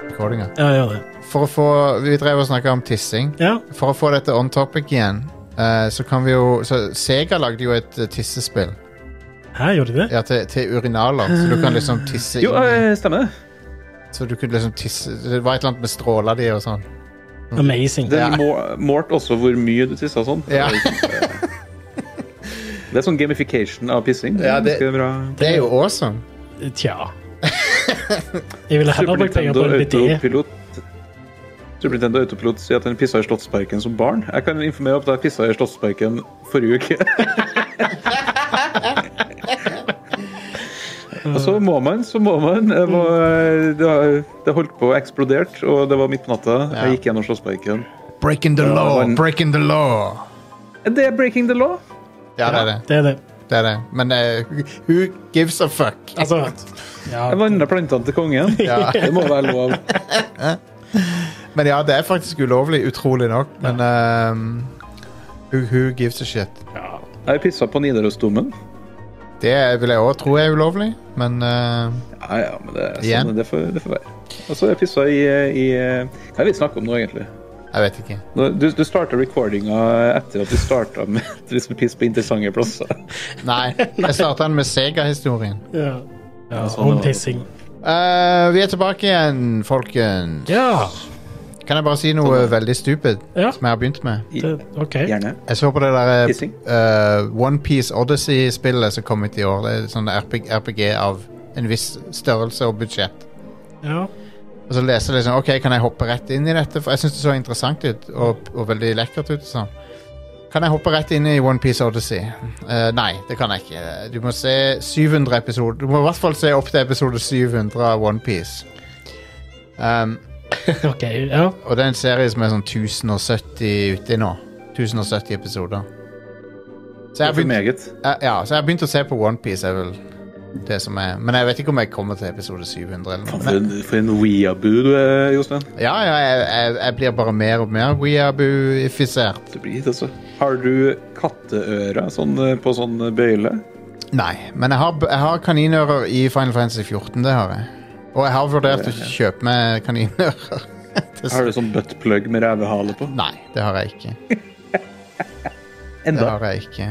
Speaker 1: Rekordinger.
Speaker 4: Ja, gjør det.
Speaker 1: For å få Vi drev og snakka om tissing.
Speaker 4: Ja.
Speaker 1: For å få dette on topic igjen, eh, så kan vi jo Så Sega lagde jo et eh, tissespill.
Speaker 4: Her gjorde de det.
Speaker 1: Ja, til, til urinaler. Så du kan liksom tisse
Speaker 5: Jo,
Speaker 1: inn i
Speaker 5: eh, stemmer det.
Speaker 1: Så du kunne liksom tisse Det var et eller annet med stråler de og sånn.
Speaker 4: Amazing.
Speaker 5: Det
Speaker 1: Ja.
Speaker 5: må- målt også hvor mye du tissa og sånn.
Speaker 1: Ja.
Speaker 5: Det er sånn gamification av pissing.
Speaker 1: Ja, det-
Speaker 5: Ganske bra.
Speaker 1: Det er jo awesome.
Speaker 4: Tja. Jeg ville heller
Speaker 5: Super
Speaker 4: brukt penger på en
Speaker 5: Nintendo
Speaker 4: E. BD.
Speaker 5: Autopilot Super Nintendo Autopilot sier at han pissa i Slottsparken som barn. Jeg kan informere om at jeg pissa i Slottsparken forrige uke. og så må man, så må man. Jeg må,
Speaker 4: Mm.
Speaker 5: det, har- det holdt på å eksplodert, og det var midt på natta. Jeg gikk gjennom Slottsparken.
Speaker 1: Breaking the law!
Speaker 5: men-
Speaker 1: Breaking the law!
Speaker 5: Det er breaking the law.
Speaker 1: Ja, det er det.
Speaker 4: Det er det.
Speaker 1: det, er det. Men eh, who gives a fuck?
Speaker 4: Altså ja,
Speaker 5: Jeg vanna plantene til kongen.
Speaker 1: Ja.
Speaker 5: Det må være lov.
Speaker 1: Men ja, det er faktisk ulovlig, utrolig nok. Men ehm, who, who gives a shit?
Speaker 5: Jeg pissa på Nidarosdomen.
Speaker 1: Det vil jeg òg tro er ulovlig, men eh,
Speaker 5: Ja, ja, men det, er
Speaker 1: Igjen?
Speaker 5: sånn, det, får, det får være. Og så jeg pissa i, i Hva er det vi snakker om nå, egentlig?
Speaker 1: jeg vet ikke.
Speaker 5: Nå- Du, du starta recordinga etter at vi starta med at vi skulle pisse på interessante plasser.
Speaker 1: Nei. Jeg starta den med Sega-historien.
Speaker 4: ja. ja
Speaker 5: sånn
Speaker 4: Om
Speaker 5: det var.
Speaker 4: pissing.
Speaker 1: Eh, vi er tilbake igjen, folkens.
Speaker 4: Ja.
Speaker 1: Kan jeg bare si noe veldig stupid
Speaker 4: Ja.
Speaker 1: som jeg har begynt med?
Speaker 5: I,
Speaker 4: Det, OK.
Speaker 5: gjerne.
Speaker 1: Jeg så på det der eh,
Speaker 5: Pissing.
Speaker 1: uh, Onepiece Odyssey-spillet som kom ut i år. Det er sånn RPG, RPG av en viss størrelse og budsjett.
Speaker 4: Ja.
Speaker 1: Og så leser jeg liksom, ok, kan jeg hoppe rett inn i dette? For jeg synes det så interessant ut, og, og veldig lekkert ut. og Sånn. Kan jeg hoppe rett inn i One Piece Odyssey? Eh, nei, det kan jeg ikke. Du må se 700 episoder. Du må i hvert fall se opp til episode 700 av One Piece. Um,
Speaker 4: OK. Ja.
Speaker 1: og det er en serie som er sånn 1070 uti nå. 1070 episoder. Så jeg har
Speaker 5: For
Speaker 1: begynt,
Speaker 5: meget.
Speaker 1: eh, ja, så jeg har begynt å se på One Piece, er vel det som er. Men jeg vet ikke om jeg kommer til episode 700 eller noe.
Speaker 5: For en, for en weeaboo du er, Jostein.
Speaker 1: Ja, ja jeg, jeg, jeg blir bare mer og mer weaboo-ifisert.
Speaker 5: Du blir det, altså. Har du katteører sånn, eh, på sånn bøyle?
Speaker 1: Nei, men jeg har, jeg har kaninører i Final Fantasy 14, det har jeg. Og jeg har vurdert å kjøpe meg kaninører. Det s-
Speaker 5: Har du sånn buttplug med revehale på?
Speaker 1: Nei, det har jeg ikke. Det
Speaker 5: Enda.
Speaker 1: har jeg ikke.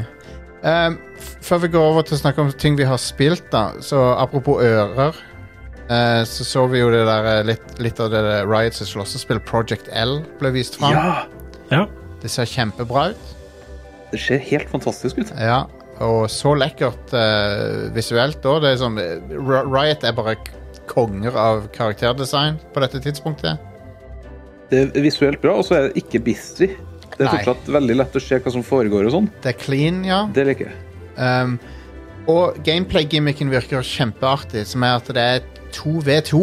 Speaker 1: Ehm, f- før vi går over til å snakke om ting vi har spilt, da, så apropos ører eh, så så vi jo det der eh, litt, litt av det der Riots' slåssespill Project L ble vist fram.
Speaker 5: Ja!
Speaker 4: ja.
Speaker 1: Det ser kjempebra ut.
Speaker 5: Det ser helt fantastisk ut.
Speaker 1: Ja, og så lekkert eh, visuelt da. Det er sånn, eh, Ri- Riot er bare k- konger av karakterdesign på dette tidspunktet.
Speaker 5: Det er visuelt bra, og så er det ikke busy. Det er
Speaker 1: Nei.
Speaker 5: fortsatt veldig lett å se hva som foregår og sånn.
Speaker 1: Det er clean, ja.
Speaker 5: Det liker jeg.
Speaker 1: Um, og gameplay-gimmicken virker kjempeartig, som er at det er 2v2.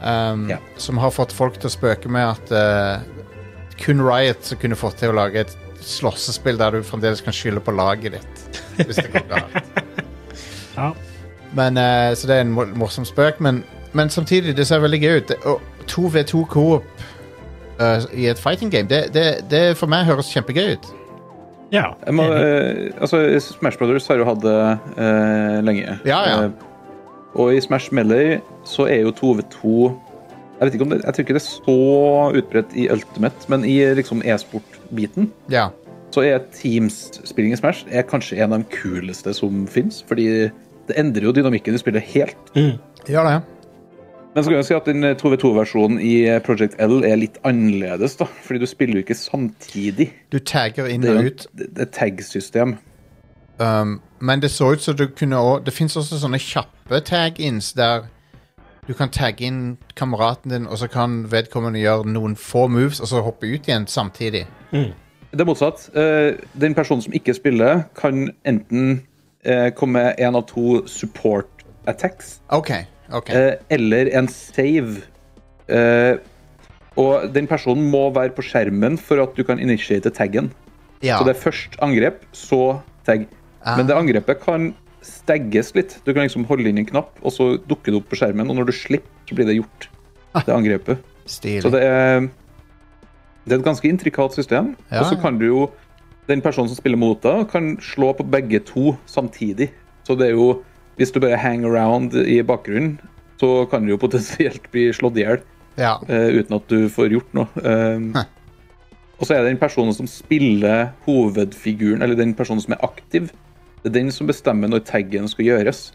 Speaker 1: Um,
Speaker 5: Ja.
Speaker 1: Som har fått folk til å spøke med at eh, kun Riot som kunne fått til å lage et slåssespill der du fremdeles kan skylde på laget ditt. Hvis det går galt.
Speaker 4: ja.
Speaker 1: Men, eh, så det er en mor- morsom spøk, men, men samtidig, det ser veldig gøy ut. Det- Og 2v2 coop eh, i et fighting game, det, det, det for meg høres kjempegøy ut.
Speaker 4: ja.
Speaker 5: jeg må,
Speaker 4: enig.
Speaker 5: eh, altså, Smash Brothers har jo hatt det eh, lenge.
Speaker 1: Ja, ja.
Speaker 5: Eh, og i Smash Melee så er jo 2v2 Jeg vet ikke om det, jeg tror ikke det er så utbredt i Ultimate, men i liksom e-sport-biten
Speaker 1: Ja.
Speaker 5: så er Teams-spilling i Smash er kanskje en av de kuleste som fins. Fordi det endrer jo dynamikken i spillet helt.
Speaker 1: Gjør det.
Speaker 5: Men så kan jeg si at den 2v2-versjonen i Project L er litt annerledes, da. Fordi du spiller jo ikke samtidig.
Speaker 1: Du tagger inn
Speaker 5: Det
Speaker 1: og
Speaker 5: er jo
Speaker 1: ut.
Speaker 5: det det er tag-system.
Speaker 1: Um, men det så ut som du kunne òg Det fins også sånne kjappe tag-ins der du kan tagge inn kameraten din, og så kan vedkommende gjøre noen få moves, og så hoppe ut igjen samtidig.
Speaker 5: Det er motsatt. Eh, Den personen som ikke spiller, kan enten eh, komme med en av to support attacks,
Speaker 1: OK. ok
Speaker 5: eh, eller en save. Eh, Og den personen må være på skjermen for at du kan initiate taggen.
Speaker 1: Ja.
Speaker 5: Så det er først angrep, så tag. Men det angrepet kan stagges litt. Du kan liksom holde inn en knapp, og så dukker det opp på skjermen. Og når du slipper, så blir det gjort. Det angrepet. Så
Speaker 1: Stilig.
Speaker 5: det er, det er et ganske intrikat system.
Speaker 1: Ja,
Speaker 5: og så
Speaker 1: ja.
Speaker 5: kan du jo Den personen som spiller mot deg, kan slå på begge to samtidig. Så det er jo Hvis du bare henger around i bakgrunnen, så kan du jo potensielt bli slått i hjel
Speaker 1: Ja.
Speaker 5: eh, uten at du får gjort noe. Ehm,
Speaker 1: Hæ.
Speaker 5: og så er det den personen som spiller hovedfiguren, eller den personen som er aktiv, det er den som bestemmer når taggen skal gjøres.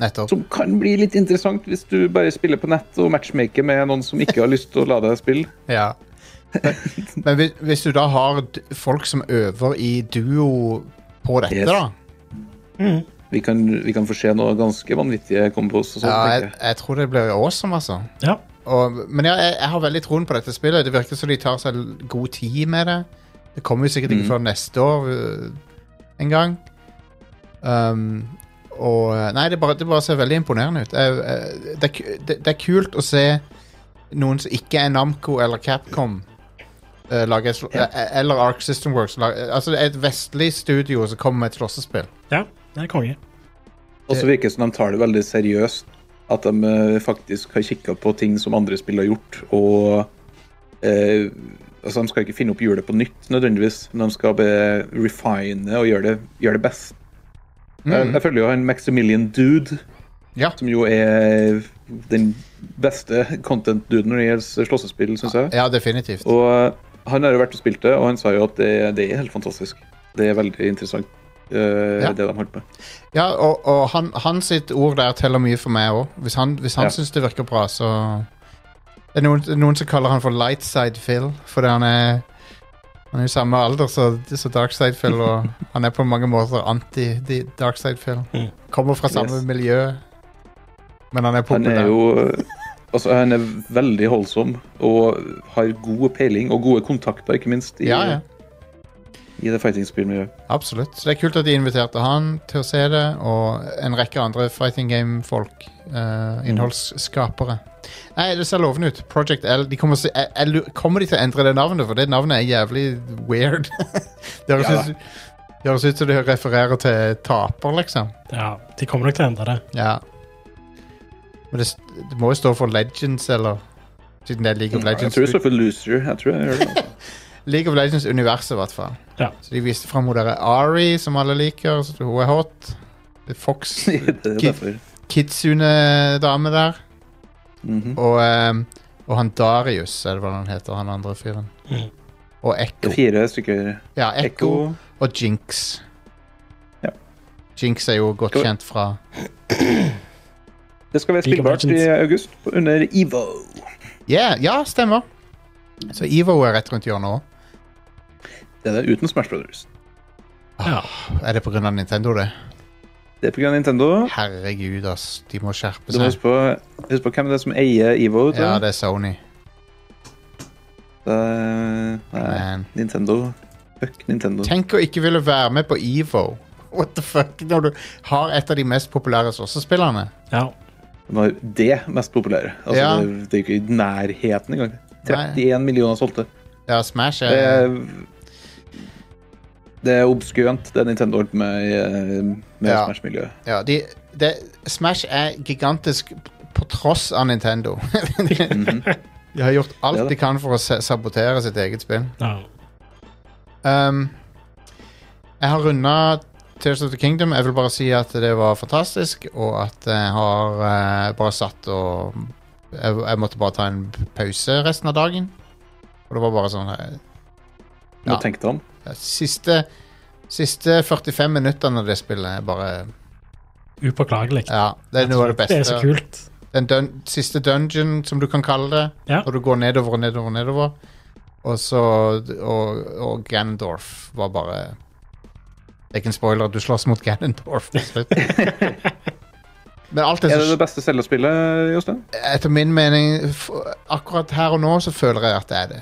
Speaker 1: Nettopp.
Speaker 5: Som kan bli litt interessant hvis du bare spiller på nett og matchmaker med noen som ikke har lyst til å la deg spille.
Speaker 1: Ja. Men hvis, hvis du da har d- folk som øver i duo på dette,
Speaker 5: Yes.
Speaker 1: da
Speaker 5: Vi kan, vi kan få se noe ganske vanvittige komme på oss. Og sånt,
Speaker 1: ja, jeg,
Speaker 5: tenker jeg.
Speaker 1: jeg tror det blir awesome, altså.
Speaker 4: ja.
Speaker 1: Og, men ja, jeg, jeg har veldig troen på dette spillet. Det virker som de tar seg l- god tid med det. Det kommer jo sikkert ikke
Speaker 5: Mhm.
Speaker 1: før neste år øh, en gang. Um, og eh, Nei, det bare, det bare ser veldig imponerende ut. Jeg, jeg, det, er ku- det, det er kult å se noen som ikke er Namco eller Capcom, eh, lage et, sl- eh, eller Ark System Works. la- eh, altså et vestlig studio som kommer med et slåssespill.
Speaker 4: Ja, det er konge.
Speaker 5: Og så virker det som de tar det veldig seriøst. At de eh, faktisk har kikka på ting som andre spill har gjort, og eh, Altså, de skal ikke finne opp hjulet på nytt, nødvendigvis, men de skal bare refine og gjøre det, gjøre det best. Jeg, jeg følger jo han Maximilian Dude,
Speaker 1: Mm. Ja.
Speaker 5: som jo er den beste content-duden når det gjelder slåssespill, syns jeg.
Speaker 1: ja, definitivt.
Speaker 5: Og eh, han har jo vært og spilt det, og han sa jo at det, det er helt fantastisk. Det er veldig interessant, eh,
Speaker 1: Ja.
Speaker 5: det de holdt på med.
Speaker 1: Ja, og, og han, han sitt ord der teller mye for meg òg. Hvis han, hvis han
Speaker 5: Ja.
Speaker 1: syns det virker bra, så Det er noen, noen som kaller han for Lightside Phil, fordi han er Han er jo samme alder som så Darkside Phil, og han er på mange måter anti-Darkside Phil.
Speaker 4: Mm.
Speaker 1: Kommer fra samme
Speaker 5: Yes.
Speaker 1: miljø, men han er
Speaker 5: Han
Speaker 1: populær.
Speaker 5: er jo Altså, han er veldig holdsom og har god peiling og gode kontakter, ikke minst, i,
Speaker 1: ja, ja.
Speaker 5: i det fighting-spillmiljøet.
Speaker 1: Absolutt. Så det er kult at de inviterte han til å se det, og en rekke andre fighting game-folk. eh, innholdsskapere. Nei, det ser lovende ut. Project L. De kommer, å se- jeg, jeg, lu- kommer de til å endre det navnet? For det navnet er jævlig weird. det høres
Speaker 5: Ja.
Speaker 1: ut- det høres ut som det refererer til taper, liksom.
Speaker 4: Ja, De kommer nok til å endre det.
Speaker 1: Ja. Men det, st- det må jo stå for Legends, eller Siden det er League of
Speaker 5: Jeg
Speaker 1: Legends.
Speaker 5: tror det står for loser. Jeg tror jeg gjør det. altså.
Speaker 1: League of Legends-universet, i hvert fall.
Speaker 4: Ja.
Speaker 1: Så de viste fram hun derre Ari, som alle liker. Så hun er hot. Det er Fox
Speaker 5: Det er derfor.
Speaker 1: Kitsune-dame der.
Speaker 5: Mhm.
Speaker 1: Og, ehm, og han Darius, er det hva han heter, han andre fyren.
Speaker 4: Mhm.
Speaker 1: Og
Speaker 5: Det
Speaker 1: Ekko.
Speaker 5: er fire stykker.
Speaker 1: Ja, Ekko
Speaker 5: Ekko.
Speaker 1: og Jinx.
Speaker 5: Ja.
Speaker 1: Jinx er jo godt
Speaker 5: Skal vi-
Speaker 1: kjent fra
Speaker 5: Det skal være
Speaker 4: League of
Speaker 5: spillbart i
Speaker 4: Legends.
Speaker 5: august under EVO.
Speaker 1: Ja, ja, stemmer. Så Ivo er rett rundt hjørnet òg.
Speaker 5: Det er det uten Smash Brothers.
Speaker 4: Ja.
Speaker 1: Er det pga. Nintendo, det?
Speaker 5: Det er pga. Nintendo.
Speaker 1: Herregud, ass. De må skjerpe
Speaker 5: Du må
Speaker 1: seg.
Speaker 5: huske på, husk på hvem det er som eier EVO. tror
Speaker 1: Ja,
Speaker 5: jeg.
Speaker 1: det er Sony.
Speaker 5: Det er- nei,
Speaker 1: Man.
Speaker 5: Nintendo. Fuck Nintendo.
Speaker 1: Tenk å ikke ville være med på Evo. What the fuck? Når du har et av de mest populære slåssespillerne.
Speaker 4: ja.
Speaker 5: De har det mest populære. Altså,
Speaker 1: Ja.
Speaker 5: det, det er ikke i nærheten engang. 31 millioner solgte.
Speaker 1: Ja, Smash
Speaker 5: Det
Speaker 1: er
Speaker 5: er, det er obskønt, det Nintendo holdt på med, i, eh, med
Speaker 1: Ja.
Speaker 5: Smash-miljøet.
Speaker 1: Ja, de, det, Smash er gigantisk på tross av Nintendo.
Speaker 5: Mhm.
Speaker 1: de har gjort alt
Speaker 5: Ja da.
Speaker 1: de kan for å sa- sabotere sitt eget spill.
Speaker 4: ja.
Speaker 1: Um, jeg har runda Tears of the Kingdom. Jeg vil bare si at det var fantastisk, og at jeg har eh, bare satt og jeg, jeg måtte bare ta en pause resten av dagen. Og det var bare sånn eh,
Speaker 5: Nå
Speaker 1: Ja.
Speaker 5: tenkte han.
Speaker 1: Siste, siste 45 minuttene av det spillet er bare
Speaker 4: Upåklagelig.
Speaker 1: Ja, det er noe av det beste.
Speaker 4: Det er så kult.
Speaker 1: den dun siste dungeon, som du kan kalle det.
Speaker 4: Ja.
Speaker 1: Når du går nedover og nedover og nedover. Og så Og, og Ganondorf var bare Det er ikke en spoiler, du slåss mot Ganondorf til slutt. Men alt er
Speaker 5: Er det
Speaker 1: så
Speaker 5: det beste cellespillet, Jostein?
Speaker 1: Etter min mening, f- akkurat her og nå, så føler jeg at det er det.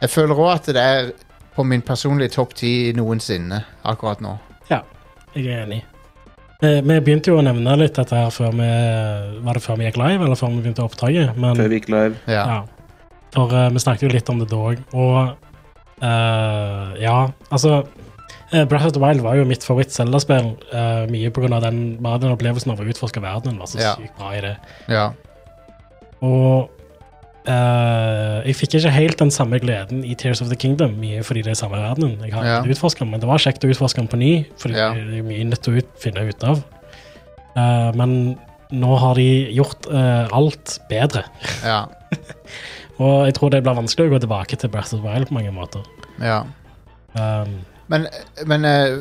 Speaker 1: Jeg føler òg at det er på min personlige topp ti noensinne akkurat nå.
Speaker 4: Ja, jeg er enig. Eh, Vi begynte jo å nevne litt dette her før vi Var det før vi gikk live, eller før vi begynte opptaket? Men,
Speaker 5: Før vi gikk live.
Speaker 1: Ja.
Speaker 4: ja. For eh, vi snakket jo litt om det da òg, og eh, Ja, altså eh, Breath of the Wild var jo mitt favoritt-Zelda-spill, eh, mye på grunn av den, bare den opplevelsen av å utforske verden. Den var så
Speaker 1: Ja.
Speaker 4: sykt bra i det.
Speaker 1: ja.
Speaker 4: Og eh, jeg fikk ikke helt den samme gleden i Tears of the Kingdom, mye fordi det er samme verdenen. Jeg har
Speaker 1: Ja.
Speaker 4: ikke utforsket den, men det var kjekt å utforske den på ny, fordi
Speaker 1: Ja.
Speaker 4: det er mye nødt til å ut, finne ut av. Eh, men nå har de gjort eh, alt bedre,
Speaker 1: ja.
Speaker 4: og jeg tror det blir vanskelig å gå tilbake til Breath of the Wild på mange måter.
Speaker 1: ja.
Speaker 4: Um,
Speaker 1: Men, men eh,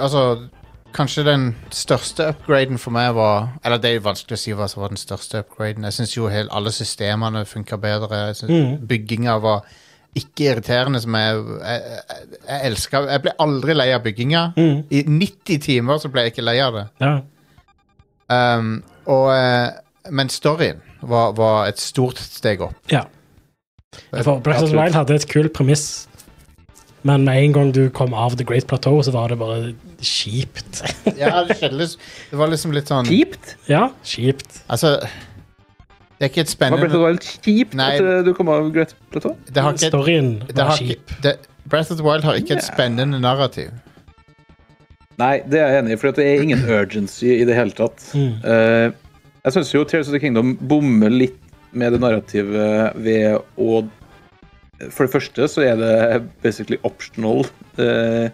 Speaker 1: Altså, kanskje den største upgraden for meg var Eller det er jo vanskelig å si hva som var den største upgraden. Jeg syns jo helt, alle systemene funka bedre. Jeg synes
Speaker 4: mm,
Speaker 5: Mm.
Speaker 1: Bygginga var ikke irriterende, som jeg Jeg, jeg, jeg elska Jeg ble aldri lei av bygginga. I 90 timer så ble jeg ikke lei av det.
Speaker 4: mm, ja.
Speaker 1: Um, og, eh, men storyen var, var et stort steg opp.
Speaker 4: ja. For Breath of the
Speaker 5: Absolutt.
Speaker 4: Wild hadde et kult premiss, men med en gang du kom av The Great Plateau, så var det bare kjipt.
Speaker 1: Mm. Ja, det, kjennes- det var liksom litt sånn
Speaker 5: Kjipt!
Speaker 4: ja, kjipt.
Speaker 1: Altså Det er ikke et
Speaker 5: Hva ble det, det
Speaker 1: spennende
Speaker 5: var litt kjipt
Speaker 1: Nei.
Speaker 5: at eh, du kom av Great Plateau?
Speaker 1: det har ikke,
Speaker 4: Storyen
Speaker 1: det
Speaker 4: var
Speaker 1: har
Speaker 4: kjip.
Speaker 1: ikke, det, Breath of the Wild har ikke et
Speaker 5: Ja.
Speaker 1: spennende narrativ.
Speaker 5: Nei, det er jeg enig i, for det er ingen urgency i det hele tatt.
Speaker 4: Mm.
Speaker 5: Eh, jeg syns jo Tears of the Kingdom bommer litt med det narrativet ved å For det første så er det basically optional, eh,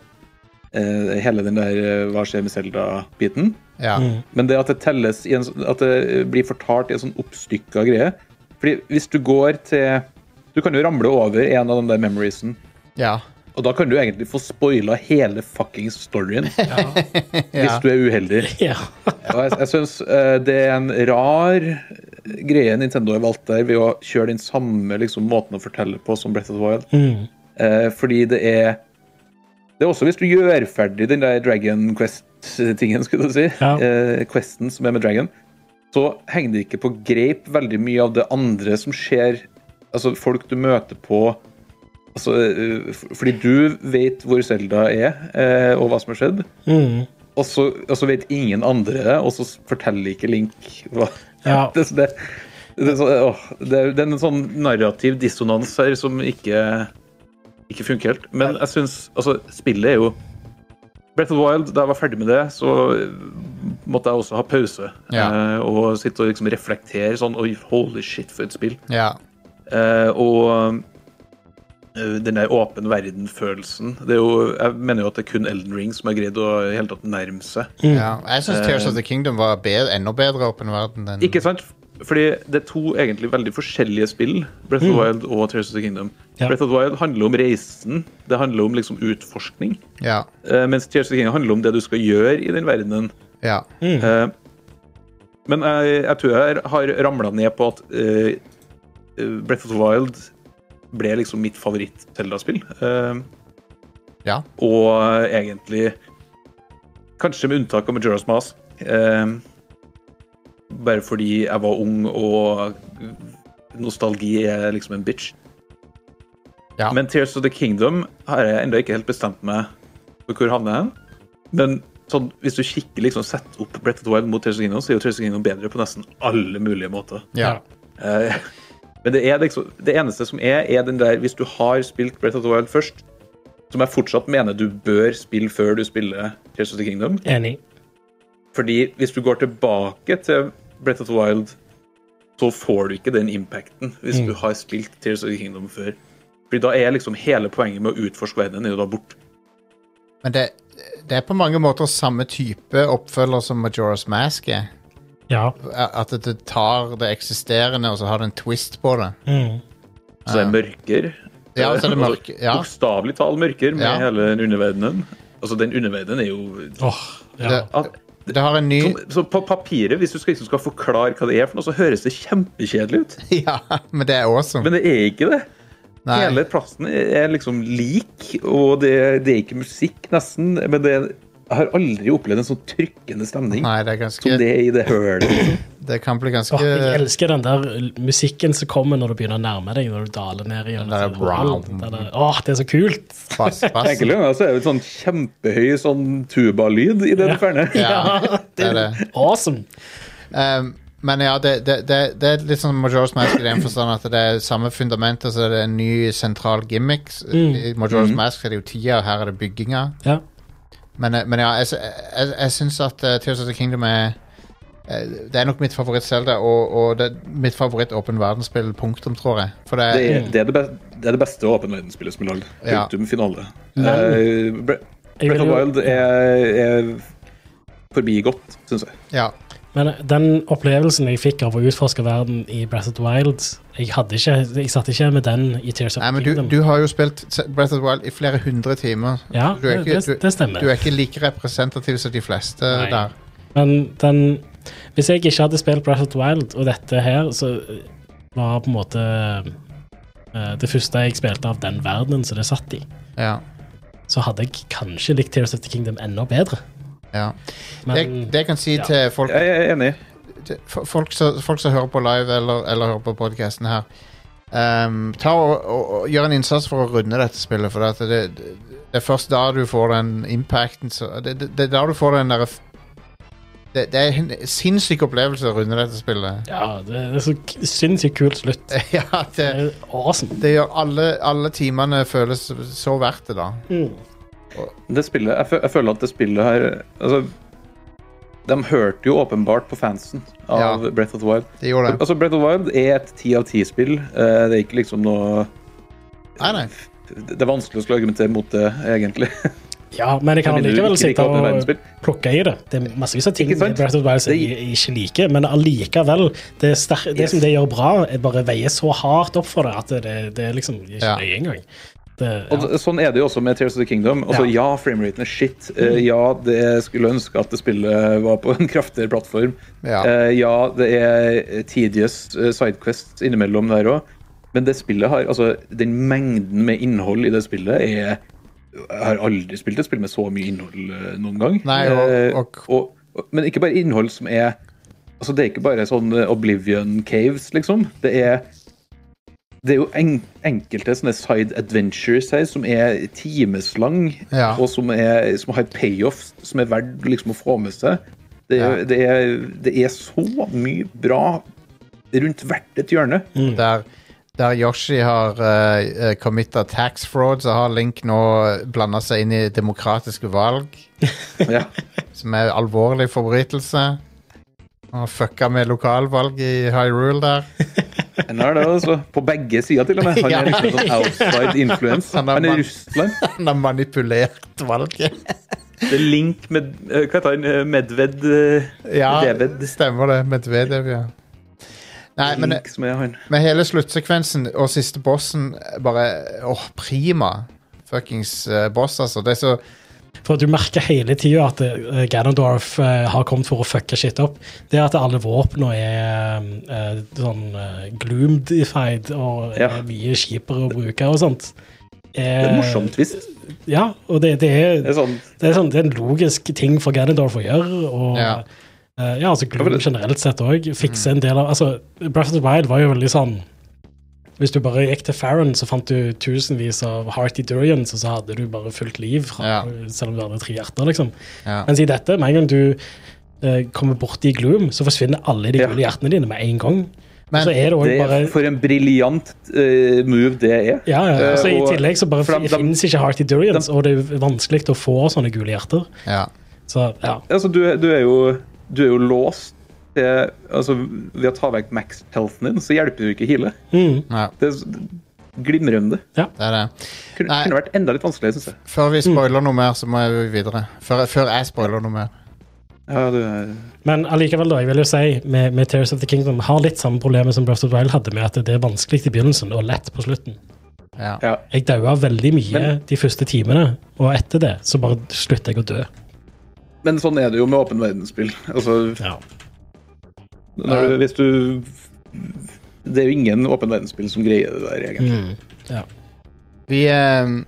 Speaker 5: eh, hele den der eh, hva skjer med Selda-biten.
Speaker 1: Ja.
Speaker 4: Mm.
Speaker 5: Men det at det telles i en, sånn- At det blir fortalt i en sånn oppstykka greie Fordi hvis du går til Du kan jo ramle over en av de der memoriesen,
Speaker 1: ja.
Speaker 5: og da kan du egentlig få spoila hele fuckings storyen hvis du er uheldig.
Speaker 4: Ja.
Speaker 5: Og jeg, jeg syns eh, det er en rar greie Nintendo har valgt der, ved å kjøre den samme liksom, måten å fortelle på som Breath of the Wild.
Speaker 4: Mm.
Speaker 5: Eh, fordi det er Det er også hvis du gjør ferdig den der Dragon Quest-tingen, skulle du si,
Speaker 4: Ja.
Speaker 5: eh, questen som er med Dragon, så henger det ikke på greip veldig mye av det andre som skjer. Altså folk du møter på Altså, eh, f- fordi du vet hvor Selda er, eh, og hva som har skjedd.
Speaker 4: Mm.
Speaker 5: Og så, og så vet ingen andre, og så forteller ikke Link hva
Speaker 4: Ja.
Speaker 5: det, det, det, er så- åh, det, er- det er en sånn narrativ dissonans her som ikke, ikke funker helt. Men jeg syns Altså, spillet er jo Breath of the Wild, da jeg var ferdig med det, så måtte jeg også ha pause.
Speaker 1: Ja.
Speaker 5: eh, Og sitte og liksom reflektere sånn Oi, holy shit, for et spill.
Speaker 1: ja.
Speaker 5: Eh, og eh, den der åpen verden-følelsen det er jo, Jeg mener jo at det er kun Elden Ring som har greid å i hele tatt nærme seg.
Speaker 1: ja. Jeg syns Tears of the Kingdom var bedre, enda bedre åpen verden enn
Speaker 5: Eh. Ikke sant? Fordi det er to egentlig veldig forskjellige spill, Breath of the Wild og Tears of the Kingdom.
Speaker 4: Ja.
Speaker 5: Breath of the Wild handler om reisen, det handler om liksom utforskning.
Speaker 1: Ja.
Speaker 5: eh, mens Tears of the Kingdom handler om det du skal gjøre i den verdenen.
Speaker 1: ja.
Speaker 5: Eh, men jeg, jeg tror jeg har ramla ned på at eh, eh, Breath of the Wild ble liksom mitt favoritt-Telda-spill. Eh,
Speaker 1: Ja.
Speaker 5: Og egentlig Kanskje med unntak av Majora's Mask. Eh, bare fordi jeg var ung, og nostalgi er liksom en bitch.
Speaker 1: Ja.
Speaker 5: Men Tears of the Kingdom har jeg ennå ikke helt bestemt meg for hvor havner jeg hen. Men sånn, hvis du kikker liksom setter opp Brett of the Wild mot Tears of the Kingdom, så er jo Tears of the Kingdom bedre på nesten alle mulige måter.
Speaker 1: Ja.
Speaker 5: Eh, Men det, er liksom, det eneste som er, er den der Hvis du har spilt Breath of the Wild først, som jeg fortsatt mener du bør spille før du spiller Tears of the Kingdom
Speaker 4: Enig.
Speaker 5: Fordi hvis du går tilbake til Breath of the Wild, så får du ikke den impacten hvis
Speaker 1: Mm.
Speaker 5: du har spilt Tears of the Kingdom før. Fordi da er liksom hele poenget med å utforske verdenen er jo da borte.
Speaker 1: Men det, det er på mange måter samme type oppfølger som Majora's Mask er.
Speaker 4: Ja.
Speaker 1: At det tar det eksisterende, og så har det en twist på det.
Speaker 4: Mm.
Speaker 5: Så det er mørker.
Speaker 1: Ja, så er det
Speaker 5: Altså,
Speaker 1: mørk, ja.
Speaker 5: Bokstavelig talt mørker med
Speaker 1: Ja.
Speaker 5: hele den underverdenen. Altså, den underverdenen er jo
Speaker 4: Åh, ja.
Speaker 1: Det, det har en ny
Speaker 5: Som, så på papiret, hvis du skal, liksom skal forklare hva det er for noe, så høres det kjempekjedelig ut.
Speaker 1: Ja, men det er awesome.
Speaker 5: Men det er ikke det.
Speaker 1: Nei.
Speaker 5: Hele plassen er liksom lik, og det, det er ikke musikk, nesten. Men det, jeg har aldri opplevd en sånn trykkende stemning
Speaker 1: Nei, det er
Speaker 5: som
Speaker 1: ganske
Speaker 5: det er i det hølet. liksom.
Speaker 1: Det kan bli ganske
Speaker 4: Åh, jeg elsker den der musikken som kommer når du begynner å nærme deg. Når du daler ned sånn igjen.
Speaker 1: der brown.
Speaker 4: Åh, det er så kult!
Speaker 1: bass, bass.
Speaker 5: Enkelte ganger så er det en sånn kjempehøy sånn tubalyd i den ferne.
Speaker 1: Ja, det
Speaker 4: det
Speaker 1: er
Speaker 4: er
Speaker 1: det.
Speaker 4: awesome!
Speaker 1: Um, men ja, det, det, det, det er litt sånn Majora's Mask i den forstand at det er samme fundament, og så er det en ny sentral gimmick.
Speaker 4: Mm.
Speaker 1: I Majora's Mask er det jo tida, og her er det bygginga.
Speaker 4: Ja.
Speaker 1: Men, eh, men ja, jeg, jeg, jeg syns at eh, Tears of the Kingdom er eh, Det er nok mitt favoritt Zelda, og, og det, er mitt favoritt åpen verdensspill, punktum, tror jeg. For det,
Speaker 5: Det er det, er det, beste, det, er det beste åpen verdensspillet som er lagd.
Speaker 1: Ja.
Speaker 5: Punktum finale.
Speaker 4: Men-
Speaker 5: Eh, Bre-
Speaker 4: Jeg
Speaker 5: Breath
Speaker 4: vil
Speaker 5: of
Speaker 4: jo-
Speaker 5: Wild er, er forbigått, syns jeg.
Speaker 1: ja,
Speaker 4: Men eh, den opplevelsen jeg fikk av å utforske verden i Breath of the Wild Jeg, hadde ikke, jeg satt ikke med den i Tears of
Speaker 1: Nei,
Speaker 4: the
Speaker 1: men du,
Speaker 4: Kingdom.
Speaker 1: du har jo spilt Se- Breath of the Wild i flere hundre timer.
Speaker 4: ja,
Speaker 1: Du er ikke, du,
Speaker 4: det, det stemmer.
Speaker 1: du er ikke like representativ som de fleste
Speaker 4: Nei.
Speaker 1: der.
Speaker 4: Men den Hvis jeg ikke hadde spilt Breath of the Wild og dette her, så var på en måte eh, det første jeg spilte av den verdenen som det satt i,
Speaker 1: Ja,
Speaker 4: så hadde jeg kanskje likt Tears of the Kingdom enda bedre.
Speaker 1: ja.
Speaker 4: Men
Speaker 1: det, det jeg kan si
Speaker 4: ja.
Speaker 1: til folk
Speaker 5: Jeg er enig.
Speaker 1: til- for- folk, som- folk som hører på live eller, eller hører på podkasten her ehm, Ta og, og, og Gjør en innsats for å runde dette spillet, for at det, det, det er først da du får den impacten så, det, det, det er da du får den derre f- Det, det er en sinnssyk opplevelse å runde dette spillet.
Speaker 4: Ja, det, det er så k- sinnssykt kul slutt.
Speaker 1: ja, det,
Speaker 4: Det er awesome.
Speaker 1: det gjør alle, alle timene føles så verdt det, da.
Speaker 4: Mm.
Speaker 5: Det spillet, jeg, fø- jeg føler at det spillet her Altså De hørte jo åpenbart på fansen av
Speaker 1: Ja.
Speaker 5: Breath of the Wild.
Speaker 1: Det gjorde det.
Speaker 5: Altså, Breath of the Wild er et ti av ti-spill. Det er ikke liksom noe
Speaker 1: Nei, nei.
Speaker 5: Det er vanskelig å skulle argumentere mot det, egentlig.
Speaker 4: Ja, men jeg kan
Speaker 5: Men du liker
Speaker 4: allikevel
Speaker 5: ikke
Speaker 4: sitte
Speaker 5: åpne
Speaker 4: og
Speaker 5: verdensspill?
Speaker 4: plukke i det. Det er massevis av ting i
Speaker 5: Ikke sant?
Speaker 4: Breath of the Wild som
Speaker 5: Det-
Speaker 4: jeg ikke liker, men allikevel Det, er sterk, det
Speaker 5: Yes.
Speaker 4: som det gjør bra, er bare veier så hardt opp for det at det, det er liksom ikke
Speaker 1: Ja.
Speaker 4: nøye engang. Det,
Speaker 5: Og
Speaker 4: ja.
Speaker 5: d- Sånn er det jo også med Tears of the Kingdom. Altså, Ja, frameraten er shit. Eh, Ja, det skulle ønske at det spillet var på en kraftigere plattform.
Speaker 1: Ja.
Speaker 5: Eh, ja det er tedious eh, sidequests innimellom der òg. Men det spillet har, altså, den mengden med innhold i det spillet er Jeg har aldri spilt et spill med så mye innhold eh, noen gang.
Speaker 1: Nei, og-
Speaker 5: Eh,
Speaker 1: og-
Speaker 5: og, og, men ikke bare innhold som er Altså, det er ikke bare sånn eh, Oblivion Caves, liksom. Det er det er jo en, enkelte sånne side adventures her som er timeslang,
Speaker 1: Ja.
Speaker 5: og som, er, som har payoff som er verdt liksom å få med seg. Det, er-
Speaker 1: Ja.
Speaker 5: det, er, det er så mye bra rundt hvert et hjørne.
Speaker 1: Der, der Yoshi har uh, committa tax fraud, så har Link nå blanda seg inn i demokratiske valg, Mm.
Speaker 5: Ja.
Speaker 1: som er alvorlig forbrytelse. Han har fucka med lokalvalg i Hyrule der.
Speaker 5: Han er det altså, På begge sider, til og med. Han
Speaker 1: Ja.
Speaker 5: er liksom en sånn outside influence.
Speaker 1: Han er
Speaker 5: Han er
Speaker 1: mann.
Speaker 5: i Russland.
Speaker 1: Han har manipulert valget.
Speaker 5: Det er link med eh, Hva heter han? Eh, Medved? eh,
Speaker 1: Ja,
Speaker 5: Medved?
Speaker 1: stemmer det. Medvedev, ja. Nei, men, Eh,
Speaker 5: Link, som er han.
Speaker 1: men hele sluttsekvensen og siste bossen eh, bare Åh, prima. Fuckings eh, boss, altså. Det er så
Speaker 4: For du merker hele tida at eh, Ganondorf eh, har kommet for å fucke shit opp. Det at alle våpnene er eh, sånn eh, gloomedified og
Speaker 5: Ja.
Speaker 4: er mye kjipere å bruke og sånt. Eh,
Speaker 5: Det er morsomt, visst.
Speaker 4: Ja, og det, det,
Speaker 5: Det
Speaker 4: er,
Speaker 5: er sånn
Speaker 4: det, er sånn, det er en logisk ting for Ganondorf å gjøre. og...
Speaker 1: Ja. Mm.
Speaker 4: eh, ja, altså Gloom generelt sett òg. Fikse en del av altså, Breath of the Wild var jo veldig sånn Hvis du bare gikk til Farron, så fant du tusenvis av Hearty Durians, og så hadde du bare fullt liv, fra,
Speaker 1: Ja.
Speaker 4: selv om du hadde tre hjerter, liksom.
Speaker 1: ja.
Speaker 4: Mens i dette, med en gang du eh, kommer borti Gloom, så forsvinner alle de
Speaker 5: Ja.
Speaker 4: gule hjertene dine med en gang.
Speaker 1: Men-
Speaker 4: og så er det
Speaker 5: Det
Speaker 4: også bare
Speaker 5: er for en briljant eh, move det er.
Speaker 4: ja, ja.
Speaker 5: Eh,
Speaker 4: Så I
Speaker 5: og-
Speaker 4: tillegg så bare
Speaker 5: for de- de-
Speaker 4: finnes ikke Hearty Durians, og det er vanskelig å få sånne gule hjerter.
Speaker 1: ja.
Speaker 4: Så ja.
Speaker 5: Altså, du, er- du, er jo, du er jo låst til altså, Ved å ta vekk max-healthen din, så hjelper du ikke heale.
Speaker 4: Mm.
Speaker 1: Nei,
Speaker 5: Det er s- glimrende.
Speaker 1: det er det.
Speaker 5: Kunne,
Speaker 1: Nei.
Speaker 5: kunne vært enda litt vanskeligere, syns jeg.
Speaker 1: Før vi spoiler noe mer, så må jeg videre. Før, før jeg spoiler noe mer.
Speaker 5: Ja, du, er-
Speaker 4: Men allikevel, da, jeg vil jo si med, med Tears of the Kingdom har litt samme problemet som Breath of the Wild hadde, med at det er vanskelig i begynnelsen og lett på slutten.
Speaker 1: Ja.
Speaker 5: ja.
Speaker 4: Jeg daua veldig mye de første timene, og etter det så bare slutter jeg å dø.
Speaker 5: Men sånn er det jo med åpen verdensspill. Altså,
Speaker 4: Ja.
Speaker 5: når du, hvis du Det er jo ingen åpen verdensspill som greier det der, egentlig.
Speaker 4: ja.
Speaker 1: Vi ehm,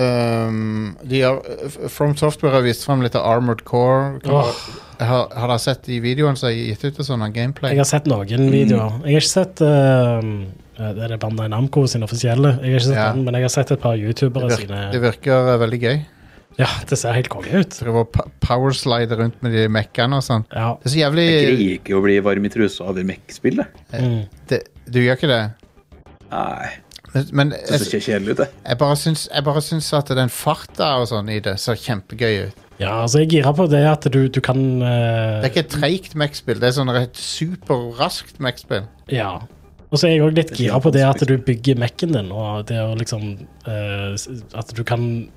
Speaker 1: ehm, de har, F- From Software har vist frem litt av Armored Core. Kan-
Speaker 4: Åh.
Speaker 1: Har, har dere sett de videoene som er gitt ut av sånn av gameplay?
Speaker 4: Jeg har sett
Speaker 1: Mm.
Speaker 4: noen videoer. Jeg har ikke sett eh, Det er Bandai Namco sin offisielle. Jeg har ikke sett
Speaker 1: Ja.
Speaker 4: den, men jeg har sett et par
Speaker 1: Det,
Speaker 4: youtubere
Speaker 1: virker,
Speaker 4: sine.
Speaker 1: det virker eh, veldig gøy.
Speaker 4: Ja, det ser helt konge ut.
Speaker 1: Prøve å pa- powerslide rundt med de mekkene og sånn.
Speaker 4: Ja.
Speaker 1: Det er så jævlig eh,
Speaker 5: Jeg greier ikke å bli varm i trusa over Mech-spill, jeg.
Speaker 4: Mm.
Speaker 1: det, Du gjør ikke det?
Speaker 5: Nei.
Speaker 1: Men, men
Speaker 5: Det ser
Speaker 1: jeg,
Speaker 5: ikke kjedelig ut, det.
Speaker 1: jeg, bare syns, jeg bare syns at den farta og sånn i det ser kjempegøy ut.
Speaker 4: ja, altså jeg er gira på det at du, du kan eh,
Speaker 1: Det er ikke et treigt Mech-spill, det er sånn et superraskt Mech-spill.
Speaker 4: Ja. Og så er jeg òg litt gira
Speaker 5: litt
Speaker 4: på det at du
Speaker 5: vanskelig.
Speaker 4: bygger Mac-en din, og det å liksom eh, s- At du kan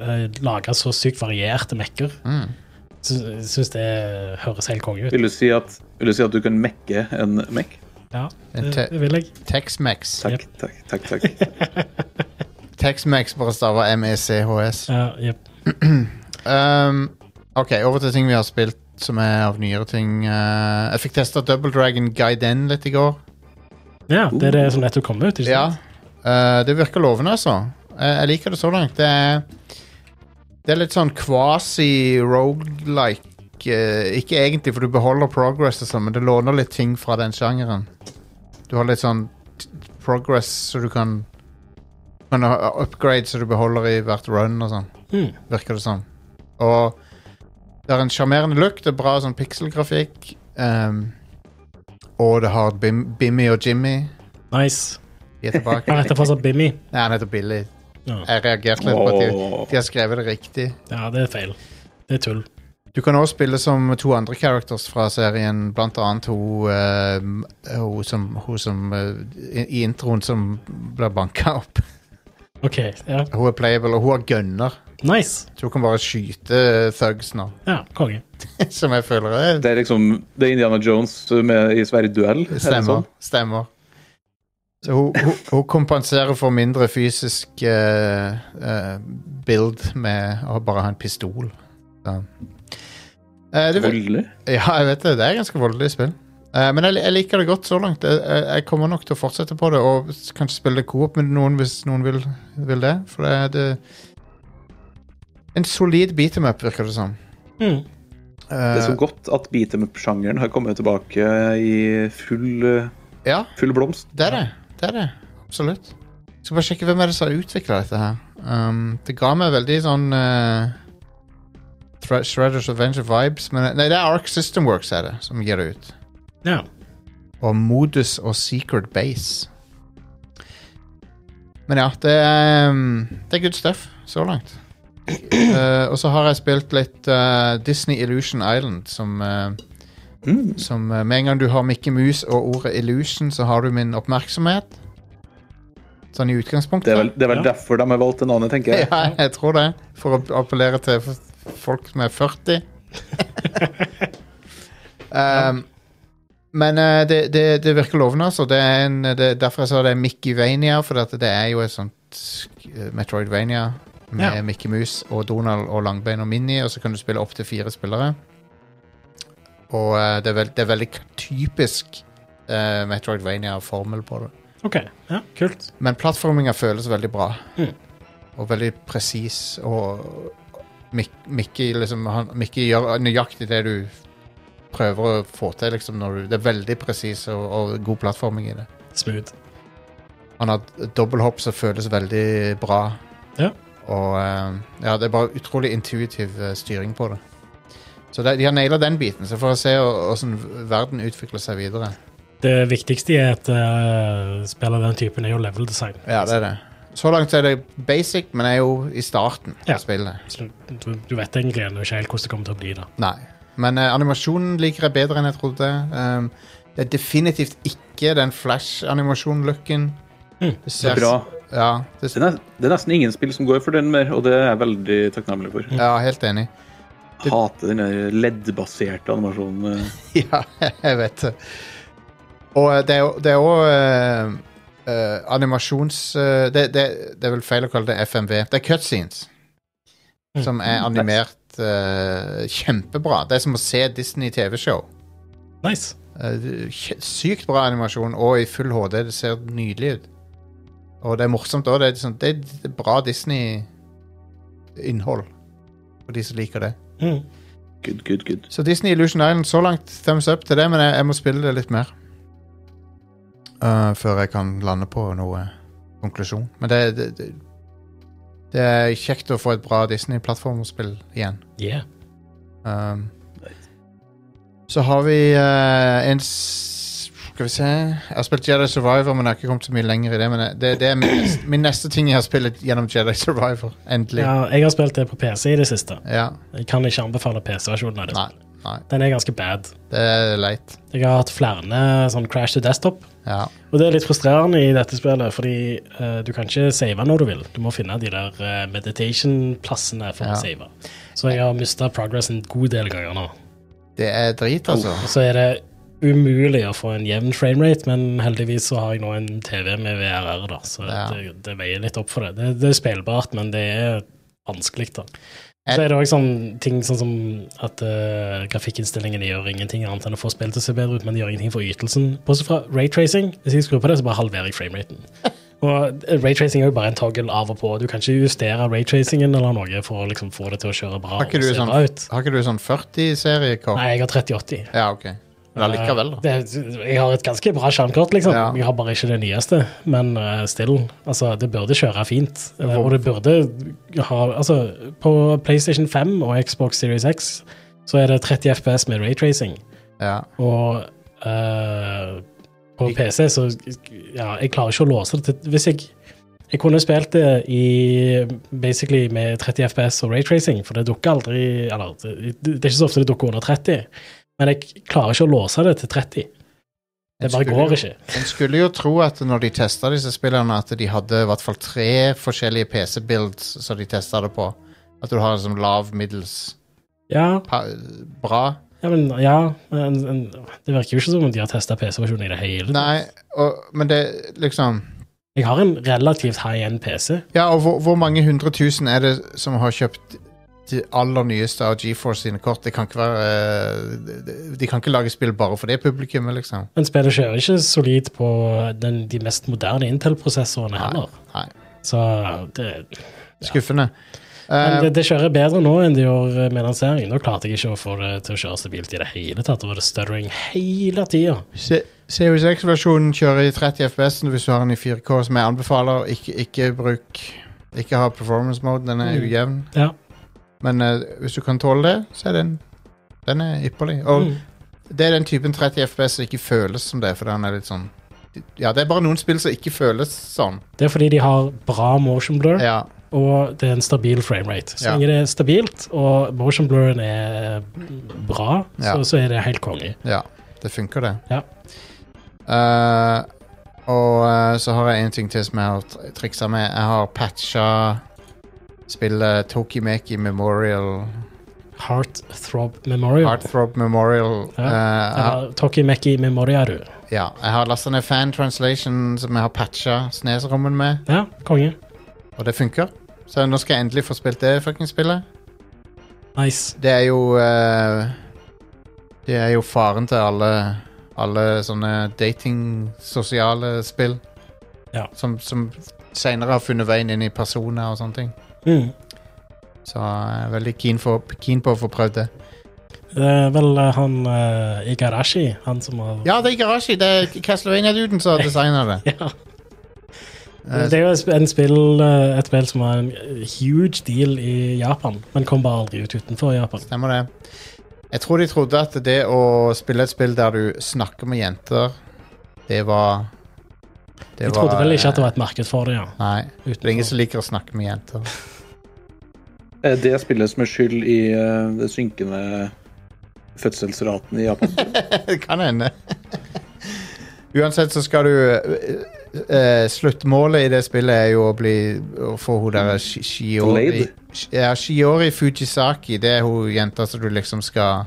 Speaker 4: eh, lage så sykt varierte Mac-er.
Speaker 1: Mm,
Speaker 4: Jeg Syns det høres helt konge ut.
Speaker 5: Vil du si at, vil du, si at du kan mekke en Mech?
Speaker 4: Ja,
Speaker 1: En
Speaker 4: det,
Speaker 1: te-
Speaker 4: det vil jeg.
Speaker 1: Tex-Mex.
Speaker 5: Takk, takk, takk. takk.
Speaker 1: Tex-Mex bare staver E MECHS.
Speaker 4: Ja, jep.
Speaker 1: Um, ok, over til ting vi har spilt som er av nyere ting. Uh, jeg fikk testa Double Dragon Gaiden litt i går.
Speaker 4: ja, det er det som nettopp kom ut. ikke sant?
Speaker 1: Uh, det virker lovende, altså. Jeg, jeg liker det så langt. Det er, det er litt sånn quasi-rogelike. eh, ikke egentlig, for du beholder progress og sånn, men det låner litt ting fra den sjangeren. Du har litt sånn t- progress så du kan Kan ha upgrade så du beholder i hvert run og sånn.
Speaker 4: Mm.
Speaker 1: Virker det som. Og Det er en sjarmerende look, det er bra sånn pikselgrafikk. ehm, og det har Bim, Bimmy og Jimmy.
Speaker 4: Nice.
Speaker 1: De er tilbake.
Speaker 4: Han heter fortsatt Bimmy.
Speaker 1: Nei, han heter Billy.
Speaker 4: Ja.
Speaker 1: Jeg reagerte litt på at de,
Speaker 5: Åh.
Speaker 1: de har skrevet det riktig.
Speaker 4: ja, det er feil. Det er tull.
Speaker 1: Du kan også spille som to andre characters fra serien, blant annet hun, eh, hun som, hun som eh, i- i introen som blir banka opp.
Speaker 4: OK. Ja.
Speaker 1: Hun er playable, og hun har gunner.
Speaker 4: Nice.
Speaker 1: Så hun kan bare skyte eh, thugs nå,
Speaker 4: Ja, konge.
Speaker 1: som jeg føler er
Speaker 5: Det er liksom det er Indiana Jones med, i svær duell. er det
Speaker 1: Stemmer.
Speaker 5: sånn?
Speaker 1: stemmer. Så hun, hun, hun kompenserer for mindre fysisk eh, eh, build med å bare ha en pistol. Så. Eh, det,
Speaker 5: Voldelig.
Speaker 1: Ja, jeg vet det. Det er ganske voldelig spill. Eh, men jeg, jeg liker det godt så langt. Jeg, jeg, jeg kommer nok til å fortsette på det og s- kanskje spille coop med noen hvis noen vil, vil det. For det er det En solid beat em up, virker det som.
Speaker 4: Mm.
Speaker 1: Eh,
Speaker 5: Det er så godt at beat em up-sjangeren har kommet tilbake i full, eh,
Speaker 1: ja,
Speaker 5: full blomst.
Speaker 1: det er det. Det er det. Absolutt. Jeg skal bare sjekke hvem er det som har utvikla dette her. Um, det ga meg veldig sånn eh, Thre- Shredders Adventure-vibes. Men nei, det er Ark System Works er det, som gir det ut.
Speaker 4: Ja.
Speaker 1: og Modus og Secret Base. Men ja, det er, um, det er good stuff så langt. Eh, og så har jeg spilt litt eh, Disney Illusion Island, som, eh,
Speaker 5: Mm.
Speaker 1: som eh, Med en gang du har Mickey Mouse og ordet Illusion, så har du min oppmerksomhet. Sånn i utgangspunktet.
Speaker 5: Det er vel, det er vel
Speaker 4: Ja.
Speaker 5: derfor de har valgt en annen, tenker jeg.
Speaker 1: Ja, jeg tror det. For å appellere til f- folk som er 40. um, men eh, det, det, det virker lovende, altså. Det er en, det, derfor jeg sa det er Mickeyvania, for at det er jo et sånt eh, Metroidvania med
Speaker 4: Ja.
Speaker 1: Mickey Mouse og Donald og Langbein og Minnie, og så kan du spille opp til fire spillere. Og eh, det, er veld, det er veldig typisk eh, Metroidvania-formel på det.
Speaker 4: OK. Ja, kult.
Speaker 1: Men plattforminga føles veldig bra.
Speaker 4: Mm.
Speaker 1: Og veldig presis. Og Mik- Mickey, liksom, han, Mickey gjør nøyaktig det du prøver å få til. Liksom, når du, det er veldig presis og, og god plattforming i det.
Speaker 4: Smooth.
Speaker 1: Han har dobbelthopp som føles veldig bra.
Speaker 4: Ja.
Speaker 1: Og eh, ja, det er bare utrolig intuitiv eh, styring på det. Så det, de har naila den biten, så får vi se åssen verden utvikler seg videre.
Speaker 4: Det viktigste i et eh, spill av den typen er jo level design.
Speaker 1: Ja, det er det. Så langt er det basic, men er jo i starten
Speaker 4: Ja.
Speaker 1: av spillet.
Speaker 4: Så du, du vet egentlig ennå ikke helt hvordan det kommer til å bli. da.
Speaker 1: Nei. Men eh, animasjonen liker jeg bedre enn jeg trodde. Um, det er definitivt ikke den flash-animasjon-looken. Det
Speaker 5: Det
Speaker 1: ser
Speaker 5: er bra.
Speaker 1: Ja, det,
Speaker 5: Det er, det er nesten ingen spill som går for den mer, og det er jeg veldig takknemlig for.
Speaker 1: ja, helt enig.
Speaker 5: Hater den der leddbaserte animasjonen. eh.
Speaker 1: ja, jeg vet det. Og eh, det er jo- det er òg animasjons... eh, det, det, det er vel feil å kalle det FMV. Det er cutscenes.
Speaker 4: Mm.
Speaker 1: Som er animert eh, kjempebra. Det er som å se Disney TV-show.
Speaker 4: Nice.
Speaker 1: Eh, kje- Sykt bra animasjon, og i full HD. Det ser nydelig ut. Og det er morsomt òg. Det, er sånn, det er bra Disney-innhold for de som liker det.
Speaker 4: Mm.
Speaker 5: Good, good, good.
Speaker 1: Så Disney Illusion Island, så langt thumbs up til det, men jeg, jeg må spille det litt mer. Eh, før jeg kan lande på noe konklusjon. Men det, det, det, det er kjekt å få et bra Disney-plattformspill igjen.
Speaker 4: Yeah.
Speaker 1: Um, så har vi eh, en s- Skal vi se Jeg har spilt Jedi Survivor, men jeg har ikke kommet så mye lenger i det. Men jeg- det, det er min, nest- min neste ting jeg har spilt gjennom Jedi Survivor. Endelig. Ja.
Speaker 4: Ja, jeg har spilt det på PC i det siste. Jeg kan ikke anbefale PC-versjonen. av det.
Speaker 1: Nei. Nei.
Speaker 4: Den er ganske bad.
Speaker 1: Det er leit.
Speaker 4: Jeg har hatt flere sånn crash to desktop.
Speaker 1: Ja.
Speaker 4: Og det er litt frustrerende i dette spillet, fordi eh, du kan ikke save når du vil. Du må finne de der eh, meditation-plassene for
Speaker 1: Ja.
Speaker 4: å save. Så jeg har mista progress en god del ganger nå.
Speaker 1: Det er drit, altså.
Speaker 4: Og så er det umulig å få en jevn framerate, men heldigvis så har jeg nå en TV med VRR, da, så
Speaker 1: Ja.
Speaker 4: det, det veier litt opp for det. Det, det er spillbart, men det er vanskelig, da.
Speaker 1: Jeg-
Speaker 4: Så er det òg sånn ting sånn som at eh, grafikkinnstillingene gjør ingenting annet enn å få spillet til å se bedre ut, men de gjør ingenting for ytelsen. Bortsett fra raytracing. Hvis jeg skrur på det, så bare halverer jeg frameraten. Og eh, raytracing er jo bare en toggle av og på. Du kan ikke justere raytracingen eller noe for å liksom få det til å kjøre bra.
Speaker 1: Har ikke
Speaker 4: og
Speaker 1: du
Speaker 4: se
Speaker 1: sånn,
Speaker 4: bra ut.
Speaker 1: har ikke du sånn 40-seriekort?
Speaker 4: Nei, jeg har 3080.
Speaker 1: Ja, OK. Men allikevel, da.
Speaker 4: Eh, Det, jeg har et ganske bra skjermkort, liksom.
Speaker 1: Ja.
Speaker 4: Jeg har bare ikke det nyeste, men eh, still. Altså, det burde kjøre fint. Eh, og det burde ha Altså, på PlayStation 5 og Xbox Series X så er det 30 FPS med raytracing.
Speaker 1: Ja.
Speaker 4: Og eh, på PC så Ja, jeg klarer ikke å låse det til Hvis jeg Jeg kunne spilt det i basically med 30 FPS og raytracing, for det dukker aldri Eller det, det er ikke så ofte det dukker under 30, men jeg klarer ikke å låse det til 30. Det
Speaker 1: En
Speaker 4: bare
Speaker 1: skulle
Speaker 4: går
Speaker 1: jo-
Speaker 4: ikke.
Speaker 1: En skulle jo tro at når de testa disse spillene, at de hadde i hvert fall tre forskjellige PC-builds som de testa det på. At du har en sånn lav, middels,
Speaker 4: Ja,
Speaker 1: pa bra.
Speaker 4: ja men ja men, men, Det virker jo ikke som om de har testa PC-versjonen i det hele tatt.
Speaker 1: Nei, og, men det liksom
Speaker 4: Jeg har en relativt high-end PC.
Speaker 1: Ja, og hvor, hvor mange hundre tusen er det som har kjøpt de aller nyeste av GeForce sine kort? Det kan ikke være eh, de- De kan ikke lage spill bare for det publikummet, liksom.
Speaker 4: Men spillet kjører ikke solid på den, de mest moderne Intel-prosessorene heller.
Speaker 1: Nei.
Speaker 4: Så det,
Speaker 1: Skuffende.
Speaker 4: Men
Speaker 1: Eh,
Speaker 4: det, det kjører bedre nå enn det gjorde med lanseringen. Nå klarte jeg ikke å få det til å kjøre stabilt i det hele tatt. Da var det stuttering hele tida.
Speaker 1: Se- Series X-versjonen kjører i 30 FPS hvis du har den i 4K, som jeg anbefaler. Ikke, ikke bruk Ikke ha performance mode, den er
Speaker 4: Mm.
Speaker 1: ujevn.
Speaker 4: Ja.
Speaker 1: Men eh, hvis du kan tåle det, så er den Den er ypperlig. Og
Speaker 4: Mm.
Speaker 1: det er den typen 30 FPS som ikke føles som det, for den er litt sånn Ja, det er bare noen spill som ikke føles sånn.
Speaker 4: Det er fordi de har bra motion blur,
Speaker 1: Ja.
Speaker 4: og det er en stabil framerate. Så
Speaker 1: Ja.
Speaker 4: lenge det er stabilt, og motion blurren er eh, bra,
Speaker 1: Ja.
Speaker 4: så, så er det helt konge.
Speaker 1: Ja, det funker det.
Speaker 4: Ja.
Speaker 1: Eh, og eh, så har jeg en ting til som jeg har tr- triksa med. Jeg har patcha spillet Tokimeki Memorial.
Speaker 4: Heartthrob Memorial.
Speaker 1: Heartthrob Memorial.
Speaker 4: Ja.
Speaker 1: Eh, jeg har-
Speaker 4: Eller Tokimeki Memoriaru.
Speaker 1: ja. Jeg har lasta ned fan translation som jeg har patcha Snes-rommen med,
Speaker 4: Ja, konge.
Speaker 1: og det funker. Så nå skal jeg endelig få spilt det fucking spillet.
Speaker 4: Nice.
Speaker 1: Det er jo eh, Det er jo faren til alle Alle sånne dating-sosiale spill.
Speaker 4: Ja.
Speaker 1: Som, som seinere har funnet veien inn i personer og sånne ting.
Speaker 4: Mm.
Speaker 1: Så jeg er veldig keen, for, keen på å få prøvd det.
Speaker 4: Det er vel eh, han eh, Igarashi, han som har
Speaker 1: Ja, det er Igarashi! Det er Castlevania-duden som har designa det.
Speaker 4: Ja. Det er jo et sp- en spill, eh, et spill som var en huge deal i Japan, men kom bare aldri ut utenfor Japan.
Speaker 1: Stemmer det. Jeg tror de trodde at det å spille et spill der du snakker med jenter, det var det eh,
Speaker 4: Jeg trodde vel ikke at det var et marked for det, ja.
Speaker 1: Nei. Det er ingen
Speaker 4: Utenfor.
Speaker 1: som liker å snakke med jenter.
Speaker 5: Eh, Det spilles med skyld i eh, den synkende fødselsraten i Japan.
Speaker 1: det kan hende. Uansett så skal du eh, eh, Sluttmålet i det spillet er jo å bli Å få hun derre Shi- Shiori
Speaker 5: Blade?
Speaker 1: Shi- Ja, Shiori Fujisaki. Det er hun jenta som du liksom skal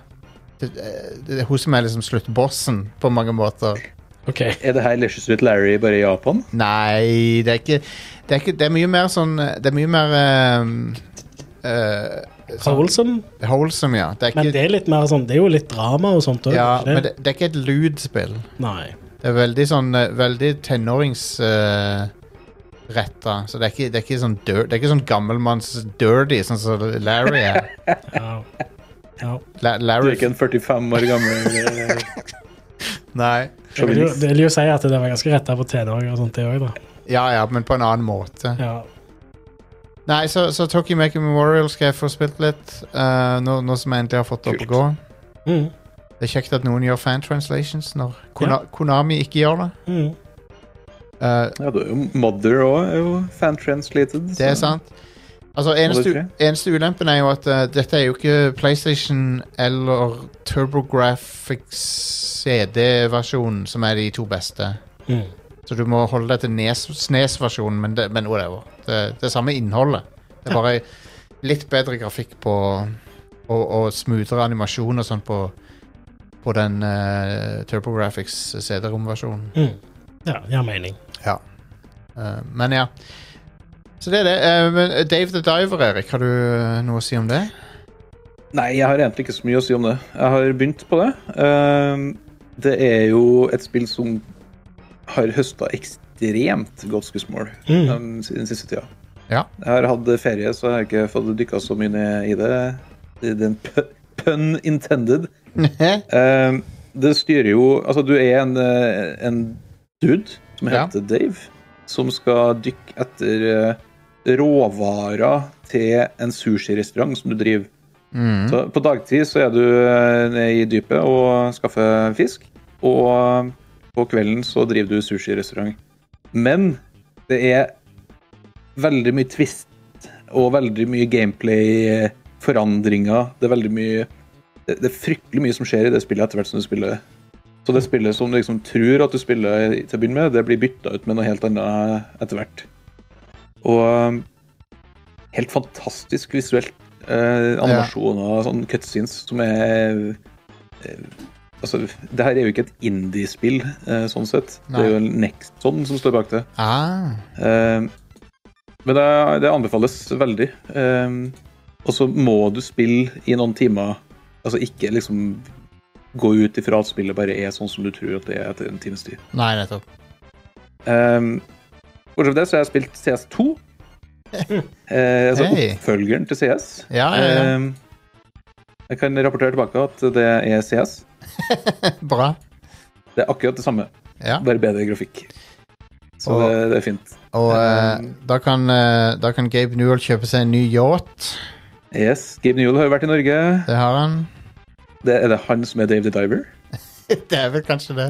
Speaker 1: det, det er hun som er liksom sluttbossen, på mange måter.
Speaker 4: Ok,
Speaker 5: Er det her Lushes with Larry bare i Japan?
Speaker 1: Nei, det er ikke Det er, ikke, det er mye mer sånn Det er mye mer ehm, eh,
Speaker 4: Wholesome,
Speaker 1: Wholesome, ja. Det er
Speaker 4: men
Speaker 1: ikke,
Speaker 4: det er litt mer sånn, det er jo litt drama og sånt òg.
Speaker 1: ja, men det, det er ikke et lydspill.
Speaker 4: Nei.
Speaker 1: Det er veldig sånn eh, Veldig tenåringsretta. så det er ikke, det er ikke sånn dir- Det er ikke sånn gammelmanns-dirty, sånn som Larry er.
Speaker 4: Ja. Ja.
Speaker 1: La,
Speaker 5: Du
Speaker 1: Larry
Speaker 5: er ikke en 45 år gammel eh,
Speaker 1: Nei.
Speaker 4: Jeg vil jo,
Speaker 5: sjåvinist.
Speaker 4: det vil jo si at det var ganske retta på tenåringer og sånt, det òg, da.
Speaker 1: Ja ja, men på en annen måte.
Speaker 4: Ja.
Speaker 1: Nei, så, så Tokyo Make Memorial skal jeg få spilt litt. eh, nå, nå som jeg endelig har fått det opp å gå.
Speaker 4: Mm.
Speaker 1: Det er kjekt at noen gjør fan translations når Kona Konami ikke gjør det.
Speaker 4: Mm.
Speaker 1: Eh,
Speaker 5: Ja, du er jo Mother òg, er jo fan-translated.
Speaker 1: det er sant. Altså, eneste,
Speaker 5: tre?
Speaker 1: eneste ulempen er jo at eh, dette er jo ikke PlayStation eller TurboGrafx CD-versjonen som er de to beste.
Speaker 4: Mm.
Speaker 1: Så du må holde deg til E NES SNES-versjonen, men, det- men whatever. Det, det er samme innholdet. Det er bare litt bedre grafikk på og, og smoothere animasjon og sånn på, på den uh, TurboGrafx CD-rom-versjonen.
Speaker 4: Mm. Ja, det har mening.
Speaker 1: Ja. Eh, men ja. Så det er det. Eh, men eh, Dave the Diver, Erik, har du eh, noe å si om det?
Speaker 5: Nei, jeg har egentlig ikke så mye å si om det. Jeg har begynt på det. Ehm, Det er jo et spill som har høsta ekstremt godt skussmål
Speaker 4: Mm.
Speaker 5: um, s- den siste tida.
Speaker 1: Ja.
Speaker 5: Jeg har hatt ferie, så jeg har ikke fått dykka så mye ned i det. Det er en pu- pun intended. Ehm, Det styrer jo Altså, du er en, eh, en dude som
Speaker 1: Ja.
Speaker 5: heter Dave, som skal dykke etter eh, råvarer til en sushirestaurant som du driver. Så på dagtid så er du eh, ned i dypet og skaffer fisk. Og eh, på kvelden så driver du sushirestaurant. Men det er veldig mye twist og veldig mye gameplay-forandringer. Det er veldig mye det, det er fryktelig mye som skjer i det spillet etter hvert som du spiller. Så det spillet som du liksom tror at du spiller til å begynne med, det blir bytta ut med noe helt annet etter hvert. Og um, helt fantastisk visuelt. Eh, animasjoner og sånn cutscenes som er eh, Altså, det her er jo ikke et indie-spill, eh, sånn sett. Det
Speaker 1: Nei.
Speaker 5: er jo en Nexon som står bak det.
Speaker 1: Ah,
Speaker 5: Eh, Men det, det anbefales veldig. Eh, Og så må du spille i noen timer. Altså ikke liksom gå ut ifra at spillet bare er sånn som du tror at det er etter en times tid.
Speaker 1: nei, nettopp.
Speaker 5: Um, Bortsett fra det så har jeg spilt CS2. Eh, altså
Speaker 1: Hey.
Speaker 5: oppfølgeren til CS.
Speaker 1: Ja, ja, ja.
Speaker 5: Um, jeg kan rapportere tilbake at det er CS.
Speaker 1: Bra.
Speaker 5: Det er akkurat det samme,
Speaker 1: Ja.
Speaker 5: bare bedre grafikk. Så
Speaker 1: Og-
Speaker 5: det, det er fint.
Speaker 1: Og eh, da, kan, eh, da kan Gabe Newell kjøpe seg en ny yacht.
Speaker 5: Yes, Gabe Newell har jo vært i Norge.
Speaker 1: Det har han.
Speaker 5: Det, er det han som er Dave the Diver?
Speaker 1: det er vel kanskje det.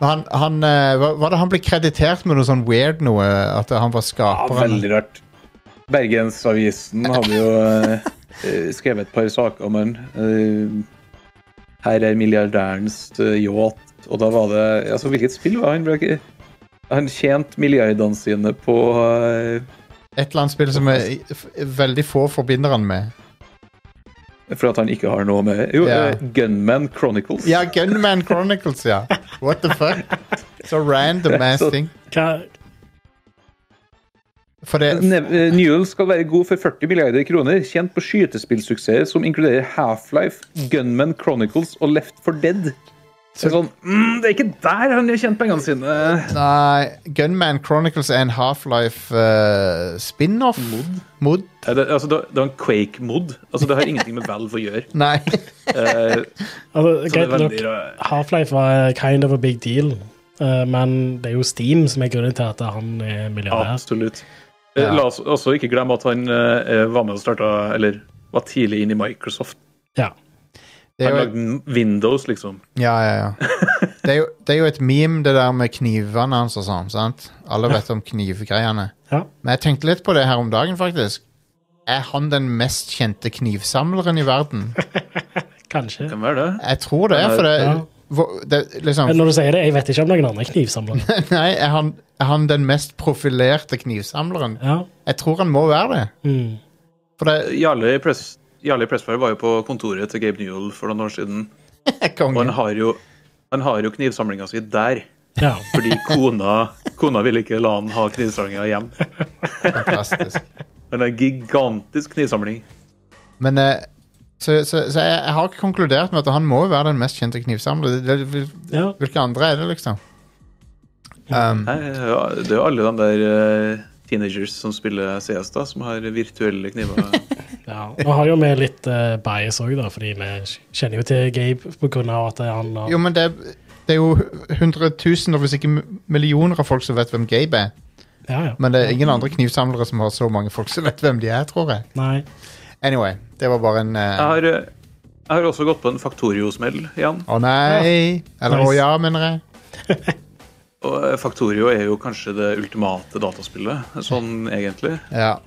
Speaker 1: Men han, han eh, hva- Var det han ble kreditert med noe sånn weird noe? At han var
Speaker 5: Ja,
Speaker 1: skaperen?
Speaker 5: veldig rart. Bergensavisen hadde jo eh, eh, skrevet et par saker om han. Eh, her er milliardærens eh, yacht, og da var det Altså, hvilket spill var han? Ble ikke- Han tjente milliardene sine på eh,
Speaker 1: Et eller annet spill som er, f- veldig få forbinder han med.
Speaker 5: For at han ikke har noe med Jo,
Speaker 1: Ja.
Speaker 5: eh, Gunman Chronicles.
Speaker 1: Ja, Gunman Chronicles, ja. What the fuck? Så random ass
Speaker 5: Så-
Speaker 1: ting.
Speaker 4: Hva,
Speaker 1: For det,
Speaker 5: Ne eh, Newell skal være god for 40 milliarder kroner, kjent på skytespillsuksesser som inkluderer Half-Life, Gunman Chronicles og Left 4 Dead. Så det er sånn, mm, det er ikke der han har tjent pengene sine.
Speaker 1: nei, Gunman Chronicles er en Half-Life eh, spin-off. Mod.
Speaker 5: Nei, Det, altså, det, det var en Quake-mod. Altså, det har ingenting med Valve å gjøre.
Speaker 1: Nei.
Speaker 5: Eh,
Speaker 4: altså,
Speaker 5: så det er
Speaker 4: greit nok,
Speaker 5: veldig rar-
Speaker 4: Half-Life var kind of a big deal, eh, men det er jo Steam som er grunnen til at han er milliardær.
Speaker 5: Absolutt. Eh, La oss også ikke glemme at han eh, var med og starta Eller var tidlig inn i Microsoft.
Speaker 4: Ja.
Speaker 1: Det er
Speaker 5: Han
Speaker 1: jo,
Speaker 5: lagde Windows, liksom.
Speaker 1: ja, ja, ja. Det er, jo, det er jo et meme, det der med knivene hans og sånn. sant? Alle vet om knivgreiene.
Speaker 4: ja.
Speaker 1: Men jeg tenkte litt på det her om dagen, faktisk. Er han den mest kjente knivsamleren i verden?
Speaker 4: Kanskje.
Speaker 5: Kan være det.
Speaker 1: Jeg tror det, for det,
Speaker 4: Ja.
Speaker 1: hvor- det liksom,
Speaker 4: Men når du sier det, jeg vet ikke om noen andre knivsamlere.
Speaker 1: Nei, er han, er han den mest profilerte knivsamleren?
Speaker 4: Ja.
Speaker 1: Jeg tror han må være det.
Speaker 4: Mm.
Speaker 1: For det
Speaker 5: Jarle Press- Jarle Pressfire var jo på kontoret til Gabe Newell for noen år siden.
Speaker 1: er
Speaker 5: Og han
Speaker 1: kongen.
Speaker 5: har jo, han har jo knivsamlinga si der.
Speaker 4: ja.
Speaker 5: Fordi kona, kona ville ikke la han ha knivsamlinga hjem.
Speaker 1: Fantastisk.
Speaker 5: Han har en gigantisk knivsamling.
Speaker 1: Men eh, så, så, så jeg, jeg har ikke konkludert med at han må være den mest kjente knivsamleren. Det- det- hvil-
Speaker 4: ja.
Speaker 1: Hvilke andre er det, liksom? Um,
Speaker 5: Nei, ja, Det er jo alle de der eh, teenagers som spiller CS, da, som har virtuelle kniver.
Speaker 4: Ja. Nå har jo vi litt eh, bias òg, da, fordi vi kjenner jo til Gabe på grunn av at han har
Speaker 1: jo, men det, det er jo hundretusener, hvis ikke millioner av folk som vet hvem Gabe er.
Speaker 4: ja, ja.
Speaker 1: Men det er ingen andre knivsamlere som har så mange folk som vet hvem de er, tror jeg.
Speaker 4: Nei.
Speaker 1: Anyway, det var bare en eh,
Speaker 5: Jeg har, eh, jeg har også gått på en Factorio-smell igjen.
Speaker 1: Å nei! Eller å
Speaker 4: Nice.
Speaker 1: ja, mener jeg.
Speaker 5: Og eh, Factorio er jo kanskje det ultimate dataspillet, sånn egentlig.
Speaker 1: Ja.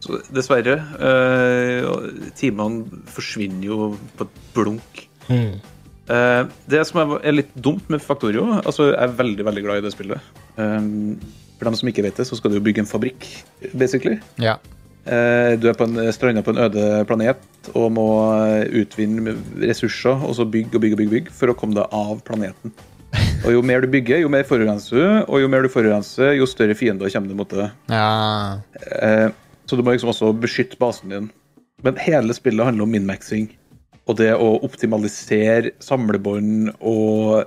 Speaker 5: Så dessverre. eh, og timene forsvinner jo på et blunk.
Speaker 4: Mm.
Speaker 5: Eh, det som er er litt dumt med Factorio altså Jeg er veldig veldig glad i det spillet. Um, for dem som ikke vet det, så skal du jo bygge en fabrikk, basically.
Speaker 1: ja.
Speaker 5: Eh, Du er på en stranda på en øde planet og må eh, utvinne ressurser og så bygge og bygge og bygge, bygge for å komme deg av planeten. Og Jo mer du bygger, jo mer forurenser du, og jo mer du forurenser, jo større fiender kommer du mot deg.
Speaker 1: ja.
Speaker 5: Eh, Så du må liksom også beskytte basen din. Men hele spillet handler om minmaxing. Og det å optimalisere samlebånd og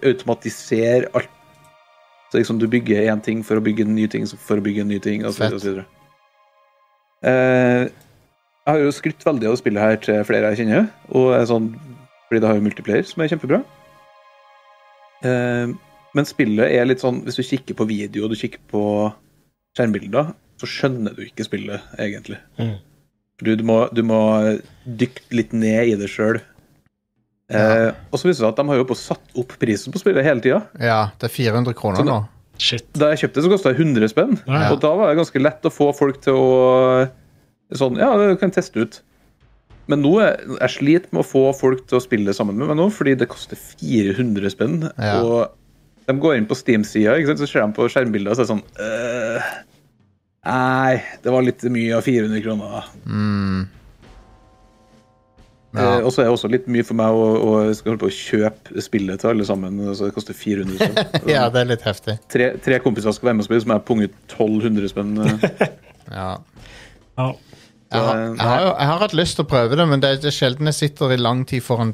Speaker 5: automatisere alt. Så liksom du bygger én ting for å bygge en ny ting for å bygge en ny ting, og så videre og så videre. Eh, Jeg har jo skrytt veldig av spillet her til flere jeg kjenner, og er sånn, fordi det har jo multiplayer, som er kjempebra. Eh, Men spillet er litt sånn, hvis du kikker på video og du kikker på skjermbilder, så skjønner du ikke spillet, egentlig.
Speaker 4: Mm.
Speaker 5: Du, du, må, du må eh, dykke litt ned i det sjøl. Eh, og så viser det seg at de har jo på satt opp prisen på spillet hele tida.
Speaker 1: Ja, det er 400 kroner
Speaker 5: Sånn,
Speaker 1: nå.
Speaker 4: Shit.
Speaker 5: Da jeg kjøpte det, så kosta det 100 spenn.
Speaker 4: Ja.
Speaker 5: Og da var det ganske lett å få folk til å Sånn, ja, du kan teste ut. Men nå er, jeg sliter med å få folk til å spille det sammen med meg nå, fordi det koster 400 spenn.
Speaker 1: Ja.
Speaker 5: Og de går inn på Steam-sida, ikke sant, så ser de på skjermbildet og så er det sånn øh, Nei, det var litt mye av 400 kroner.
Speaker 1: Ja.
Speaker 5: Eh, og så er det også litt mye for meg å, å skal holde på å kjøpe spillet til alle sammen. Så det koster 400 spenn.
Speaker 1: Ja, det er litt heftig.
Speaker 5: tre, tre kompiser skal være med og spille, så må jeg punge ut 1200 spenn. eh.
Speaker 1: Ja.
Speaker 4: Ja.
Speaker 1: Jeg, har,
Speaker 5: eh,
Speaker 1: jeg, har, jo- jeg har hatt lyst til å prøve det, men det er, det er sjelden jeg sitter i lang tid foran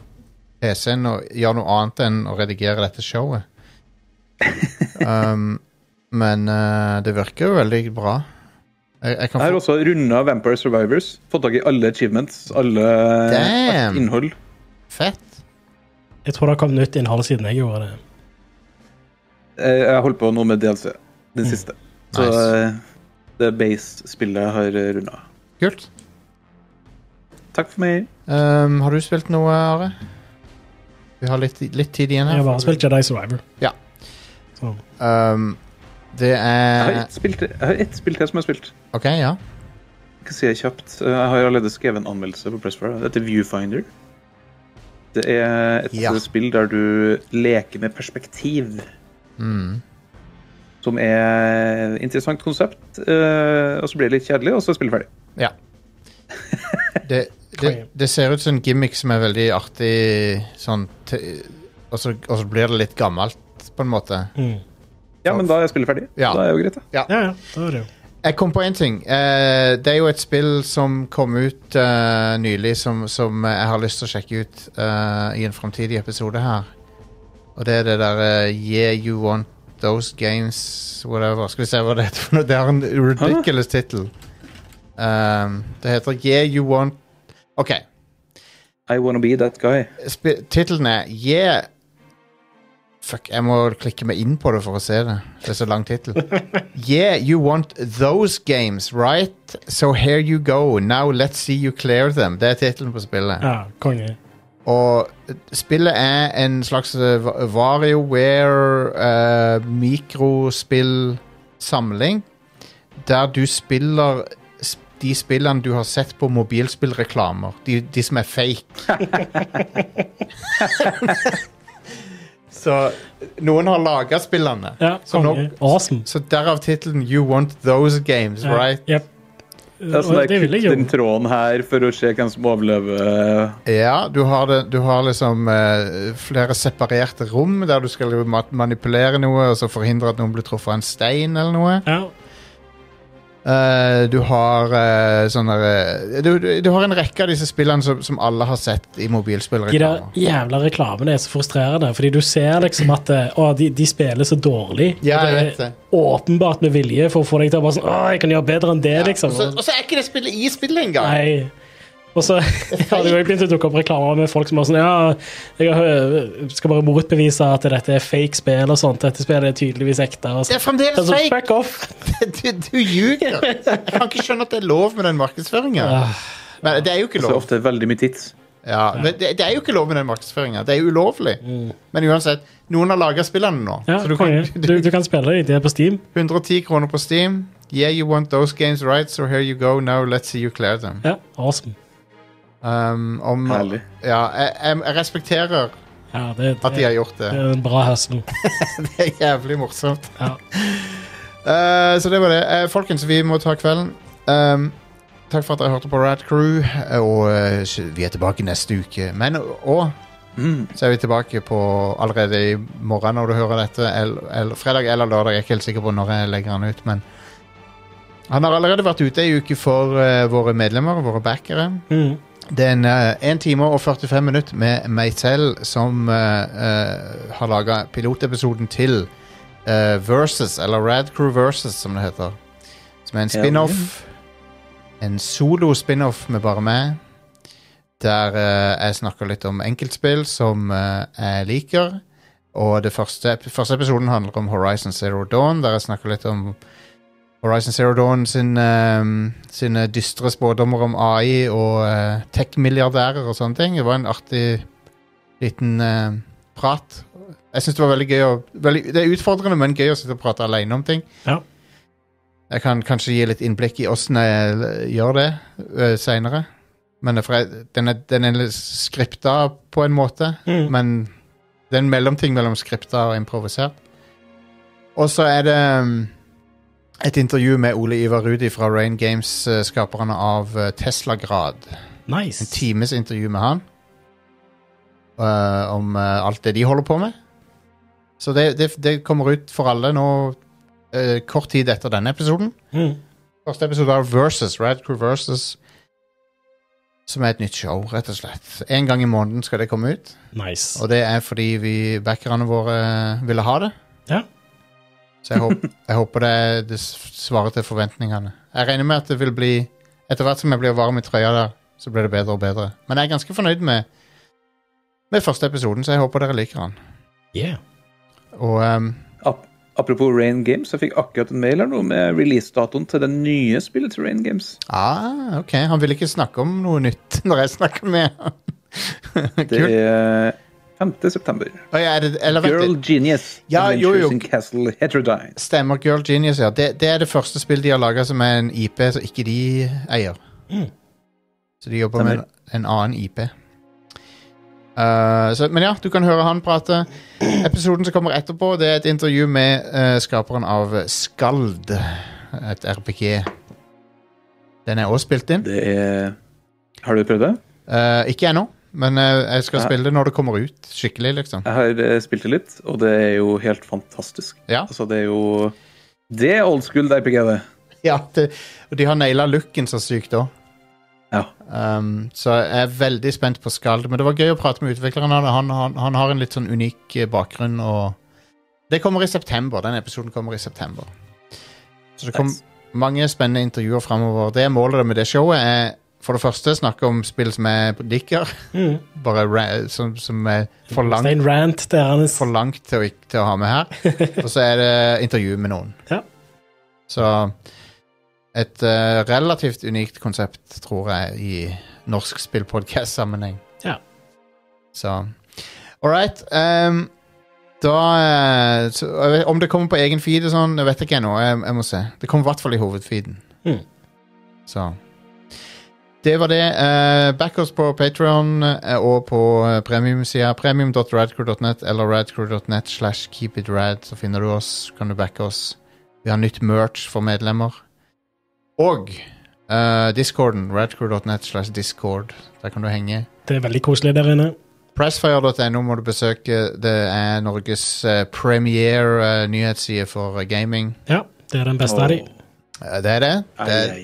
Speaker 1: PC-en og gjør noe annet enn å redigere dette showet. Um, men eh, det virker jo veldig bra. Jeg, jeg kan
Speaker 5: Jeg har
Speaker 1: få,
Speaker 5: også runda Vampire Survivors. Fått tak i alle achievements, alle
Speaker 1: Damn!
Speaker 5: alt innhold.
Speaker 1: fett!
Speaker 4: Jeg tror det har kommet nytt innhold siden jeg gjorde det.
Speaker 5: Eh, Jeg holder på nå med DLC, den siste. Så
Speaker 1: Mm. Nice.
Speaker 5: eh, det base-spillet har runda.
Speaker 1: Kult.
Speaker 5: Takk for meg.
Speaker 1: Um, har du spilt noe, Are? Vi har litt, litt tid igjen
Speaker 4: Jeg har
Speaker 1: her.
Speaker 4: bare spilt Jedi Survivor.
Speaker 1: Ja.
Speaker 4: Så.
Speaker 1: Um, det
Speaker 5: Jeg har
Speaker 1: er
Speaker 5: ett spill til- jeg har ett spill til som jeg har spilt.
Speaker 1: OK, ja.
Speaker 5: Jeg kan si det kjapt. Eh, Jeg har allerede skrevet en anmeldelse på Pressfire. Det heter Viewfinder. Det er et
Speaker 1: Ja.
Speaker 5: spill der du leker med perspektiv.
Speaker 1: Mm.
Speaker 5: Som er et interessant konsept, eh, og så blir det litt kjedelig, og så spiller vi ferdig.
Speaker 1: ja. Det, det, det ser ut som en gimmick som er veldig artig sånn te- og, så, og så blir det litt gammelt, på en måte.
Speaker 5: Ja, men da er spillet ferdig.
Speaker 1: Ja.
Speaker 5: Da er jo greit, da.
Speaker 4: Mm. Ja, ja, det er det jo.
Speaker 1: Jeg kom på én ting. Eh, det er jo et spill som kom ut eh, nylig, som, som jeg har lyst til å sjekke ut eh, i en framtidig episode her. Og det er det der eh, Yeah, you want those games Whatever. Skal vi se hva det heter. for noe? Det har en ridiculous tittel. Um, det heter Yeah, you want OK.
Speaker 5: I wanna be that guy.
Speaker 1: Sp- Tittelen er Yeah Fuck, jeg må klikke meg inn på det for å se det. Det er så lang tittel. Yeah, you want those games, right? So here you go. Now let's see you clear them. Det er tittelen på spillet.
Speaker 4: Ja, konge.
Speaker 1: Og spillet er en slags eh, Va- WarioWare eh, mikrospillsamling der du spiller sp- de spillene du har sett på mobilspillreklamer. De, de som er fake. så noen har laga spillene.
Speaker 4: Ja,
Speaker 1: så, nå,
Speaker 4: konge. Awesome.
Speaker 1: så derav tittelen 'You Want Those Games',
Speaker 4: Ja,
Speaker 1: right?
Speaker 4: Jep.
Speaker 5: Det er sånn
Speaker 4: Og
Speaker 5: der,
Speaker 4: det vil
Speaker 5: Kutt
Speaker 4: jeg
Speaker 5: den
Speaker 4: jo.
Speaker 5: tråden her for å se hvem som overlever.
Speaker 1: Ja, du har, det, du har liksom eh, flere separerte rom der du skal jo ma- manipulere noe og så forhindre at noen blir truffet av en stein eller noe.
Speaker 4: Ja,
Speaker 1: Eh, du har eh, sånne eh, du, du, du har en rekke av disse spillene som, som alle har sett i
Speaker 4: de der
Speaker 1: mobilspillreklamer.
Speaker 4: jævla reklamene er så frustrerende, fordi du ser liksom at eh, å, de, de spiller så dårlig.
Speaker 1: Ja,
Speaker 4: Og
Speaker 1: jeg
Speaker 4: det
Speaker 1: vet det.
Speaker 4: er Åpenbart med vilje for å få deg til å bare sånn Å, jeg kan gjøre bedre enn det, liksom.
Speaker 1: Og så, og så er ikke det spillet i spillet engang!
Speaker 4: Nei. Og så har det jo begynt å dukke opp reklamer med folk som er sånn Ja, jeg har- eh, skal bare motbevise at dette er fake spill og sånt. Dette spillet er tydeligvis ekte. Og
Speaker 1: Det er fremdeles
Speaker 4: Altså,
Speaker 1: fake!
Speaker 4: fuck off!
Speaker 1: Du, du ljuger! Jeg kan ikke skjønne at det er lov med den markedsføringa. Men det er jo ikke
Speaker 5: Så er det
Speaker 1: lov.
Speaker 5: ofte veldig mye tids.
Speaker 1: Ja, men det, det er jo ikke lov med den markedsføringa. Det er jo ulovlig. Men uansett, noen har laga spillene nå.
Speaker 4: Ja,
Speaker 1: så du
Speaker 4: konge.
Speaker 1: kan,
Speaker 4: du, du kan spille det. Det er på Steam.
Speaker 1: 110 kroner på Steam. Yeah, you want those games right, so here you go. Now let's see you clear them.
Speaker 4: Ja, awesome.
Speaker 1: Um, om,
Speaker 5: Herlig.
Speaker 1: Ja, jeg, jeg, jeg respekterer
Speaker 4: Ja, det,
Speaker 1: at de har
Speaker 4: det,
Speaker 1: gjort det.
Speaker 4: det er en bra hustle.
Speaker 1: Det er jævlig morsomt.
Speaker 4: Ja.
Speaker 1: Uh, så det var det. Eh, folkens, vi må ta kvelden. Um, takk for at dere hørte på Rad Crew, og eh, vi er tilbake neste uke. Men og så er vi tilbake på allerede i morgen når du hører dette. Eller, eller, fredag eller lørdag. Jeg er ikke helt sikker på når jeg legger den ut, men han har allerede vært ute ei uke for eh, våre medlemmer, våre backere.
Speaker 4: Mm.
Speaker 1: Det er en, eh, en time og 45 minutter med meg selv som eh, eh, har laga pilotepisoden til eh, Versus, eller Rad Crew Versus, som det heter. Som er en spin-off. En solo spin-off med bare meg. Der eh, jeg snakker litt om enkeltspill som eh, jeg liker. Og det første, første episoden handler om Horizon Zero Dawn, der jeg snakker litt om Horizon Zero Dawn sin, ehm, sine dystre spådommer om AI og eh, tech-milliardærer og sånne ting. Det var en artig liten eh, prat. Jeg syns det var veldig gøy å veldig, Det er utfordrende, men gøy å sitte og prate alene om ting.
Speaker 4: Ja.
Speaker 1: Jeg kan kanskje gi litt innblikk i åssen jeg l- gjør det uh, seinere. Men det er fra- den er, den er litt skripta på en måte,
Speaker 4: Mm.
Speaker 1: men det er en mellomting mellom skripta og improvisert. Og så er det um, et intervju med Ole Ivar Rudi fra Rain Games, eh, skaperne av eh, Tesla-grad. En
Speaker 4: Nice.
Speaker 1: times intervju med han eh, om eh, alt det de holder på med. Så det, det, det kommer ut for alle nå eh, kort tid etter denne episoden.
Speaker 4: Mm.
Speaker 1: Første episode av Versus, Rad Crew Versus, som er et nytt show, rett og slett. En gang i måneden skal det komme ut,
Speaker 4: Nice.
Speaker 1: og det er fordi vi backerne våre eh, ville ha det.
Speaker 4: Ja.
Speaker 1: Så jeg, håp, jeg håper det, det s- svarer til forventningene. Jeg regner med at det vil bli Etter hvert som jeg blir varm i trøya der, så blir det bedre og bedre. Men jeg er ganske fornøyd med, med første episoden, så jeg håper dere liker den.
Speaker 4: Yeah.
Speaker 1: Og ehm,
Speaker 5: Ap apropos Rain Games, jeg fikk akkurat en mail her nå med releasedatoen til det nye spillet til Rain Games.
Speaker 1: ah, OK. Han vil ikke snakke om noe nytt når jeg snakker med ham.
Speaker 5: Det
Speaker 1: Kult.
Speaker 5: er 5. september.
Speaker 1: Oi, er det, eller vent
Speaker 5: Girl
Speaker 1: litt.
Speaker 5: Genius
Speaker 1: Ja, jo, jo.
Speaker 5: Adventures in Castle Heterodyne.
Speaker 1: Stemmer. Girl Genius, ja. Det, det er det første spillet de har laga som er en IP som ikke de eier.
Speaker 4: Mm.
Speaker 1: Så de jobber
Speaker 5: Stemmer.
Speaker 1: med en, en annen IP. Eh, så, men ja, du kan høre han prate. Episoden som kommer etterpå, det er et intervju med eh, skaperen av Skald. Et RPG. Den er også spilt inn.
Speaker 5: Det er Har du prøvd det?
Speaker 1: Eh, ikke ennå, men eh, jeg skal
Speaker 5: Ja.
Speaker 1: spille det når det kommer ut. Skikkelig, liksom.
Speaker 5: Jeg har eh, spilt det litt, og det er jo helt fantastisk.
Speaker 1: Ja.
Speaker 5: Altså, det er jo Det er old school RPG, det.
Speaker 1: Ja, det, og de har naila looken så sykt òg.
Speaker 5: Ja.
Speaker 1: Um, så jeg er veldig spent på Skald. Men det var gøy å prate med utvikleren. Han, han, han, han har en litt sånn unik eh, bakgrunn. Og det kommer i september. Den episoden kommer i september. Så det kom
Speaker 5: Nice.
Speaker 1: mange spennende intervjuer framover. Det målet med det showet er for det første snakke om spill som jeg liker.
Speaker 4: Mm.
Speaker 1: Bare ra- som, som er for langt,
Speaker 4: Stein Rant der, Anders.
Speaker 1: for langt til, å, ikke- til å ha med her. Og så er det intervju med noen.
Speaker 4: Ja.
Speaker 1: Så et eh, relativt unikt konsept, tror jeg, i norsk spillpodcast-sammenheng.
Speaker 4: Ja.
Speaker 1: Så All right. ehm, da eh, så, jeg vet- Om det kommer på egen feed og sånn, det vet jeg ikke ennå. Jeg, jeg må se. Det kommer i hvert fall i hovedfeeden.
Speaker 4: Mm.
Speaker 1: Så Det var det. Eh, back oss på Patreon eh, og på eh, premiumsida. Premium.radcrew.net eller radcrew.net slash keepitrad. Så finner du oss, kan du backe oss. Vi har nytt merch for medlemmer. Og eh, discorden. Radcrew.net slash discord. Der kan du henge.
Speaker 4: Det er veldig koselig der inne.
Speaker 1: Pressfire.no må du besøke. Det er Norges eh, premiere eh, nyhetsside for eh, gaming.
Speaker 4: Ja, det er den beste av de.
Speaker 1: Eh, det er det. det er,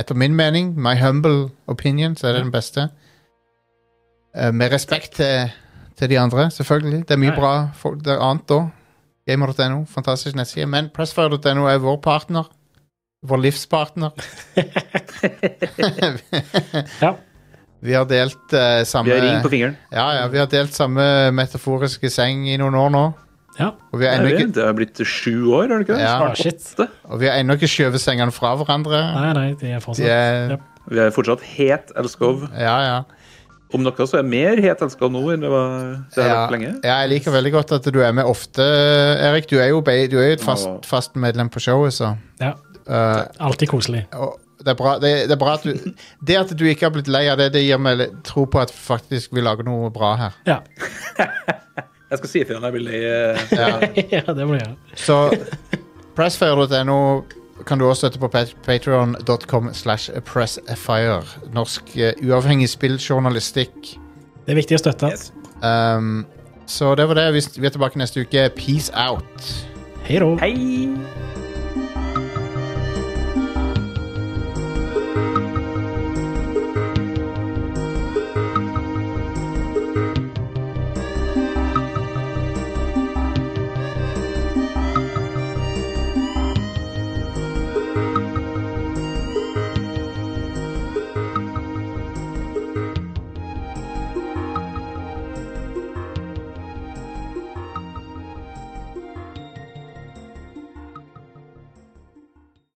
Speaker 1: etter min mening, my humble opinion, så er det den beste. Eh, med respekt til, til de andre, selvfølgelig. Det er mye
Speaker 4: Ja, ja.
Speaker 1: bra for, det er annet da. Gamer.no, fantastisk nettside. Men pressfire.no er vår partner. Vår livspartner.
Speaker 4: Ja.
Speaker 1: Vi har delt eh, samme
Speaker 5: Vi har ring på fingeren.
Speaker 1: Ja, ja, vi har delt samme metaforiske seng i noen år nå.
Speaker 4: ja.
Speaker 1: Og vi har
Speaker 5: Er
Speaker 1: ennå
Speaker 5: det?
Speaker 1: ikke,
Speaker 5: det har blitt sju år, har det ikke det?
Speaker 1: Ja.
Speaker 4: Ah,
Speaker 5: Snart
Speaker 4: shit.
Speaker 5: åtte.
Speaker 1: og vi har ennå ikke skjøvet sengene fra hverandre.
Speaker 4: Nei, nei, de er
Speaker 1: De
Speaker 4: fortsatt
Speaker 1: er,
Speaker 4: Yep.
Speaker 5: Vi er fortsatt het elskov.
Speaker 1: ja, ja.
Speaker 5: Om noe så er jeg mer het elskov nå enn det var det har
Speaker 1: ja,
Speaker 5: vært eh, lenge.
Speaker 1: ja, jeg liker veldig godt at du er med ofte, Erik. Du er jo, be- du er jo et fast,
Speaker 5: Ja.
Speaker 1: fast medlem på showet, så
Speaker 4: ja.
Speaker 1: eh,
Speaker 4: Alltid koselig.
Speaker 1: og det, er bra, det, det er bra at du Det at du ikke har blitt lei av det, det gir meg litt tro på at faktisk vi lager noe bra her.
Speaker 4: Ja.
Speaker 5: Jeg skal si ifra når jeg blir lei. eh,
Speaker 4: ja, det må du gjøre.
Speaker 1: Så pressfire.no kan du også støtte på patreon.com slash pressfire. Norsk eh, uavhengig spilljournalistikk.
Speaker 4: Det er viktig å støtte.
Speaker 5: Yes.
Speaker 1: Um, så det var det. Vi, vi er tilbake neste uke. Peace out.
Speaker 4: Hei da.
Speaker 5: Hei!